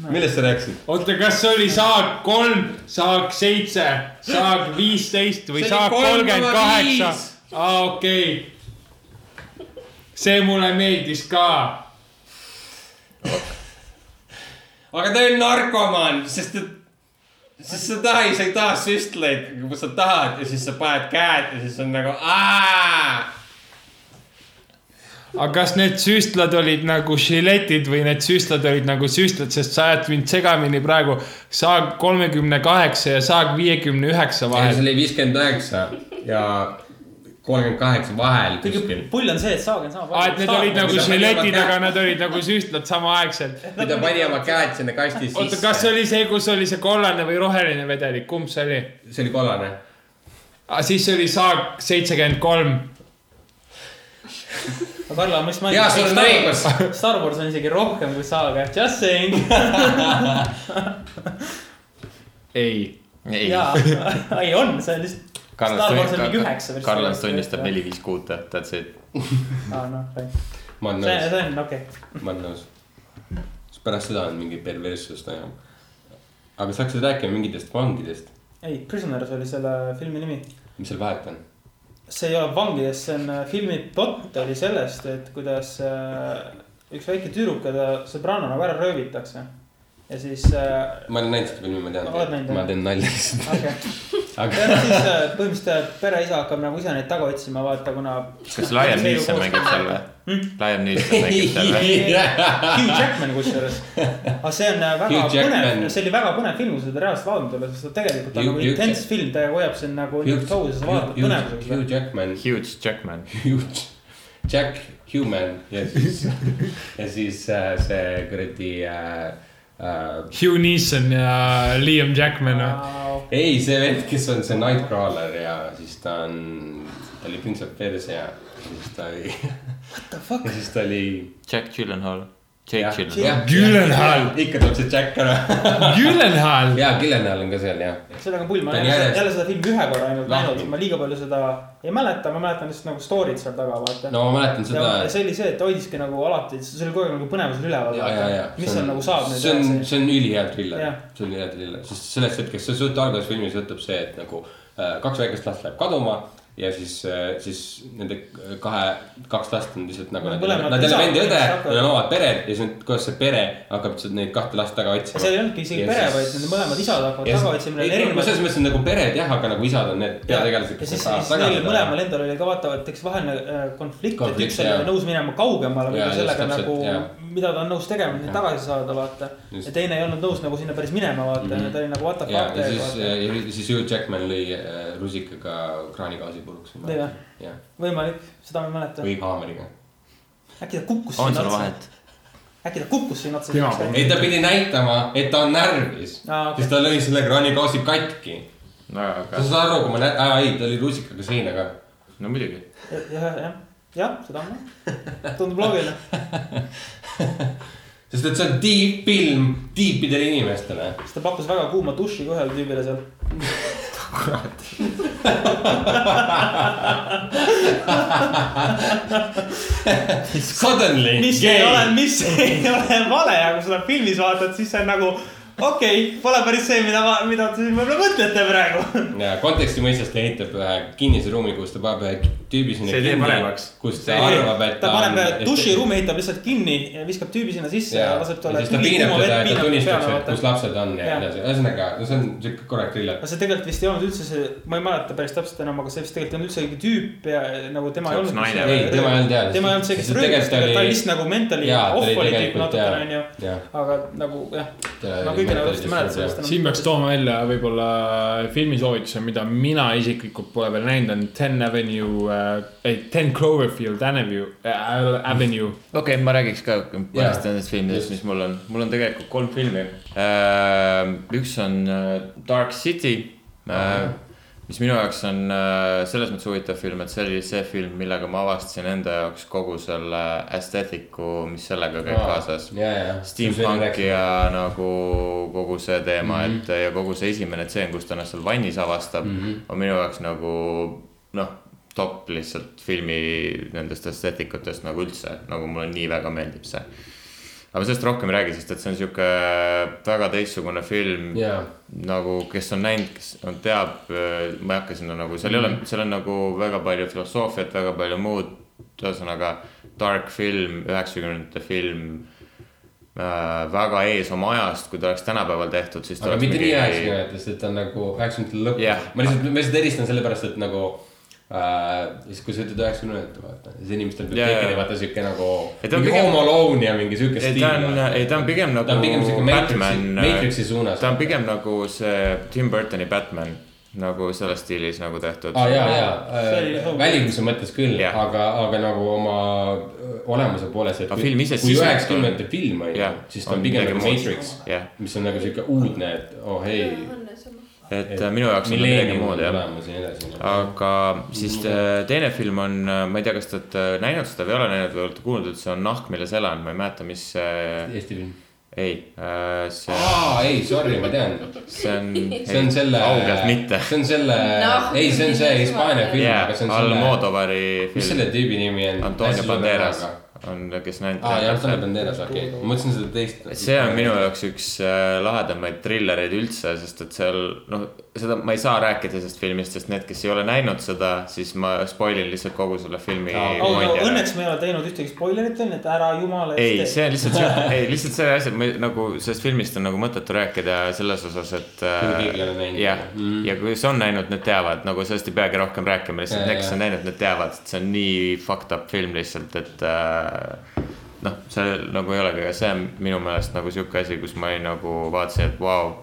F: millest sa rääkisid ?
L: oota , kas see oli Saag kolm , Saag seitse , Saag viisteist või
F: See oli
L: Saag kolmkümmend kaheksa
F: 3,5. ?
L: aa , okei okay. . see mulle meeldis ka .
F: aga ta on narkomaan , sest et , sest sa taha , sa ei taha süstlaid , aga kui sa tahad ja siis sa paned käed ja siis on nagu aa .
L: aga kas need süstlad olid nagu žiletid või need süstlad olid nagu süstlad , sest sa ajad mind segamini praegu saag kolmekümne kaheksa ja saag viiekümne üheksa vahel .
F: oli viiskümmend üheksa ja kolmkümmend kaheksa vahel kuskil .
J: pull on see , et saag on sama
L: aa , et need olid nagu
F: Mida
L: žiletid ,
F: panema
L: aga nad olid nagu süstlad samaaegselt .
F: kui ta pani oma käed sinna kasti sisse .
L: oota , kas see oli see , kus oli see kollane või roheline vedelik , kumb see oli ?
F: see oli kollane .
L: aa , siis oli saag seitsekümmend kolm .
J: aga Karla , ma just
F: jaa , sul on õigus .
J: et Star Wars on isegi rohkem kui saaga , just saying .
L: ei .
G: ei ,
J: jaa , ei on , see on lihtsalt . Star Wars on mingi üheksa versioon.
G: Karlas tunnistab neli , viis , kuute , that's it .
J: aa noh ,
F: ma olen
J: see ,
F: nõus ,
J: see on okei okay. .
F: ma olen nõus . siis pärast seda on mingi perverssus enam . aga sa hakkasid rääkima mingitest vangidest ,
J: ei , Prisoners oli selle filmi nimi .
F: mis seal vahet on ?
J: see ei ole vangidest , see on äh, filmi plott oli sellest , et kuidas äh, üks väike tüdruk ja ta sõbranna nagu ära röövitakse . ja siis äh, ,
F: ma olen näinud seda filmi , ma
J: Oled
F: tean ,
J: näinud, jah?
F: ma teen nalja lihtsalt .
J: okei okay. ,
F: aga
J: siis äh, põhimõtteliselt pereisa hakkab nagu ise neid taga otsima , vaata , kuna
G: kas Liam Neeson mängib seal või ? Liam Neeson mängib seal või ?
J: Hugh Jackman kusjuures . aga see on äh, väga
F: Hugh Jackman.
J: põnev , see oli väga põnev film , kui seda reaalselt vaadanud olla , sest ta tegelikult on
F: Hugh-
J: nagu
F: Hugh-
J: intens film , ta hoiab sind nagu
F: Hugh-
J: toos ja sa vaatad
F: Hugh-
J: põnevusega .
F: Hugh Jackman ,
G: Huge Jackman .
F: Hugh , Jack Human ja siis , ja siis äh, see kuradi äh, äh,
L: Hugh Neeson ja Liam Jackman noh. või ?
F: ei , see vend , kes on see Nightcrawler ja siis ta on , ta oli pintsak peres ja siis ta oli , ja siis ta oli .
G: Jack Gyllenhaal . Jake Gyllenhaal .
L: Gyllenhaal. .
F: ikka tuleb see Jack ära .
L: Gyllenhaal .
F: ja Gyllenhaal on ka seal jah .
J: sellega on pull , ma
F: Ta on
J: olen jälle,
F: järjest-
J: jälle seda filmi ühe korra ainult
F: Lahti.
J: näinud , ma liiga palju seda ei mäleta , ma mäletan lihtsalt nagu story'd seal taga , vaata .
F: no ma mäletan seda .
J: ja see oli see , et ta hoidiski nagu alati , see oli kogu aeg nagu põnevusel üleval
F: ja , ja , ja .
J: mis seal nagu saab nüüd
F: see on , see on ülihea triller
J: Jah. ,
F: see on ülihea triller , sest sellest hetkest , see suht alguses filmis võtab see , et nagu äh, kaks väikest last läheb kaduma ja siis , siis nende äh, kahe , kaks last on lihtsalt nagu .
J: Nad
F: Nad
J: mõlemad
F: nad ei ole
J: isad,
F: vendi ja õde
J: kes , hakkavad-
F: neil on omad pered ja siis nüüd , kuidas see pere hakkab lihtsalt neid kahte last taga otsima .
J: seal ei olnudki isegi pere , vaid nende mõlemad isad hakkavad taga otsima , neil on
F: erinevad .
J: erinevad
F: selles mõttes on nagu pered jah , aga nagu isad on need peategelased ,
J: ja siis , siis neil mõlemal . endal oli ka vaata , et eks vaheline äh, konflikt , et
F: Konflikt,
J: üks oli
F: jah.
J: nõus minema
F: Jaa,
J: kaugemale nagu
F: just
J: sellega
F: täpselt,
J: nagu
F: jah. ,
J: mida ta on nõus tegema , et neid
F: Jah.
J: tagasi saada , vaata .
F: Just.
J: ja teine ei olnud nõus nagu sinna päris minema , vaata
F: Mhm.
J: mm , -hmm. ta oli nagu what the
F: ja ,
J: fuck
F: ja siis , äh,
J: vaata.
F: ja siis Hugh Jackman lõi äh, rusikaga kraanigaasi puruks .
J: Lõi või?
F: jah ,
J: võimalik , seda ma ei mäleta .
F: või haamriga
J: äkki ta kukkus
G: on
J: sinna
G: seal
J: otsa ,
G: vahet ?
J: äkki ta kukkus sinna otsa .
L: Jaa.
F: ei , ta pidi näitama , et ta on närvis
J: Aa,
F: ah, ,
J: okei.
F: okay. siis ta lõi selle kraanikaasi katki .
G: väga
F: sa
G: äge .
F: saad aru , kui ma näen , aa ei , ta oli rusikaga seina ka .
G: no muidugi .
J: jah , jah , jah , seda on jah , tundub loogiline .
F: sest et see on tiib film tiipidele inimestele .
J: siis ta pakkus väga kuuma duši ka ühele tüübile seal .
F: Suddenly .
J: mis ei ole , mis ei ole vale , aga kui seda filmis vaatad , siis see on nagu okei okay, , pole päris see , mida , mida te siin võib-olla mõtlete praegu .
F: ja konteksti mõistes ta ehitab ühe kinnise ruumi , kus ta paneb ühe tüübi sinna .
G: See ei tee paremaks.
F: kus ta arvab , et
J: ta paneb duširuumi , ehitab lihtsalt kinni ja viskab tüübi sinna sisse ja,
F: ja
J: ja laseb talle .
F: siis ta piinab teda , et ta tunnistaks , et kus lapsed on ja
J: Jaa.
F: nii edasi , ühesõnaga , no see on siuke korralik triller .
J: aga see tegelikult vist ei olnud üldse see , ma ei mäleta päris täpselt enam , aga see vist tegelikult ei olnud üldse mingi tüüp ja nagu
G: See
J: tema ei
G: oleks
J: olnud .
G: naine
F: ei , tema ei olnud jah .
J: tema ei olnud see , kes röövis , ta oli lihtsalt nagu mentally
F: jaa , ta
J: off
F: oli
J: oli tüüp
F: tegelikult
J: natukene onju
F: jah , jah .
J: aga nagu jah ,
F: Ta
J: no
G: Äh,
F: oli nagu
J: kõik
H: siin
J: nagu-
H: peaks tooma välja võib-olla filmisoovituse , mida mina isiklikult pole veel näinud , on Ten Avenue äh, , ei Ten Cloverfield Avenue äh, , Avenue .
G: okei okay, , ma räägiks ka mõnest nendest filmidest , mis mul on , mul on tegelikult kolm filmi . üks on äh, Dark City , mis minu jaoks on äh, selles mõttes huvitav film , et see oli see film , millega ma avastasin enda jaoks kogu selle aesthetic'u , mis sellega käib
F: Aa,
G: kaasas
F: jaa, jaa. .
G: Steampunk ja nagu kogu see teema mm , -hmm. et ja kogu see esimene tseen , kus ta ennast seal vannis avastab mm ,
F: Mhm.
G: -hmm. on minu jaoks nagu noh , top lihtsalt filmi nendest esteetikutest nagu üldse , nagu mulle nii väga meeldib see . aga ma sellest rohkem ei räägi , sest et see on sihuke väga teistsugune film
F: Jaa.
G: nagu , kes on näinud , kes on , teab , ma ei hakka sinna nagu , seal ei ole ,
F: Mhm.
G: seal on nagu väga palju filosoofiat , väga palju muud . ühesõnaga tark film , üheksakümnendate film äh, väga ees oma ajast , kui ta oleks tänapäeval tehtud , siis ta
F: aga
G: oleks
F: mitte nii
G: mingi-
F: üheksakümnendates , et ta on nagu üheksakümnendate lõpp
G: Jah.
F: ma lihtsalt , ma lihtsalt eristan sellepärast , et nagu äh, . siis kui sa ütled üheksakümnendate vaata , siis inimestel peab
G: Jaa,
F: yeah.
G: jaa.
F: tekkima vaata siuke nagu .
G: Ei, ta on
F: mingi
G: pigem-
F: Home Alone ja mingi siuke
G: ei ,
F: stiil .
G: ta on , ei , ta on pigem nagu . äh,
F: ta on pigem siuke Matrixi , Matrixi suunas .
G: ta on pigem nagu see Tim Burtoni Batman , nagu selles stiilis nagu tehtud .
F: aa ah, ja ,
J: See oli
F: ja
J: hoogne.
F: välimuse mõttes küll ,
G: Jah.
F: aga , aga nagu oma öö, olemuse poolest , et
G: Aga
F: kui-
G: film ise
F: kui
G: sisult on-
F: üheksakümnendate film on ju
G: Jah, ,
F: siis ta
G: on
F: on pigem
G: midagi
F: nagu
G: muud.
F: Matrix
G: Jah. ,
F: mis on nagu sihuke uudne , et oh ei ,
G: et äh, minu jaoks on ta midagi muud jah .
F: olemas ja nii edasi .
G: aga siis äh, teine film on , ma ei tea , kas te olete näinud seda või ei ole näinud või olete kuulnud , et see on Nahk , milles elan , ma ei mäleta , mis see ,
F: Eesti film .
G: ei , see ,
F: aa , ei , sorry , ma tean ,
G: see on .
F: see on selle .
G: augelt mitte .
F: see on selle
E: Noh,
F: no, , ei , see on see
E: milles
F: Hispaania
E: ma-
F: film yeah, , aga
G: jaa
F: see , on selle ,
G: Almodovari
F: mis
G: film
F: selle , tüübi nimi on ?
G: Antonio Banderas on , kes näinud .
F: aa , ja Antonio Banderas , okei okay. , ma mõtlesin seda teist .
G: see on minu jaoks üks äh, lahedamaid trillereid üldse , sest et seal noh , seda ma ei saa rääkida sellest filmist , sest need , kes ei ole näinud seda , siis ma spoil in lihtsalt kogu selle filmi .
J: Oh, no, õnneks me ei ole teinud ühtegi spoilerit veel , nii et ära jumala
G: ei , see on lihtsalt see , ei lihtsalt see asi , nagu sellest filmist on nagu mõttetu rääkida selles osas , et .
F: Kui keegi ei ole Mhm. näinud.
G: jah , ja kui kes on näinud , need teavad , nagu sellest ei peagi rohkem rääkima , lihtsalt
F: Jaa,
G: need , kes
F: jaa.
G: on näinud , need teavad , et see on nii fucked up film lihtsalt , et äh, . noh , see nagu ei olegi , aga see on minu meelest nagu sihuke asi , kus ma olin nagu vaatasin , et vau wow,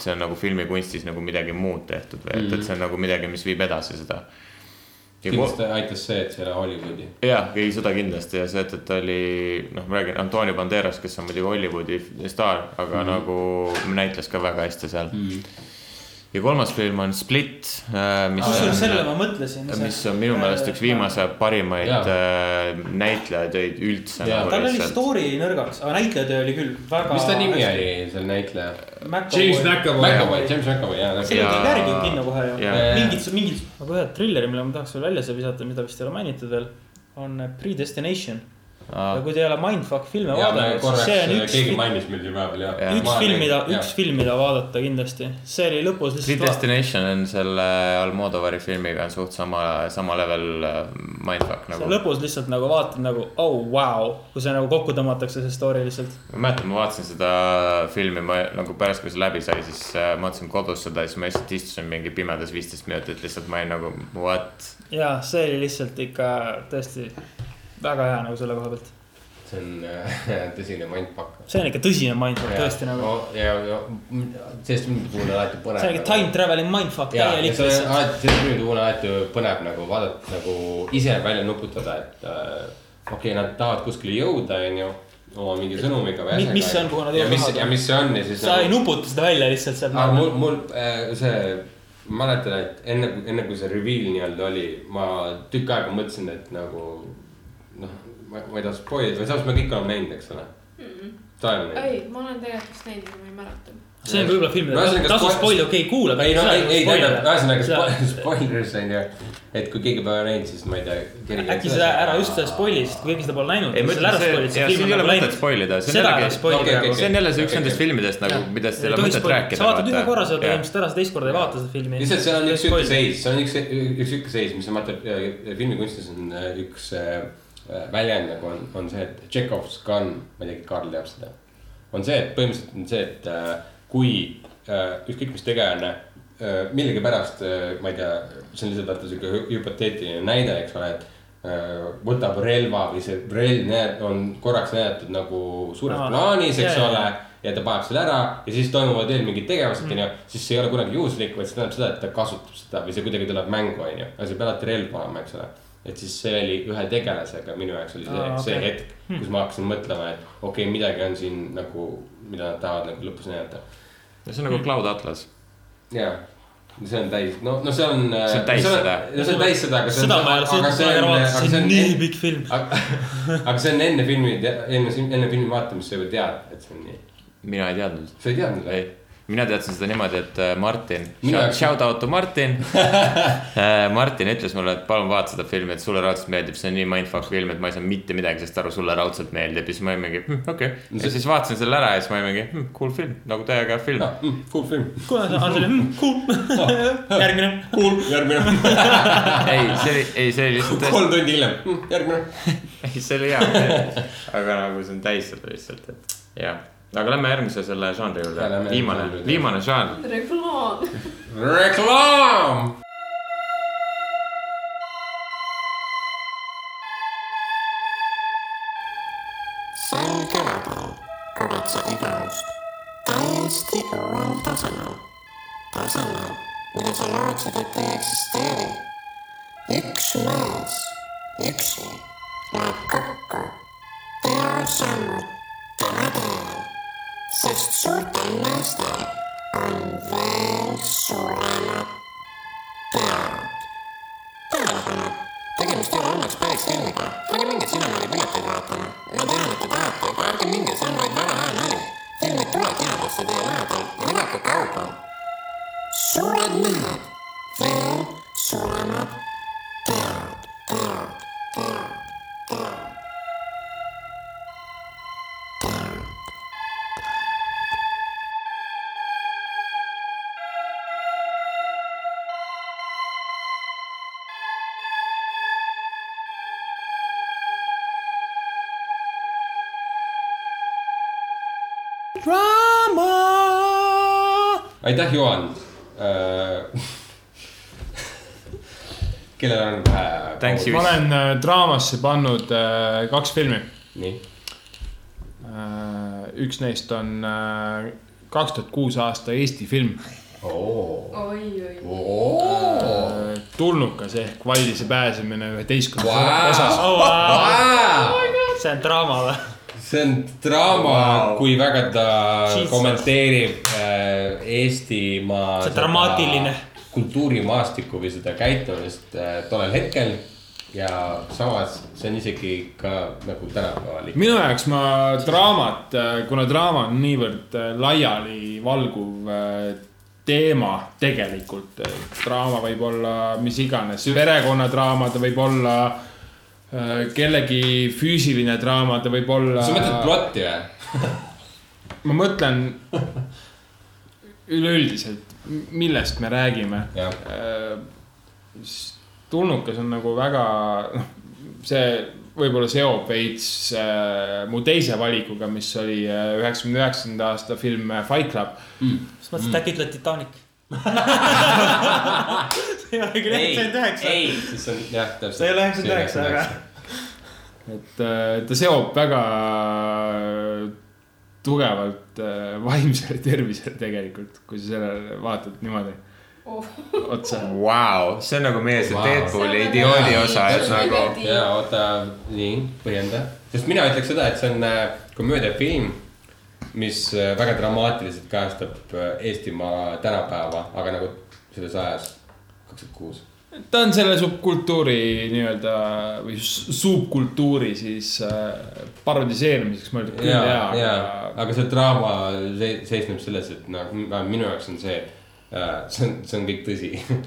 G: see on nagu filmikunstis nagu midagi muud tehtud või , et , et see on nagu midagi , mis viib edasi seda .
F: Mhm.
G: nagu-
F: kindlasti aitas see , et see ei ole Hollywoodi .
G: jah , ei seda kindlasti ja see , et , et ta oli noh , ma räägin Antonio Banderas , kes on muidugi Hollywoodi staar , aga mm -hmm. nagu näitles ka väga hästi seal mm . -hmm. ja kolmas film on Split , mis
J: kusjuures sellele ma
G: on ,
J: mõtlesin .
G: mis on minu meelest üks . viimase parimaid
F: Jaa.
G: äh, näitlejatöid üldse . nagu
F: Jaa.
J: tal oli story nõrgaks , aga näitlejatöö oli küll väga .
F: mis ta nimi ? oli , see näitleja ?
H: James McAvoy.
F: McAvoy , James McAvoy , jaa .
J: see
G: Ja-
J: jäi järgi kinno kohe ju
G: ja- .
J: mingid , mingid , aga ühe trilleri , mille ma tahaks veel välja siia visata , mida vist ei ole mainitud veel , on äh, Predestination . ja kui te ei ole Mindfuck filme vaadanud , siis see on üks ,
F: äh, keegi mainis meil siin vahepeal jah .
J: üks film , mida , üks film , mida vaadata kindlasti . see oli lõpus
G: Split
J: lihtsalt .
G: Destination on selle Almodovari filmiga on suht sama , sama level äh, mindfuck
J: sa
G: nagu .
J: lõpus lihtsalt nagu vaatad nagu , oh wow , kui see nagu kokku tõmmatakse , see story lihtsalt .
G: ma mäletan , ma vaatasin seda filmi , ma nagu pärast , kui see läbi sai , siis äh, ma vaatasin kodus seda ja siis ma lihtsalt istusin mingi pimedas viisteist minutit lihtsalt ma olin nagu what .
J: ja see oli lihtsalt ikka tõesti väga hea nagu selle koha pealt .
F: see on äh, tõsine mindfuck .
J: see on ikka tõsine mindfuck tõesti nagu ..
F: ja , ja sellest filmide puhul on alati põnev .
J: see on ikka time traveling mindfuck
F: ja , ja
J: täielik
F: see on
J: lihtsalt .
F: alati , sellest filmide puhul on alati põnev nagu vaadata nagu ise välja nuputada , et äh, okei okay, , nad tahavad kuskile jõuda , onju oma mingi sõnumiga või
J: Mi-
F: asjaga,
J: mis see on,
F: onju.
J: kuhu nad
F: Ja
J: jõuda
F: mis-
J: tahavad?
F: ja mis see on ja siis .
J: sa ei nuputa seda välja lihtsalt
F: aga
J: sealt . nagu.
F: mul , mul äh, see , ma mäletan , et enne , enne kui see reveal nii-öelda oli , ma tükk aega mõtlesin , et nagu noh , ma ma ei taha spoil ida , samas me kõik oleme näinud , eks ole . Taev on näinud .
E: ei , ma olen tegelikult vist näinud , ma ei mäleta .
J: see on võib-olla filmide
F: Ühesõnaga, ,
J: tasu
F: spoil-
J: spoil , okei , kuula .
F: ei no ei , ei tähendab , ühesõnaga spo- spoilers on ju , et kui keegi pole näinud , siis ma ei tea .
J: äkki seda ära just seda spoil'i , sest kui keegi seda pole näinud ,
G: ei , ma
J: siis selle
G: ütlen , see , jaa , siin ei ole
J: ära spoil'id , siis film on nagu
G: mõtet
J: läinud .
G: spoilida , see on
J: seda ära
G: jällegi ,
J: spoilida
F: Okei, okei,
J: nagu .
G: see on jälle see üks
F: Okei,
G: nendest
F: okei.
G: filmidest nagu , millest ei
J: ei
G: ole
J: tohi
G: mõtet
J: spoilida ,
G: rääkida .
J: sa vaatad ühe korra seda ilmselt ära , sa teist korda ei vaata seda filmi .
F: lihtsalt seal on üks sihuke . seis , see on üks , üks sihuke seis , mis on vaata äh, filmikunstis on äh, üks äh, väljend nagu on , on see , et Tšekovs gun , ma ei teagi , Karl teab seda . on see , et põhimõtteliselt on see , et äh, kui äh, ükskõik mis tegelane äh, millegipärast äh, , ma ei tea , see on lihtsalt vaata sihuke hü- hüpoteetiline näide , eks ole , et äh, võtab relva või see relv näed- on korraks näidatud nagu suures
J: Aa,
F: plaanis ,
J: jaa,
F: eks
J: jaa,
F: ole
J: jaa.
F: ja ta paneb selle ära ja siis toimuvad veel mingid tegevused mm., onju. siis see ei ole kunagi juhuslik, vaid see tähendab seda, et ta kasutab seda või see kuidagi tuleb mängu, onju. aga see peab alati relv olema, eks ole. et siis see oli ühe tegelasega minu jaoks oli see
J: Aa,
F: ah,, see
J: okei.
F: okay. hetk , kus ma hakkasin mõtlema , et okei okay, , midagi on siin nagu , mida nad tahavad nagu lõpus näidata .
G: see
M: Mm.
G: on nagu Cloud Atlas .
F: ja see on täis , no , no see on .
G: See on täis seda.
F: no see on täis seda , aga see on .
M: seda ma ei ole
F: aga
M: sõitnud
F: see
M: kunagi ära
F: on ,
M: vaadata , see on nii pikk film .
F: aga see on enne filmi , enne , enne filmi vaatamist sa juba tead , et see on nii .
G: mina ei teadnud .
F: sa ei teadnud või ?
G: mina teadsin seda niimoodi , et äh, Martin ,
F: Minu jaoks-
G: shout out to Martin Äh, Martin ütles mulle , et palun vaata seda filmi , et sulle raudselt meeldib , see on nii mindfuck film , et ma ei saanud mitte midagi sellest aru , sulle raudselt meeldib ja siis ma olimegi , okei . ja siis vaatasin selle ära ja siis ma olimegi , cool film , nagu täiega hea film .
F: Mm, cool film .
M: kuule , see on selline , cool , järgmine ,
F: cool , järgmine .
G: ei , see oli , ei , see oli lihtsalt tõesti-
F: kolm tundi hiljem , järgmine .
G: ei , see oli hea , aga nagu see on täis seda lihtsalt , et jah . aga lähme järgmise selle žanri
F: Ja,
G: juurde
F: lähme ,
G: viimane
F: järgmise žanri , juurde.
G: viimane žanr .
E: reklaam .
F: reklaam .
N: sel kevadel kuuled sa igavust täiesti uuel tasemel . tasemel , mida sa lootsid , et ei eksisteeri . üks mees üksi läheb kokku teosammud tema teel , sest suurtel meestel on veel suuremad teod . tähelepanu , tegemist ei ole õnneks päris filmiga , ärge minge sinna pileteid vaatama . ma tean , et te tahate , aga ärge minge , see on vaid väga hea nali . film ei tule teadesse teie lähedal , elage kaugel . suured mehed , veel suuremad teod , teod , teod , teod .
F: aitäh , Juhan äh, kellel on vähe .
G: Thanks
H: ma olen äh, draamasse pannud äh, kaks filmi .
F: nii .
H: üks neist on äh, kaks tuhat kuus aasta Eesti film
F: oh. .
E: oi , oi .
H: Äh, tulnukas ehk Valdise pääsemine üheteistkümnes
F: Wow.
H: osas
F: Oh, wow.
M: see on draama või ?
F: see on draama wow. , kui väga ta Jesus.
M: Jesus.
F: kommenteerib äh, Eestimaa .
M: See on dramaatiline. .
F: kultuurimaastikku või seda käitumist äh, tollel hetkel ja samas see on isegi ka nagu tänapäeval .
H: minu jaoks ma draamat , kuna draama on niivõrd äh, laialivalguv äh, teema tegelikult , draama võib olla mis iganes , perekonnadraama , ta võib olla äh, kellegi füüsiline draama , ta võib olla .
F: sa mõtled plotti või ?
H: ma mõtlen üleüldiselt , millest me räägime . Äh, tulnukas on nagu väga , noh , see võib-olla seob veits äh, mu teise valikuga , mis oli äh, üheksakümne üheksanda aasta film äh, Fight Club mm. .
M: siis mõtlesin , et äkki ütled Titanic . see ei ole küll
F: Ei,
M: üheksakümmend üheksa .
F: ei , siis on jah , täpselt .
M: see ei ole üheksakümmend üheksa , aga .
H: et äh, ta seob väga äh, tugevalt äh, vaimsele tervisele tegelikult , kui sa sellele vaatad niimoodi otsa .
G: Vau , see on nagu meie see
F: Vau.
G: Deadpooli idioodi osa , et nagu .
F: ja oota , nii , põhjenda . sest mina ütleks seda , et see on äh, komöödiafilm , mis äh, väga dramaatiliselt kajastab äh, Eestimaa tänapäeva , aga nagu selles ajas kaks tuhat kuus .
H: ta on selle subkultuuri nii-öelda või s- subkultuuri siis äh, parodiseerimiseks mõeldud küll
F: ja ,
H: ja,
F: ja
H: ja. ,
F: aga see draama se- seisneb selles , et nagu no, minu jaoks on see , see on , see on kõik tõsi .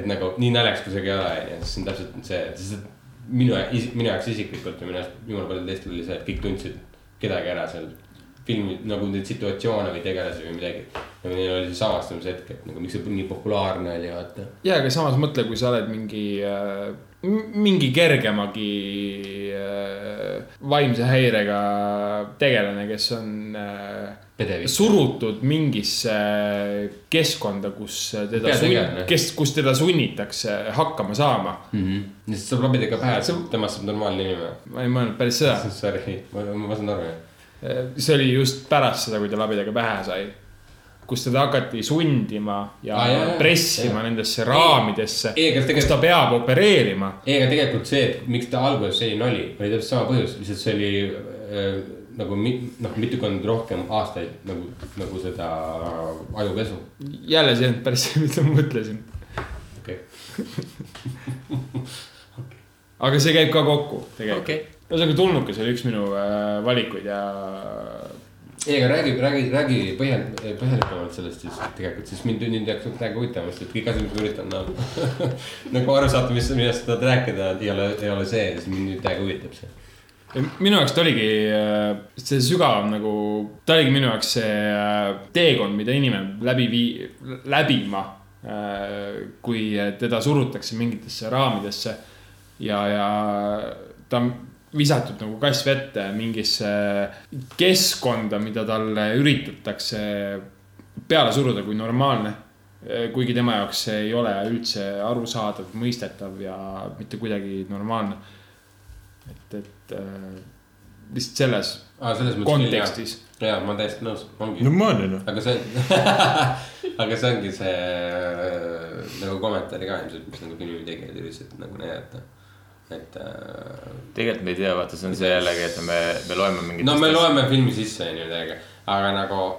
F: et nagu nii naljakas , kui see ka ei ole , onju , see on täpselt see , sest minu , minu jaoks isiklikult ja minu jaoks jumala palju teistel oli see , et kõik tundsid kedagi ära seal filmi nagu neid situatsioone või tegelasi või midagi . ja neil oli see samastamise hetk , et nagu miks see nii populaarne oli , vaata .
H: ja , aga samas mõtle , kui sa oled mingi äh, , mingi kergemagi äh, vaimse häirega tegelane , kes on äh,
F: Pedevik.
H: surutud mingisse keskkonda , kus teda ,
F: Peategelane.
H: kes , kus teda sunnitakse hakkama saama .
F: lihtsalt saab labidega pähe , temast saab normaalne inimene .
H: ma ei mõelnud päris seda .
F: Sorry , ma , ma saan aru , jah .
H: see oli just pärast seda , kui ta labidaga pähe sai , kus teda hakati sundima ja
F: Aa, jaa, jaa.
H: ah, pressima
F: Jaa.
H: jah. nendesse raamidesse
F: Ei, aga ,
H: kus ta peab opereerima .
F: ei , aga tegelikult see , et miks ta alguses selline oli , oli täpselt sama põhjus , lihtsalt see oli äh, nagu mi- noh , mitukümmend rohkem aastaid nagu , nagu seda ajupesu .
H: jälle see ei olnud päris see , mida ma mõtlesin .
F: okei
H: aga see käib ka kokku tegelikult okay. . ühesõnaga tulnukas oli üks minu äh, valikuid ja .
F: ei , aga räägi , räägi , räägi põhjal- , põhjalikumalt sellest siis tegelikult , sest mind nüüd jääks täiega huvitavaks , et kõik asjad , mis ma üritan nagu, nagu aru saada , mis , millest sa tahad rääkida , ei ole , ei ole see , siis mind nüüd täiega huvitab see .
H: minu jaoks ta oligi äh, see sügavam nagu , ta oligi minu jaoks see äh, teekond , mida inimene peab läbi vii- , läbima . kui teda surutakse mingitesse raamidesse ja , ja ta on visatud nagu kass vette mingisse keskkonda , mida talle üritatakse peale suruda kui normaalne . kuigi tema jaoks see ei ole üldse arusaadav , mõistetav ja mitte kuidagi normaalne . et , et äh, lihtsalt selles
F: Aa, selles mõttes küll,
H: kontekstis .
F: jah. jaa , ma olen täiesti nõus , ongi .
H: Normaalne, noh.
F: aga see on , aga see ongi see nagu kommentaari ka ilmselt , mis nagu filmi tegijad üritasid nagu näidata , et äh, .
G: tegelikult me ei tea , vaata , see on see jällegi , et me , me loeme mingit .
F: no me loeme filmi sisse , onju , täiega , aga nagu .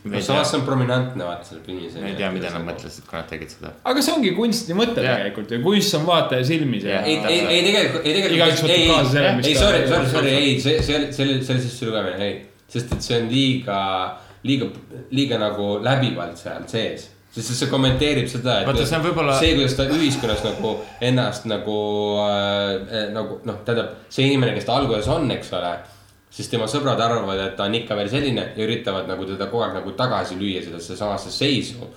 G: Me ei
F: samas
G: tea.
F: see on prominentne , vaata seal filmis .
G: me ei tea , mida nad mõtlesid , kui nad tegid seda .
H: aga see ongi kunsti mõte
G: Jah.
H: tegelikult ju , kunst on vaataja silmis ja .
F: ei , ei , ei tegelikult , ei tegelikult ,
H: igaüks võtab
F: ei ,
H: kaasa selle ,
F: ei ,
H: mis
F: ei , sorry , sorry , sorry , ei , see , see oli , see oli , see oli sisse lugemine , ei , sest et see on liiga , liiga , liiga nagu läbivalt seal sees , sest et see kommenteerib seda , et
G: Vaata, see on võib-olla-
F: see , kuidas ta ühiskonnas nagu ennast nagu äh, , nagu noh , tähendab , see inimene , kes ta alguses on , eks ole , siis tema sõbrad arvavad , et ta on ikka veel selline ja üritavad nagu teda kogu aeg nagu tagasi lüüa sellesse samasse seisu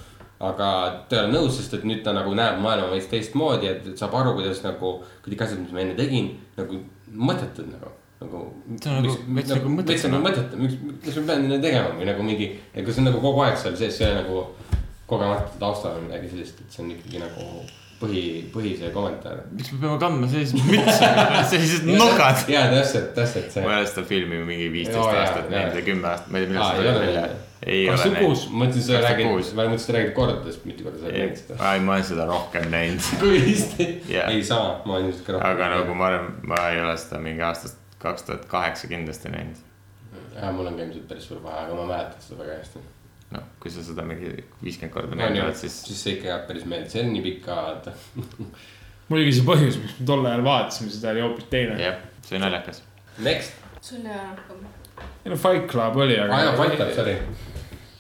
F: aga ta ei ole nõus , sest et nüüd ta nagu näeb maailma veits teistmoodi , et saab aru , kuidas nagu kõik asjad , mis ma enne tegin , nagu mõttetud nagu , nagu .
G: See on nagu veits nagu mõttetu,
F: veits nagu
G: noh.
F: mõttetu , miks , miks ma pean seda tegema või nagu mingi , kui see on nagu kogu aeg seal sees , see ei ole nagu kogemata taustal või midagi sellist , et see on ikkagi nagu põhi , põhi see kommentaar .
G: miks me peame kandma selliseid mütse , sellised nokad ?
F: jaa , täpselt , täpselt see .
G: ma ei ole seda filmi mingi viisteist
F: Joo, jaa,
G: aastat
F: jaa.
G: näinud ja kümme aastat , ma ei tea ,
F: Aa,
G: millal
F: ei
G: see
F: ole
G: tuli välja
F: veel. .
G: ei ole
F: kakskümmend
G: näinud
F: kuus ,. ma mõtlesin , sa räägid ,
G: Kakskümmend
F: ma
G: kuus.
F: mõtlesin , sa räägid kordadest , mitu korda sa oled näinud seda .
G: ei , ma olen seda rohkem näinud .
F: kui isti ,
G: Jaa.
F: ei saa , ma olen ilmselt ka rohkem .
G: aga nagu ma arvan , ma ei ole seda mingi aastast kaks tuhat kaheksa kindlasti näinud . nagu-
F: jah , mul on ka ilmselt päris suur vahe , aga ma mäletan seda väga hästi .
G: noh , kui sa seda mingi viiskümmend korda
F: on ju
G: näinud , oled ,
F: siis
G: siis ,
F: siis see ikka jääb päris meelde , see on nii pikk vaata .
H: muidugi see põhjus , miks me tol ajal vaatasime seda , oli hoopis teine .
G: jah , see on naljakas .
F: Next ,
E: sul ei ole rohkem .
H: ei no Fight Club oli , aga .
G: nagu-
F: aja paikab , sorry .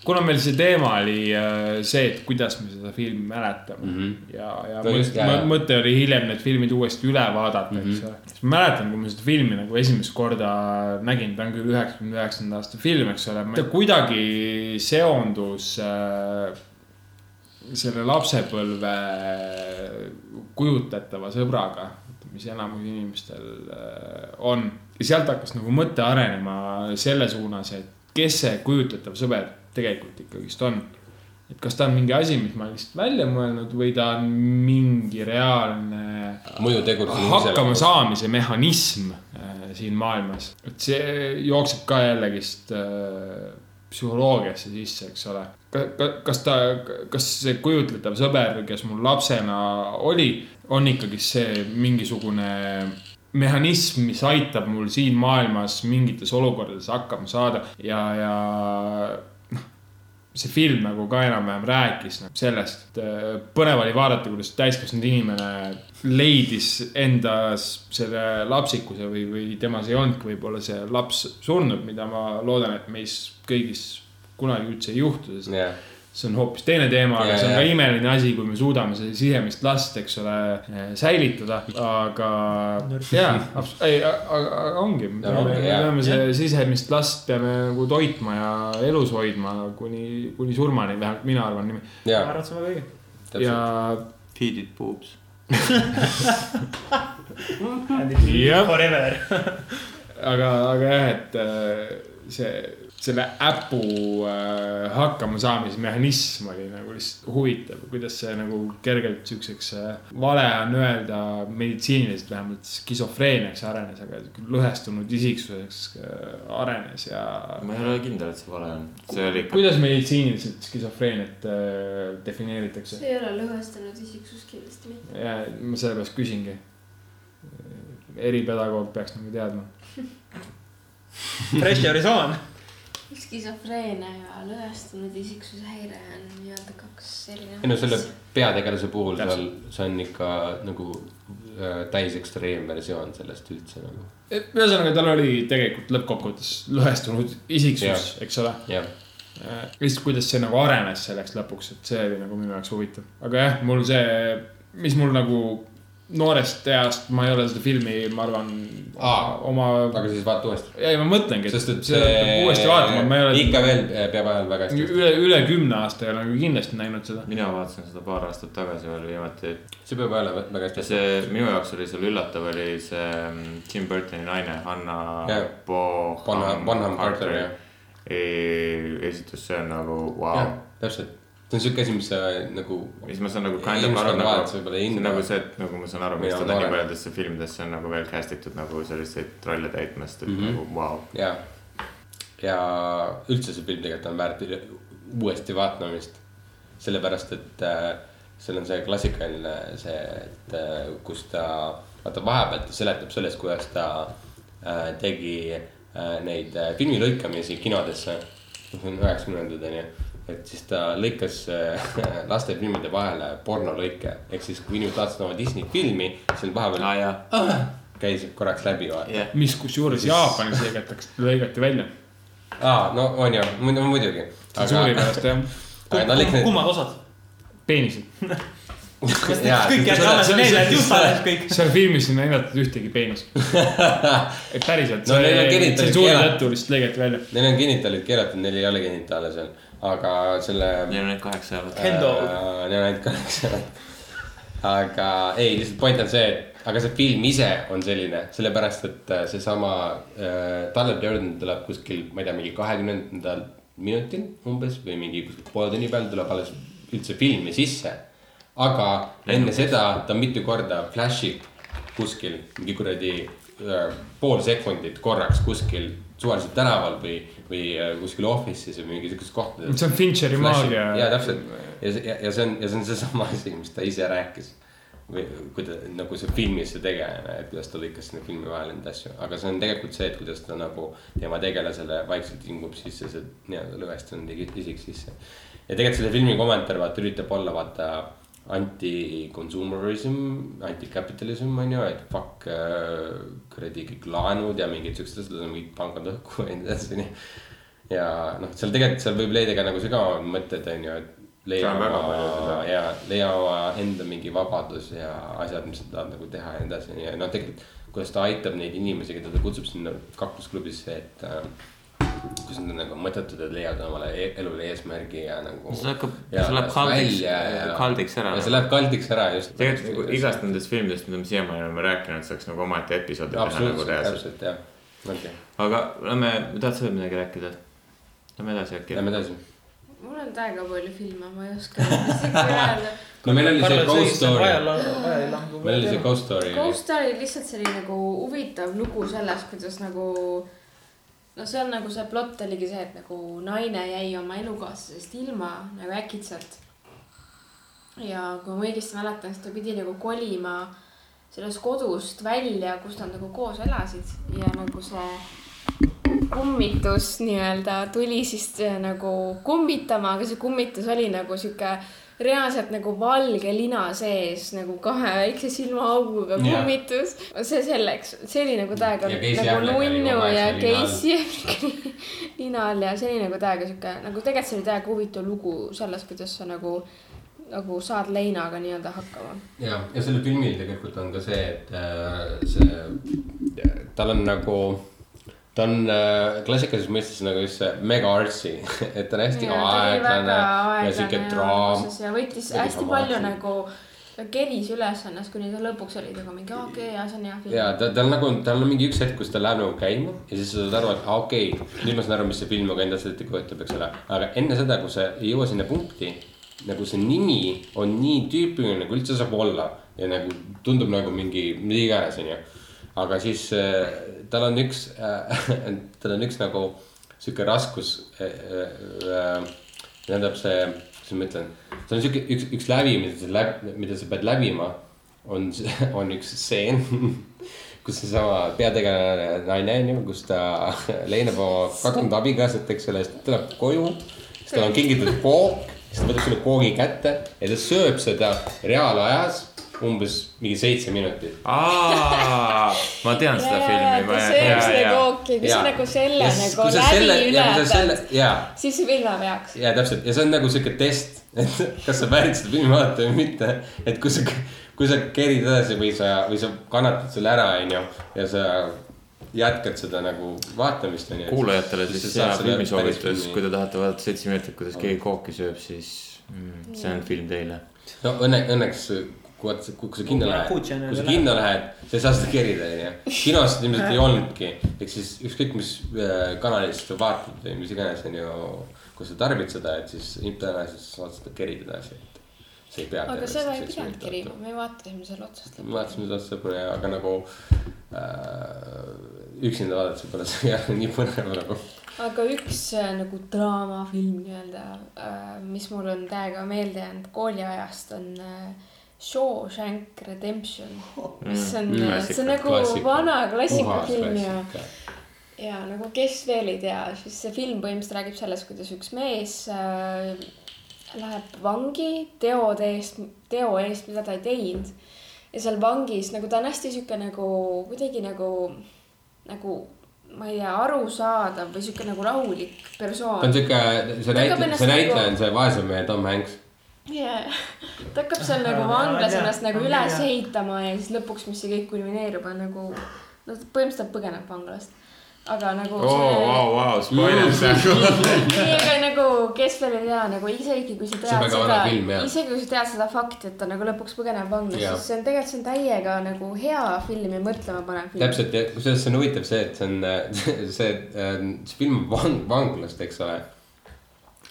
H: kuna meil see teema oli äh, see , et kuidas me seda filmi mäletame mm
F: Mhm.
H: -hmm. ja , ja
F: No
H: no,
F: just, Mhm.
H: mõte,
F: jaa, jaa.
H: mõte oli hiljem need filmid uuesti üle vaadata mm , -hmm. eks ole . siis ma mäletan , kui ma seda filmi nagu esimest korda nägin , ta on küll üheksakümne üheksanda aasta film , eks ole , ta kuidagi seondus äh, selle lapsepõlve kujutatava sõbraga , mis enamus inimestel äh, on . ja sealt hakkas nagu mõte arenema selle suunas , et kes see kujutletav sõber tegelikult ikkagist on . et kas ta on mingi asi , mis ma olen lihtsalt välja mõelnud või ta on mingi reaalne
F: mõjutegur .
H: hakkama . saamise mehhanism äh, siin maailmas , et see jookseb ka jällegist äh, psühholoogiasse sisse , eks ole . kas ta , kas see kujutletav sõber , kes mul lapsena oli , on ikkagi see mingisugune mehhanism , mis aitab mul siin maailmas mingites olukordades hakkama saada ja , ja noh , see film nagu ka enam-vähem rääkis nagu sellest , et äh, põnev oli vaadata , kuidas täiskasvanud inimene leidis endas selle lapsikuse või , või temas ei olnudki võib-olla see laps surnud , mida ma loodan , et meis kõigis kunagi üldse ei juhtu , sest
F: jah ,
H: see on hoopis teine teema , aga
F: Jaa,
H: see on ka
F: jaa.
H: imeline asi , kui me suudame seda sisemist last , eks ole , säilitada , aga jaa , ei , aga aga ongi , me
F: Ja ongi,
H: peame- me
F: jaa.
H: peame see sisemist last peame nagu toitma ja elus hoidma kuni , kuni surmani , vähemalt mina arvan nii .
J: ma
F: jah ,
J: arvan , et see on väga õige .
H: ja
F: täpselt ,.
G: Feed it boobs .
J: And it will
H: Jah.
J: forever .
H: aga , aga jah , et äh, see , selle äpu äh, hakkamasaamise mehhanism oli nagu lihtsalt huvitav , kuidas see nagu kergelt siukseks äh, , vale on öelda meditsiiniliselt vähemalt skisofreeniaks arenes , aga sihuke lõhestunud isiksuseks äh, arenes ja .
G: ma ei ole kindel , et see vale on . see oli ikka .
H: kuidas meditsiiniliselt skisofreeniat äh, defineeritakse ?
I: see ei ole lõhestunud isiksus kindlasti mitte .
H: ja ma sellepärast küsingi . eripedagoog peaks nagu teadma .
J: Fresh Horizon .
I: skisofreenia ja lõhestunud isiksuse häire on nii-öelda kaks erinevat
F: ei no selle peategelase puhul seal , see on ikka nagu äh, täis ekstreemversioon sellest üldse nagu .
H: ühesõnaga , tal oli tegelikult lõppkokkuvõttes lõhestunud isiksus , eks ole .
F: jah ,
H: lihtsalt , kuidas see nagu arenes selleks lõpuks , et see oli nagu minu jaoks huvitav . aga jah , mul see , mis mul nagu noorest east , ma ei ole seda filmi , ma arvan , oma .
F: aga siis vaata uuesti .
H: ei , ma mõtlengi , et
F: sest et
H: seda peab uuesti vaatama , ma ei ole .
F: ikka veel peab ajal väga hästi .
H: üle , üle kümne aasta ei ole nagu kindlasti näinud seda .
G: mina vaatasin seda paar aastat tagasi veel viimati .
F: see peab ajal väga hästi .
G: see minu jaoks oli seal üllatav , oli see mm, Tim Burtoni naine Hanna
F: Jah. Bonham-
G: Bonham
F: Bonham Carter, jah.
G: esitus , see on nagu vau
F: Jah, täpselt , see on siuke asi , mis sa nagu .
G: mis ma saan nagu kind of aru nagu , see on nagu see , et nagu ma saan aru , miks
F: Mina
G: teda nii
F: noorem.
G: paljudesse filmidesse on nagu veel cast itud nagu selliseid rolle täitmast , et mm
F: Mhm.
G: -hmm. nagu vau wow. .
F: ja , ja üldse see film tegelikult on väärt üle- uuesti vaatamist . sellepärast , et äh, seal on see klassikaline see , et äh, kus ta , vaata vahepeal ta seletab sellest , kuidas ta äh, tegi äh, neid äh, filmi lõikamisi kinodesse . see on üheksakümnendad onju , et siis ta lõikas äh, laste filmide vahele pornolõike . ehk siis , kui inimesed vaatasid oma Disney filmi , siis nad vahepeal käis korraks läbi vaata
G: Jah.
H: mis kusjuures Jaapanis lõigatakse , lõigati välja .
F: aa , no on ju , muidugi .
H: tsensuuri pärast jah .
F: aga ta lõikas need ,
J: kummad osad ?
H: peenised .
F: jaa ,
J: kõik jäid alles meelde , et Juta läks kõik .
H: seal filmis ei näidatud ühtegi peenist . et päriselt .
F: No neil on genitaalid
H: tsensuuri
F: keelatud.
H: tõttu lihtsalt lõigati välja .
F: neil on genitaalid keelatud , neil ei ole genitaale seal , aga selle .
G: Neil on ainult kaheksa eurot .
J: Kendo.
F: Neil on ainult kaheksa eurot . aga ei , lihtsalt point on see , et aga see film ise on selline , sellepärast et äh, seesama äh, Tyler Durden tuleb kuskil , ma ei tea , mingi kahekümnendal minutil umbes või mingi kuskil poole tunni peal tuleb alles üldse filmi sisse . aga enne seda ta mitu korda flash ib kuskil mingi kuradi äh, pool sekundit korraks kuskil suvaliselt tänaval või , või äh, kuskil office'is või mingisuguses kohtades .
H: See on Fincheri maagia.
F: ja täpselt ja , ja , ja see on , ja see on seesama asi , mis ta ise rääkis . või kui ta nagu see filmis see tegelane , et kuidas ta lõikas sinna filmi vahele neid asju , aga see on tegelikult see , et kuidas ta nagu tema tegelasele vaikselt hingub sisse see nii-öelda lõhestunud igi- isik sisse . ja tegelikult selle filmi kommentaar vaata üritab olla vaata anti-consumerism , anti-capitalism on ju , et fuck äh, kuradi kõik laenud ja mingid siuksed asjad , mingid pangad õhku ja nii edasi , onju ja noh , seal tegelikult seal võib leida ka nagu sügavamad mõtted , onju , et leia
G: Seal on väga palju
F: oma
G: seda.
F: ja leia oma enda mingi vabadus ja asjad , mis sa tahad nagu teha ja nii edasi , onju , ja noh , tegelikult kuidas ta aitab neid inimesi , keda ta kutsub sinna kaklusklubisse , et äh, kus nad on nagu mõttetud , et leiavad omale e elule eesmärgi ja nagu .
G: see hakkab , see läheb kaldiks , kaldiks ära . nagu.
F: ja see läheb kaldiks ära just .
G: tegelikult nagu igast nendest filmidest , mida me siiamaani oleme rääkinud , saaks nagu omaette episoodi teha nagu
F: absoluutselt ,
G: reaalselt .
F: täpselt jah , okei ,
G: aga lähme , tahad sa veel midagi rääkida ? Lähme edasi äkki .
F: lähme edasi .
I: mul on täiega palju filme , ma ei oska isegi öelda .
F: no meil oli see ghost story , meil oli see
J: story .
F: ghost story .
I: Ghost Story lihtsalt see oli nagu huvitav lugu sellest , kuidas nagu , no seal nagu see plott oligi see , et nagu naine jäi oma elukaaslasest ilma nagu äkitselt . ja kui ma õigesti mäletan , siis ta pidi nagu kolima sellest kodust välja , kus nad nagu koos elasid ja nagu see kummitus nii-öelda tuli siis äh, nagu kummitama , aga see kummitus oli nagu sihuke reaalselt nagu valge lina sees nagu kahe väikse silmaauguga
F: Jah.
I: kummitus . see selleks , see oli nagu täiega
F: Ja Casey
I: nagu
F: Affleck oli
I: nunnu
F: kogu aeg
I: ja
F: seal lina all.
I: Casey Afflecki lina all ja see oli nagu täiega sihuke nagu tegelikult see oli täiega huvitav lugu sellest , kuidas sa nagu , nagu saad leinaga nii-öelda hakkama .
F: ja , ja sellel filmil tegelikult on ka see , et äh, see , tal on nagu , ta on äh, klassikalises mõistes nagu just see mega artsi , et ta on hästi
I: Ja ta oli
F: aeglane
I: väga
F: ja
I: aeglane
F: sihuke
I: ja
F: draam
I: alguses . ja võttis
F: Kuidagi
I: hästi
F: dramaatiline.
I: palju nagu ta keris üles ennast , kuni ta lõpuks oli nagu mingi aa, okei okay, , jaa , see on hea film .
F: ja ta , tal nagu , tal on mingi üks hetk , kus ta läheb nagu käima ja siis sa saad aru , et aa, okei okay, , nüüd ma saan aru , mis see film nagu endast ette kujutab , eks ole . aga enne seda , kui sa ei jõua sinna punkti , nagu see nimi on nii tüüpiline , nagu üldse saab olla ja nagu tundub nagu mingi , mida iganes , onju . aga siis äh, tal on üks äh, , tal on üks nagu sihuke raskus äh, , äh, tähendab see , kuidas ma ütlen , see on sihuke üks , üks lävi , mida sa läbi , mida sa pead läbima on , on üks stseen , kus seesama peategelane naine on ju , kus ta leinab oma kadunud abikaasat , eks ole , siis ta tuleb koju . siis tal on kingitud kook , siis ta võtab selle koogi kätte ja ta sööb seda reaalajas umbes mingi seitse minutit .
G: ma tean seda
O: Jaa,
G: filmi .
O: ta sööb seda kooki , kui sa
F: Jaa.
O: nagu selle
F: Ja siis,
O: nagu
F: kui sa selle-
O: läbi
F: ja kui sa selle-
O: ületad ,
F: jaa.
O: siis see film läheb heaks .
F: ja täpselt ja see on nagu sihuke test , et kas sa väärid seda filmi vaadata või mitte , et kui sa , kui sa kerid edasi või sa , või sa kannatad selle ära , onju , ja sa jätkad seda nagu vaatamist , onju .
G: kuulajatele siis hea filmisoovitus , kui te tahate vaadata seitse minutit , kuidas keegi kooki sööb , siis mm, see on film teile .
F: no õnne , õnneks , kui vaata , kui sa kinno lähed ,
G: Kutšenile
F: kui sa
G: läheb.
F: kinno lähed , sa ei saa seda kerida , onju . kinos seda ilmselt ei olnudki , ehk siis ükskõik , mis äh, kanalist sa vaatad või mis iganes , onju , kui sa tarbid seda , et siis tõenäoliselt sa saad seda kerida edasi , et sa ei pea .
I: aga seda ei pidanud kerima , me vaatasime selle otsast
F: me vaatasime seda otsa lõpuni , aga nagu äh, üksinda vaadates võib-olla see ei ole nii põnev nagu .
I: aga üks äh, nagu draamafilm nii-öelda , mis mul on täiega meelde jäänud kooliajast , on äh, Shawshank Redemption , mis on
O: Mm,
I: mm, ,
O: klassika.
I: see on nagu
O: Klassika.
I: klassika. vana
O: Puhas
I: klassikafilm ja
O: klassika. ,
I: ja nagu kes veel ei tea , siis see film põhimõtteliselt räägib sellest , kuidas üks mees äh, läheb vangi teode eest , teo eest , mida ta ei teinud . ja seal vangis nagu ta on hästi sihuke nagu kuidagi nagu , nagu ma ei tea , arusaadav või sihuke nagu rahulik persoon .
F: ta on siuke , see näitleja , see näitleja on . see vaesem mehe Tom Hanks .
I: jaa , ta hakkab seal nagu vanglas ennast nagu üles ehitama ja siis lõpuks , mis see kõik kulmineerub , on nagu , no põhimõtteliselt ta põgeneb vanglast . aga nagu
G: oo , Oh, vau , vau ,
F: Mm.
I: ei ,
G: spoiler .
I: aga nagu , kes veel ei tea nagu isegi kui sa
G: See on
I: tead
G: väga vana
I: seda
G: film, jah. ,
I: isegi kui sa tead seda fakti , et ta nagu lõpuks põgeneb vanglast ,
F: Jah.
I: siis see on tegelikult , see on täiega nagu hea film ja mõtlema panev film .
F: täpselt ja kusjuures see on huvitav see , et see on äh, see , see film on vang, vanglast , eks ole .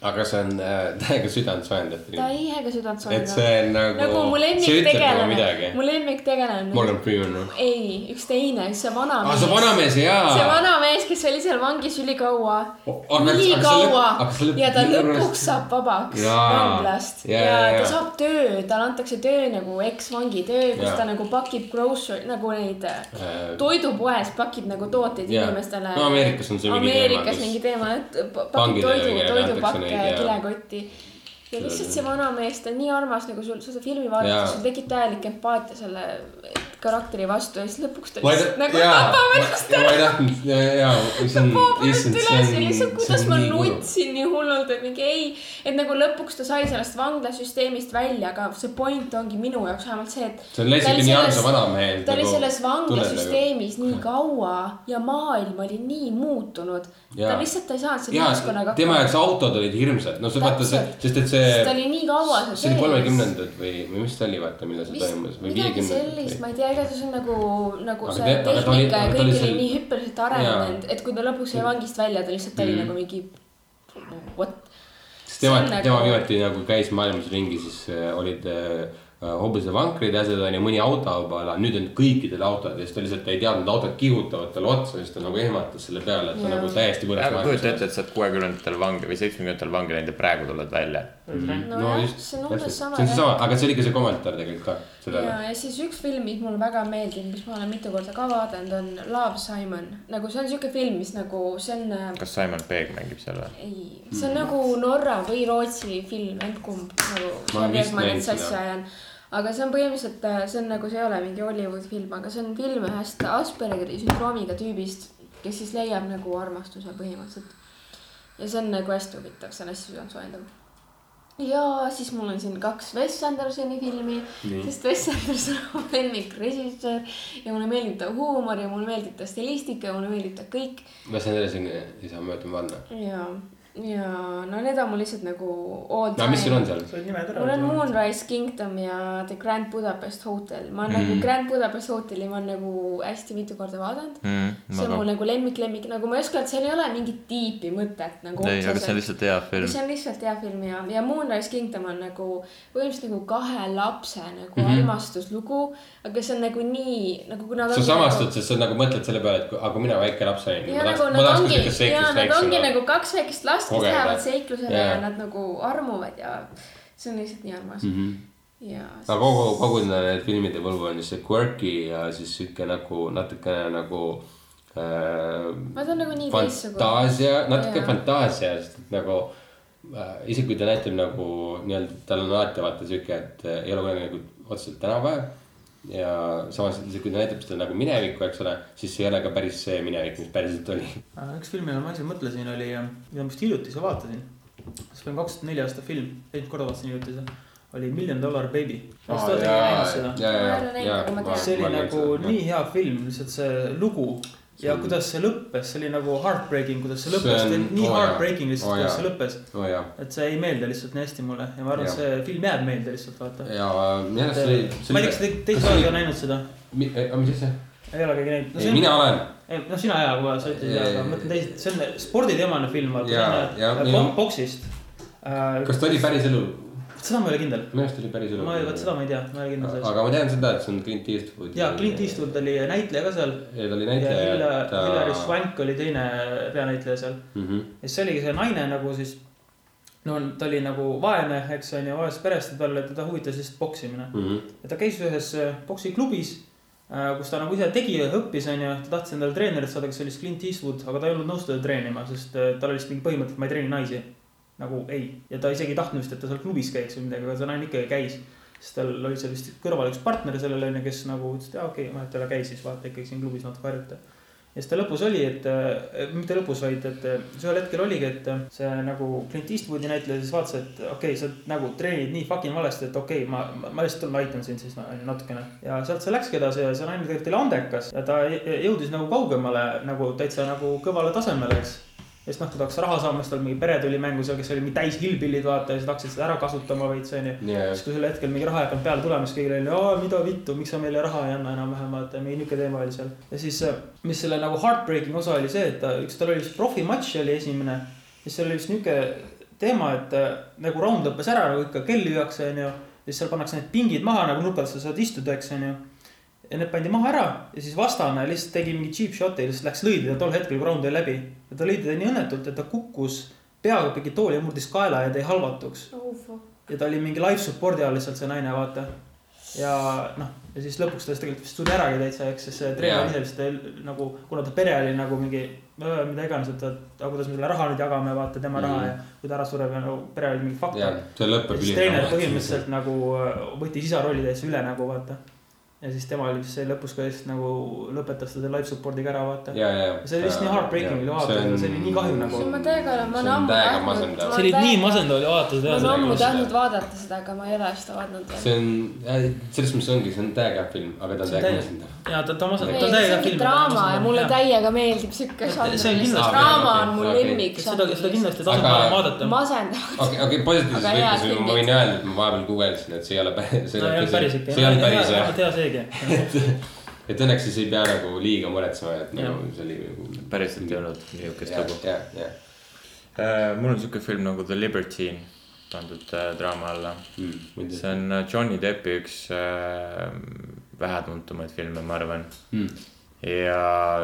F: aga see on äh, täiega südant soojendav film .
I: täiega südant
F: Et see on nagu-
I: nagu mu
F: see ütleb nagu
I: lemmiktegelane
F: midagi. ,
I: mu lemmiktegelane .
F: Morgan Freeman või ?
I: ei , üks teine , see vana
F: aa , see vanamees , jaa .
I: see vana mees , kes oli seal vangis ülikaua
F: aga- , aga see
I: ülikaua
F: lõpp- aga see lõpp-
I: ja ta
F: minu arust-
I: lõpuks saab vabaks
F: Jaa.
I: vanglast ja,
F: Jaa, jaa,
I: ta
F: jaa.
I: saab töö , talle antakse töö nagu eksvangi töö , kus
F: Jaa.
I: ta nagu pakib grocery , nagu neid äh, toidupoes pakib nagu tooteid
F: jaa.
I: inimestele .
F: No Ameerikas on see mingi teema,
I: Ameerikas
F: kus
I: mingi teema , et pa-
F: vangidele
I: pakib toidu
F: mingi- , antakse
I: toidupakke
F: neid, jaa.
I: kilekotti ja lihtsalt see vanamees , ta on nii armas nagu sul , sa seda filmi
F: Jaa.
I: vaadates , sul tekib täielik empaatia selle karakteri vastu ja siis lõpuks ta
F: ma ei
I: lihtsalt
F: tahtnud ,
I: nagu
F: jaa ,
I: tapab
F: ma
I: ennast
F: ja ma ei tahtnud , jaa , see on , issand , Mm, see
I: üles ja lihtsalt ,
F: on ,
I: kuidas ma nutsin nii hullult , et mingi ei , et nagu lõpuks ta sai sellest vanglasüsteemist välja , aga see point ongi minu jaoks vähemalt see , et .
F: See on lihtsalt nii armsa vanamehe
I: ta oli
F: nagu
I: selles vanglasüsteemis
F: tunnel
I: nii kaua ja maailm oli nii muutunud . ta
F: Jaa.
I: lihtsalt ei saanud selle
F: jaa
I: ühiskonnaga ,
F: tema jaoks . autod olid hirmsad , no see vaata see ,
I: Täpselt.
F: sest et
I: sest ta
F: see ,
I: oli nii kaua seal
F: see oli . kolmekümnendad või , või mis ta oli , vaata , millal see toimus või
I: midagi
F: viiekümnendad
I: sellist , ma ei tea , igatahes on nagu , nagu
F: Aga
I: see
F: te- aga ta oli-
I: tehnika ja
F: aga ta
I: kõik
F: oli
I: oli
F: seal-
I: nii hüppeliselt arenenud , et kui ta lõpuks jäi vangist välja , ta lihtsalt
F: Mm.
I: oli nagu mingi what .
F: sest tema , tema viimati nagu käis maailmas ringi , siis äh, olid äh, hobusevankrid ja asjad onju , mõni auto juba ala , nüüd on kõikidel autod ja siis ta lihtsalt ei teadnud , autod kihutavad talle otsa ja siis ta nagu ehmatas selle peale , et ta
G: Jaa.
F: nagu täiesti põles
G: aga kujuta ette , et sa oled kuuekümnendatel vangi või seitsmekümnendatel vangi läinud ja praegu tuled välja
F: Mhm.
I: No jah, see on umbes
F: täpselt.
I: sama
F: see on seesama ,
I: jah.
F: aga see oli ka see kommentaar tegelikult ka
I: ja
F: sellele .,
I: ja siis üks film , mis mulle väga meeldib , mis ma olen mitu korda ka vaadanud , on Love Simon . nagu see on siuke film , mis nagu see on ,
G: kas Simon Pegg mängib seal või ?
I: ei ,
G: Mm.
I: see on nagu Norra või Rootsi film , emb-kumb nagu .
G: Ma olen vist
I: ma
G: näinud
I: nüüd sassi
G: seda.
I: ajan . aga see on põhimõtteliselt , see on nagu , see ei ole mingi Hollywoodi film , aga see on film ühest Aspergeri sündroomiga tüübist , kes siis leiab nagu armastuse põhimõtteliselt . ja see on nagu hästi huvitav , see on hästi südantsoojendav . ja siis mul on siin kaks Wes Andersoni filmi ,
O: Nii.
I: sest Wes Anderson on mu lemmikrežissöör ja mulle meeldib ta huumor ja mulle meeldib ta stilistika ja mulle meeldib ta kõik
F: ma sain selle siin , ei saa mööda panna .
I: ja
E: ja no need on mul lihtsalt nagu all
F: No mis sul on seal?
E: mul on Moonrise Kingdom ja The Grand Budapest Hotel . ma olen mm. nagu
F: Mm.
E: Grand Budapest Hoteli ma olen nagu hästi mitu korda vaadanud
G: Mm,
E: see on
G: ma ka.
E: mul nagu lemmik , lemmik , nagu ma ei oska , et seal ei ole mingit tiipi mõtet nagu .
G: ei , aga see on lihtsalt hea film
E: see . on lihtsalt hea film ja , ja Moonrise Kingdom on nagu põhimõtteliselt nagu kahe lapse nagu mm
F: Mhm.
E: -hmm. armastuslugu , aga see on nagu nii nagu kui nad .
F: sa samastud , sest sa nagu mõtled selle peale , et kui- aga kui mina väike laps olin .
E: ja nagu nad ongi , ja nad ongi nagu kaks väikest last , kes
F: kogeda.
E: lähevad seiklusele yeah. ja
F: Jaa.
E: nad nagu armuvad ja see on lihtsalt nii armas mm .
F: Mhm.
E: -hmm. ja
F: aga kogu , kogu need filmide võlgu on just see quirky ja siis sihuke nagu natukene nagu äh,
E: ma tahan nagu nii teistsugune .
F: fantaasia , natuke yeah.
E: Jaa.
F: fantaasia , sest et nagu äh, isegi kui ta näitab nagu nii-öelda , tal on alati vaata sihuke , et äh, ei ole kunagi nagu otseselt tänapäev . ja samas , kui ta näitab seda nagu minevikku , eks ole , siis see ei ole ka päris see minevik , mis päriselt oli .
J: Äh, üks film , mille ma ise mõtlesin , oli , mida ma just hiljuti ise vaatasin . see oli kaks tuhat neli aasta film , eelmine korda vaatasin hiljuti seda , oli Million Dollar Baby .
F: Aa,
J: kas te olete
F: jaa,
J: näinud seda ?
F: jaa, jaa, Ma ei ole näinud, jaa, aga ma ma- tean.
J: see
F: ma olen
J: oli nagu
F: näinud seda,
J: nii hea film , lihtsalt see lugu ja kuidas see lõppes , see oli nagu heartbreaking , kuidas see lõppes , see oli nii heartbreaking lihtsalt , kuidas see lõppes .
F: oo Oh, jaa ,
J: et see ei meeldi lihtsalt nii hästi mulle ja ma arvan ,
F: Jah.
J: et see film jääb meelde lihtsalt vaata .
F: ja minu arust see oli .
J: ma ei tea , kas te teised olete ka näinud seda ?
F: aga mis asja ?
J: ei ole keegi näinud
F: Ei, mina olen. .
J: noh , sina jaa , kui sa ütlesid jaa , aga ma mõtlen teised , see on sporditeemane film ,
F: Jaa, jaa,
J: vaata äh,
F: minu- ,
J: boksist .
F: kas ta oli päris elu ?
J: seda ma ei ole kindel .
F: minu arust oli päris elu .
J: ma ei , vot seda ma ei tea , ma ei ole kindel selles .
F: aga ma tean seda , et see on Clint Eastwood .
J: jaa , Clint Eastwood oli näitleja ka seal .
F: Ja ta oli näitleja ja ta-
J: Hilary Swank oli teine peanäitleja seal mm .
F: Mhm.
J: ja siis oligi see naine nagu siis , no ta oli nagu vaene , eks on ju , vaesest perest ja talle , teda huvitas lihtsalt poksimine mm .
F: Mhm.
J: ja ta käis ühes äh, poksiklubis , kus ta nagu ise tegi ja õppis , on ju , ta tahtis endale treenerit saada , kes oli siis Clint Eastwood , aga ta ei olnud nõus teda treenima , sest äh, tal oli lihtsalt mingi põhimõte , et ma ei treeni naisi nagu ei ja ta isegi ei tahtnud vist , et ta seal klubis käiks või midagi , aga see naine ikkagi käis . siis tal oli seal vist kõrval üks partner sellel onju , kes nagu ütles , et jaa okei okay, , vahet ei ole , käi siis vaata ikkagi siin klubis natuke harjuta . ja siis ta lõpus oli , et äh, mitte lõpus , vaid et äh, siis ühel hetkel oligi , et äh, see nagu Clint Eastwoodi näitleja siis vaatas , et okei okay, , sa nagu treenid nii fucking valesti , et okei okay, , ma , ma ma lihtsalt tulen aitan sind siis no, onju, natukene . ja sealt see läkski edasi ja see naine tegelikult oli andekas ja ta jõ- jõudis nagu kaugemale nagu täitsa nagu kõvale tasemele , eks ja siis noh , ta tahaks raha saama , siis tal mingi pere tuli mängu seal , kes oli mingi täis hillbillid , vaata , ja siis ta hakkas seda ära kasutama veits , onju .
F: Jaa.
J: siis kui sel hetkel mingi raha ei hakanud peale tulema , siis kõigil oli , aa , mida vittu , miks sa meile raha ei anna enam-vähem , vaata , mingi niuke teema oli seal . ja siis , mis selle nagu heartbreaking osa oli see , et ta , üks , tal oli üks profimatš oli esimene . siis seal oli üks niuke teema , et äh, nagu round lõppes ära nagu ikka kell lüüakse , onju . ja siis seal pannakse need pingid maha nagu nurgas , sa saad istuda , eks , onju ja need pandi maha ära ja siis vastane lihtsalt tegi mingi cheap shot'i , lihtsalt läks lõi teda tol hetkel , kui round oli läbi . ja ta lõi teda nii õnnetult , et ta kukkus peaga pigi tooli ja murdis kaela ja jäi halvatuks .
E: Oh,
J: ja ta oli mingi live support'i all lihtsalt see naine , vaata . ja noh , ja siis lõpuks ta siis tegelikult vist tuli äragi täitsa , eks , sest see
F: Jaa.
J: treener ise vist ei- nagu , kuna ta pere oli nagu mingi öö, mida iganes , et ta , aga kuidas me selle raha nüüd jagame , vaata tema mm. raha ja kui ta ära sureb ja nagu pere oli mingi
F: Mhm. Jaa,
J: faktor .
F: see lõpeb
J: siis
F: üli-
J: treener põhimõtteliselt nagu äh, võttis isa rolli täitsa üle nagu vaata . ja siis tema oli siis see lõpus ka lihtsalt nagu lõpetas selle live support'iga ära , vaata .
F: Jaa, jaa.
J: see oli lihtsalt nii heartbreaking oli
F: Jaa,
J: vaadata
F: see , on-
J: see oli nii kahju nagu
E: see . on ma täiega olen , ma olen
F: See on
E: ammu
F: täiega
E: tahtnud .
F: masendav.
J: see oli nii masendav oli vaadata
E: ma
J: seda .
E: olen ammu
F: seda.
E: tahtnud vaadata seda , aga ma ei ole seda vaadanud
F: see on , selles mõttes ongi , see on täiega hea film , aga ta on
J: See on
F: täiega
J: täiega-
F: masendav .
J: ja ta , ta masendab ,
E: veel .
J: ta
E: see
J: on täiega nagu
E: ongi
J: film .
E: draama ja mulle täiega meeldib siuke žanr . draama on mu lemmik .
J: seda , seda kindlasti tasub
F: Aga-
J: varem vaadata .
E: masendav .
F: okei , okei , positiivses
E: Aga head
F: võtmes ma
E: filmid.
F: võin öelda , et ma vahepeal guugeldasin , et see ei ole päris .
J: No ei olnud päris ikka,
F: see ei olnud
J: jah.
F: päris
J: Hea- hea seegi.
F: jah . et õnneks siis ei pea nagu liiga muretsema , et nagu
G: Jah.
F: see oli nagu .
G: päriselt ei olnud niisugust
F: Jah,
G: lugu .
F: jah, jah.
G: mul on niisugune film nagu The Libertine pandud äh, draama alla mm, . see on äh, Johnny Deppi üks äh, vähetuntumaid filme , ma arvan
F: Mm. .
G: ja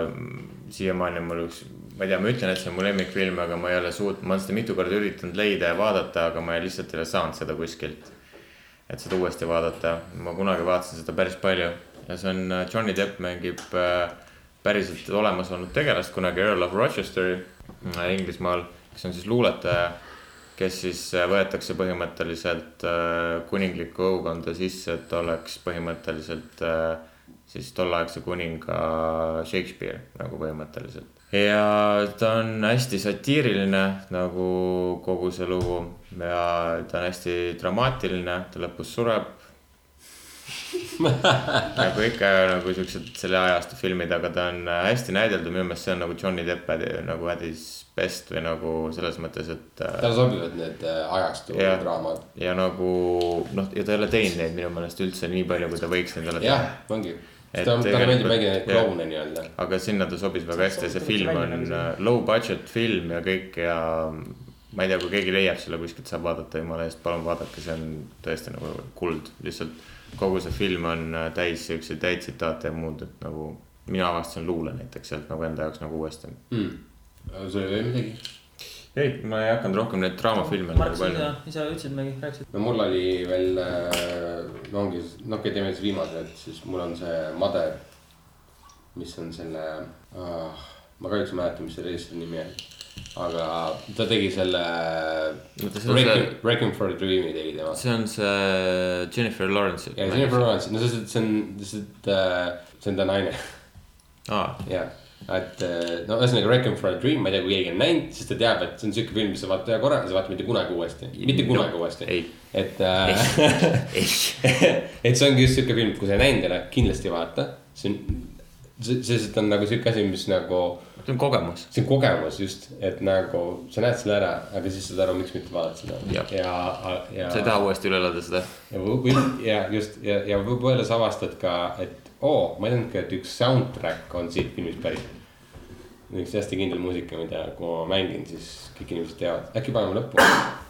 G: mm, siiamaani on mul üks , ma ei tea , ma ütlen , et see on mu lemmikfilm , aga ma ei ole suutnud , ma olen seda mitu korda üritanud leida ja vaadata , aga ma lihtsalt ei ole saanud seda kuskilt et seda uuesti vaadata . ma kunagi vaatasin seda päris palju ja see on äh, Johnny Depp mängib äh, päriselt olemas olnud tegelast kunagi Earl of Rochesteri äh, Inglismaal , kes on siis luuletaja , kes siis äh, võetakse põhimõtteliselt äh, kuninglikku õukonda sisse , et oleks põhimõtteliselt äh, siis tolleaegse kuninga Shakespeare nagu põhimõtteliselt . ja ta on hästi satiiriline nagu kogu see lugu ja ta on hästi dramaatiline , ta lõpus sureb . nagu ikka nagu siuksed selle ajastu filmid, aga ta on hästi näideldud, minu meelest see on nagu Johnny Deppe nagu at his best või nagu selles mõttes, et.
F: talle sobivad need äh, ajastu
G: ja,
F: draamad.
G: ja nagu noh, ja ta ei ole teinud neid minu meelest üldse nii palju, kui ta võiks neid olla
F: jah , ongi. talle meeldib mängida neid kloune nii-öelda.
G: aga sinna ta sobis väga hästi ja see film on äh, low budget film ja kõik ja ma ei tea, kui keegi leiab selle kuskilt, saab vaadata, jumala eest, palun vaadake, see on tõesti nagu kuld, lihtsalt kogu see film on äh, täis siukseid häid tsitaate ja muud, et nagu mina avastasin luule näiteks sealt nagu enda jaoks nagu uuesti
F: mm.. sul ei olnud midagi?
G: ei, ma ei hakanud rohkem neid draamafilme
J: nagu palju. ise ütlesid midagi, rääkisid.
F: no mul oli veel äh,, ongi, noh, okei, teeme siis viimased, siis mul on see Mother, mis on selle äh,, ma kahjuks ei mäleta, mis selle eestlaste nimi on aga ta tegi selle Breaking for a Dream'i tegi tema.
G: see on see Jennifer Lawrence.
F: jah, Jennifer Lawrence, no see, see on, see on, see on ta naine. jah, et äh, no ühesõnaga Breaking for a Dream, ma ei tea, kui keegi on näinud, siis ta teab, et see on siuke film, mis sa vaatad ühe korra ja sa vaatad mitte kunagi uuesti, mitte kunagi no, uuesti. et äh, et see ongi just siuke film, kui sa ei näinud jälle, kindlasti vaata, see on see, see on nagu sihuke asi, mis nagu.
G: see on kogemus.
F: see on kogemus just, et nagu sa näed selle ära, aga siis saad aru, miks mitte vaadata seda.
G: ja,
F: ja, ja.
G: sa ei taha uuesti üle elada seda.
F: ja võib-olla ja just ja, ja võib-olla sa avastad ka, et oo oh,, ma ei teadnudki, et üks soundtrack on siit filmist pärit. üks hästi kindel muusika, mida, kui ma mängin, siis kõik inimesed teavad, äkki paneme lõppu.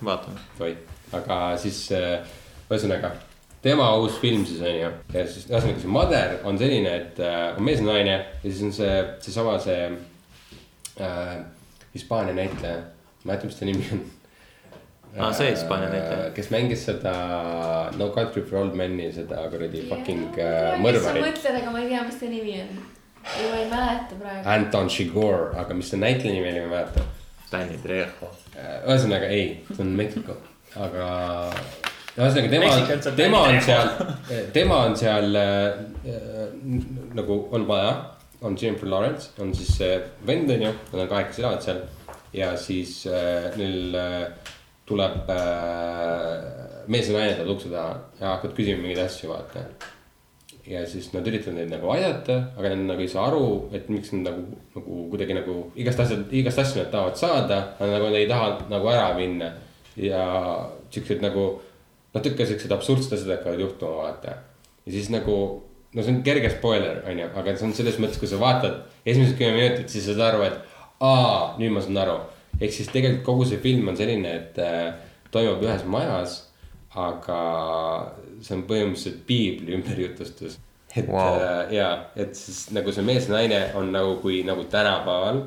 G: vaatame.
F: tohib, aga siis eh, ühesõnaga äh, tema uus film siis on ju. ja siis ühesõnaga see Mother on selline, et äh, on mees ja naine ja siis on see, seesama see, see äh, Hispaania näitleja, ma ei mäleta, mis ta nimi on Eh,
G: äh,. aa, see Hispaania näitleja.
F: kes mängis seda No Country for Old Men'i, seda kuradi yeah, fucking äh, mõrvarit.
E: ma mõtlen, aga ma ei tea, mis ta nimi on. ei, ma ei mäleta praegu.
F: Anton Chigurh, aga mis see näitleja nimi oli, ma ei mäleta.
G: Danny Trejo.
F: Äh, ühesõnaga ei, see on Meksiko, aga ühesõnaga tema, tema on seal, tema on seal äh, nagu on maja, on Jennifer Lawrence, on siis see äh, vend on ju, nad on kahekesi elavad seal. ja siis äh, neil äh, tuleb äh, mees ja naine tuleb ukse taha ja hakkavad küsima mingeid asju, vaata. ja siis nad üritavad neid nagu aidata, aga nad nagu ei saa aru, et miks nad nagu, nagu kuidagi nagu igast asjad, igast asju nad tahavad saada, aga nagu nad ei taha nagu ära minna ja siuksed nagu natuke siuksed absurdsed asjad hakkavad juhtuma, vaata. ja siis nagu, no see on kerge spoiler, onju, aga see on selles mõttes, kui sa vaatad esimesed kümme minutit, siis sa saad aru, et aa, nüüd ma saan aru. ehk siis tegelikult kogu see film on selline, et äh, toimub ühes majas, aga see on põhimõtteliselt piibli ümberjutustus. et wow. äh, ja, et siis nagu see mees ja naine on nagu, kui nagu tänapäeval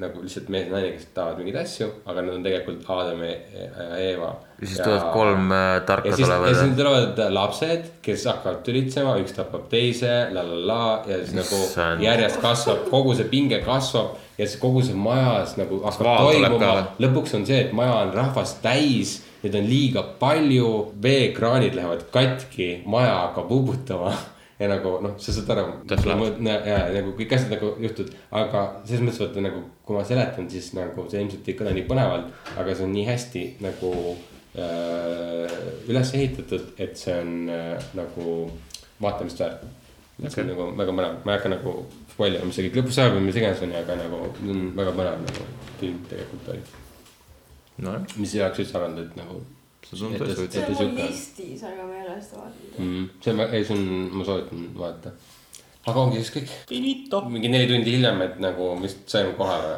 F: nagu lihtsalt mees ja naine, kes tahavad mingeid asju, aga nad on tegelikult Adam ja Eva.
G: ja siis tulevad kolm äh, tarka
F: ja siis,
G: tulevad.
F: ja siis tulevad lapsed, kes hakkavad tülitsema, üks tapab teise, la la la ja siis nagu on... järjest kasvab, kogu see pinge kasvab ja siis kogu see majas nagu hakkab toimuma. lõpuks on see, et maja on rahvast täis, neid on liiga palju, veekraanid lähevad katki, maja hakkab uputama ja nagu noh, sa saad aru, ja, ja nagu kõik asjad nagu juhtud, aga selles mõttes vaata nagu, kui ma seletan, siis nagu see ilmselt ei kõla nii põnevalt, aga see on nii hästi nagu äh, üles ehitatud, et see on äh, nagu vaatamist väärt. Okay. see on nagu väga põnev, ma ei hakka nagu spoil ima, mis see kõik lõpus saab või mis iganes on ju, aga nagu mm, väga põnev nagu film tegelikult oli
G: no..
F: mis ei oleks üldse arvanud, et nagu
G: see tundub tõesti
E: huvitav. see on mul listis, aga ma ei ole seda vaadanud
F: mm,. see on, ei see on, ma soovitan vaadata. aga ongi siis kõik.
M: Finito.
F: mingi neli tundi hiljem, et nagu vist saime kohale.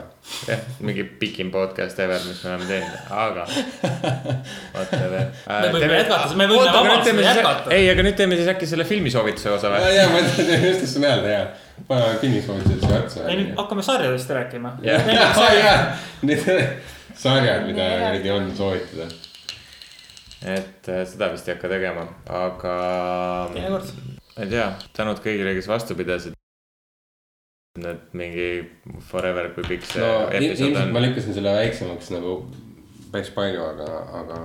G: jah, mingi pikim podcast ever, mis me oleme teinud, aga whatever
M: äh,. me võime
G: Ah,
M: jätkata, me võime vabalt seda jätkata.
G: ei, aga nüüd teeme siis äkki selle filmisoovituse osa või?
F: ja, ja ma just tahtsin öelda ja paneme filmisoovitused siia otsa.
J: ei, nüüd hakkame sarjadest rääkima.
F: jah, jah, nüüd sarjad, mida kuradi on soovitada
G: et äh, seda vist ei hakka tegema, aga.
J: teinekord.
G: ma ei tea, tänud kõigile, kes vastu pidasid. Need mingi forever, kui pikk see
F: no, episood on. ma lükkasin selle väiksemaks nagu päris palju, aga, aga.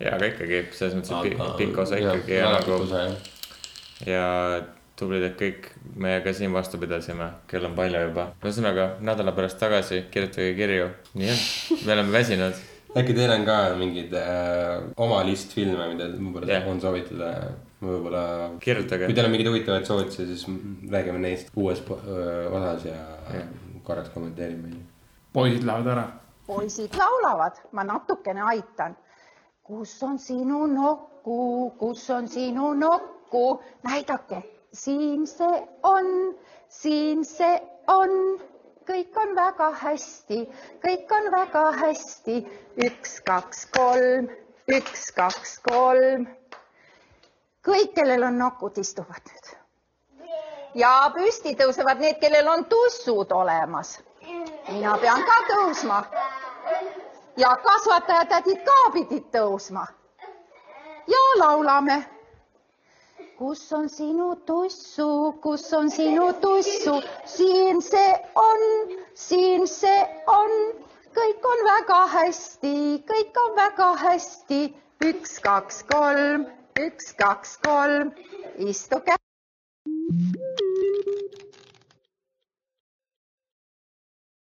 G: ja, aga ikkagi selles mõttes, et aga... pikk osa ikkagi ja, ja nagu. ja tublid, et kõik meiega siin vastu pidasime, kell on palju juba. ühesõnaga nädala pärast tagasi, kirjutage kirju. nii on, me oleme väsinud
F: äkki teil on ka mingeid äh, oma listfilme, mida võib-olla yeah. on soovitada võib-olla .
G: Kirjutage.
F: kui teil on mingeid huvitavaid soovitusi , siis räägime neist uues po- öö, osas ja korraks kommenteerime .
H: poisid lähevad ära .
B: poisid laulavad , ma natukene aitan . kus on sinu nokku , kus on sinu nokku , näidake , siin see on , siin see on , kõik on väga hästi , kõik on väga hästi , üks , kaks , kolm , üks , kaks , kolm . kõik , kellel on nokud , istuvad nüüd ja püsti tõusevad need , kellel on tussud olemas . mina pean ka tõusma ja kasvatajatädid ka pidid tõusma . ja laulame . kus on sinu tussu , kus on sinu tussu , siin see on , siin see on , kõik on väga hästi , kõik on väga hästi . üks , kaks , kolm , üks , kaks , kolm , istuge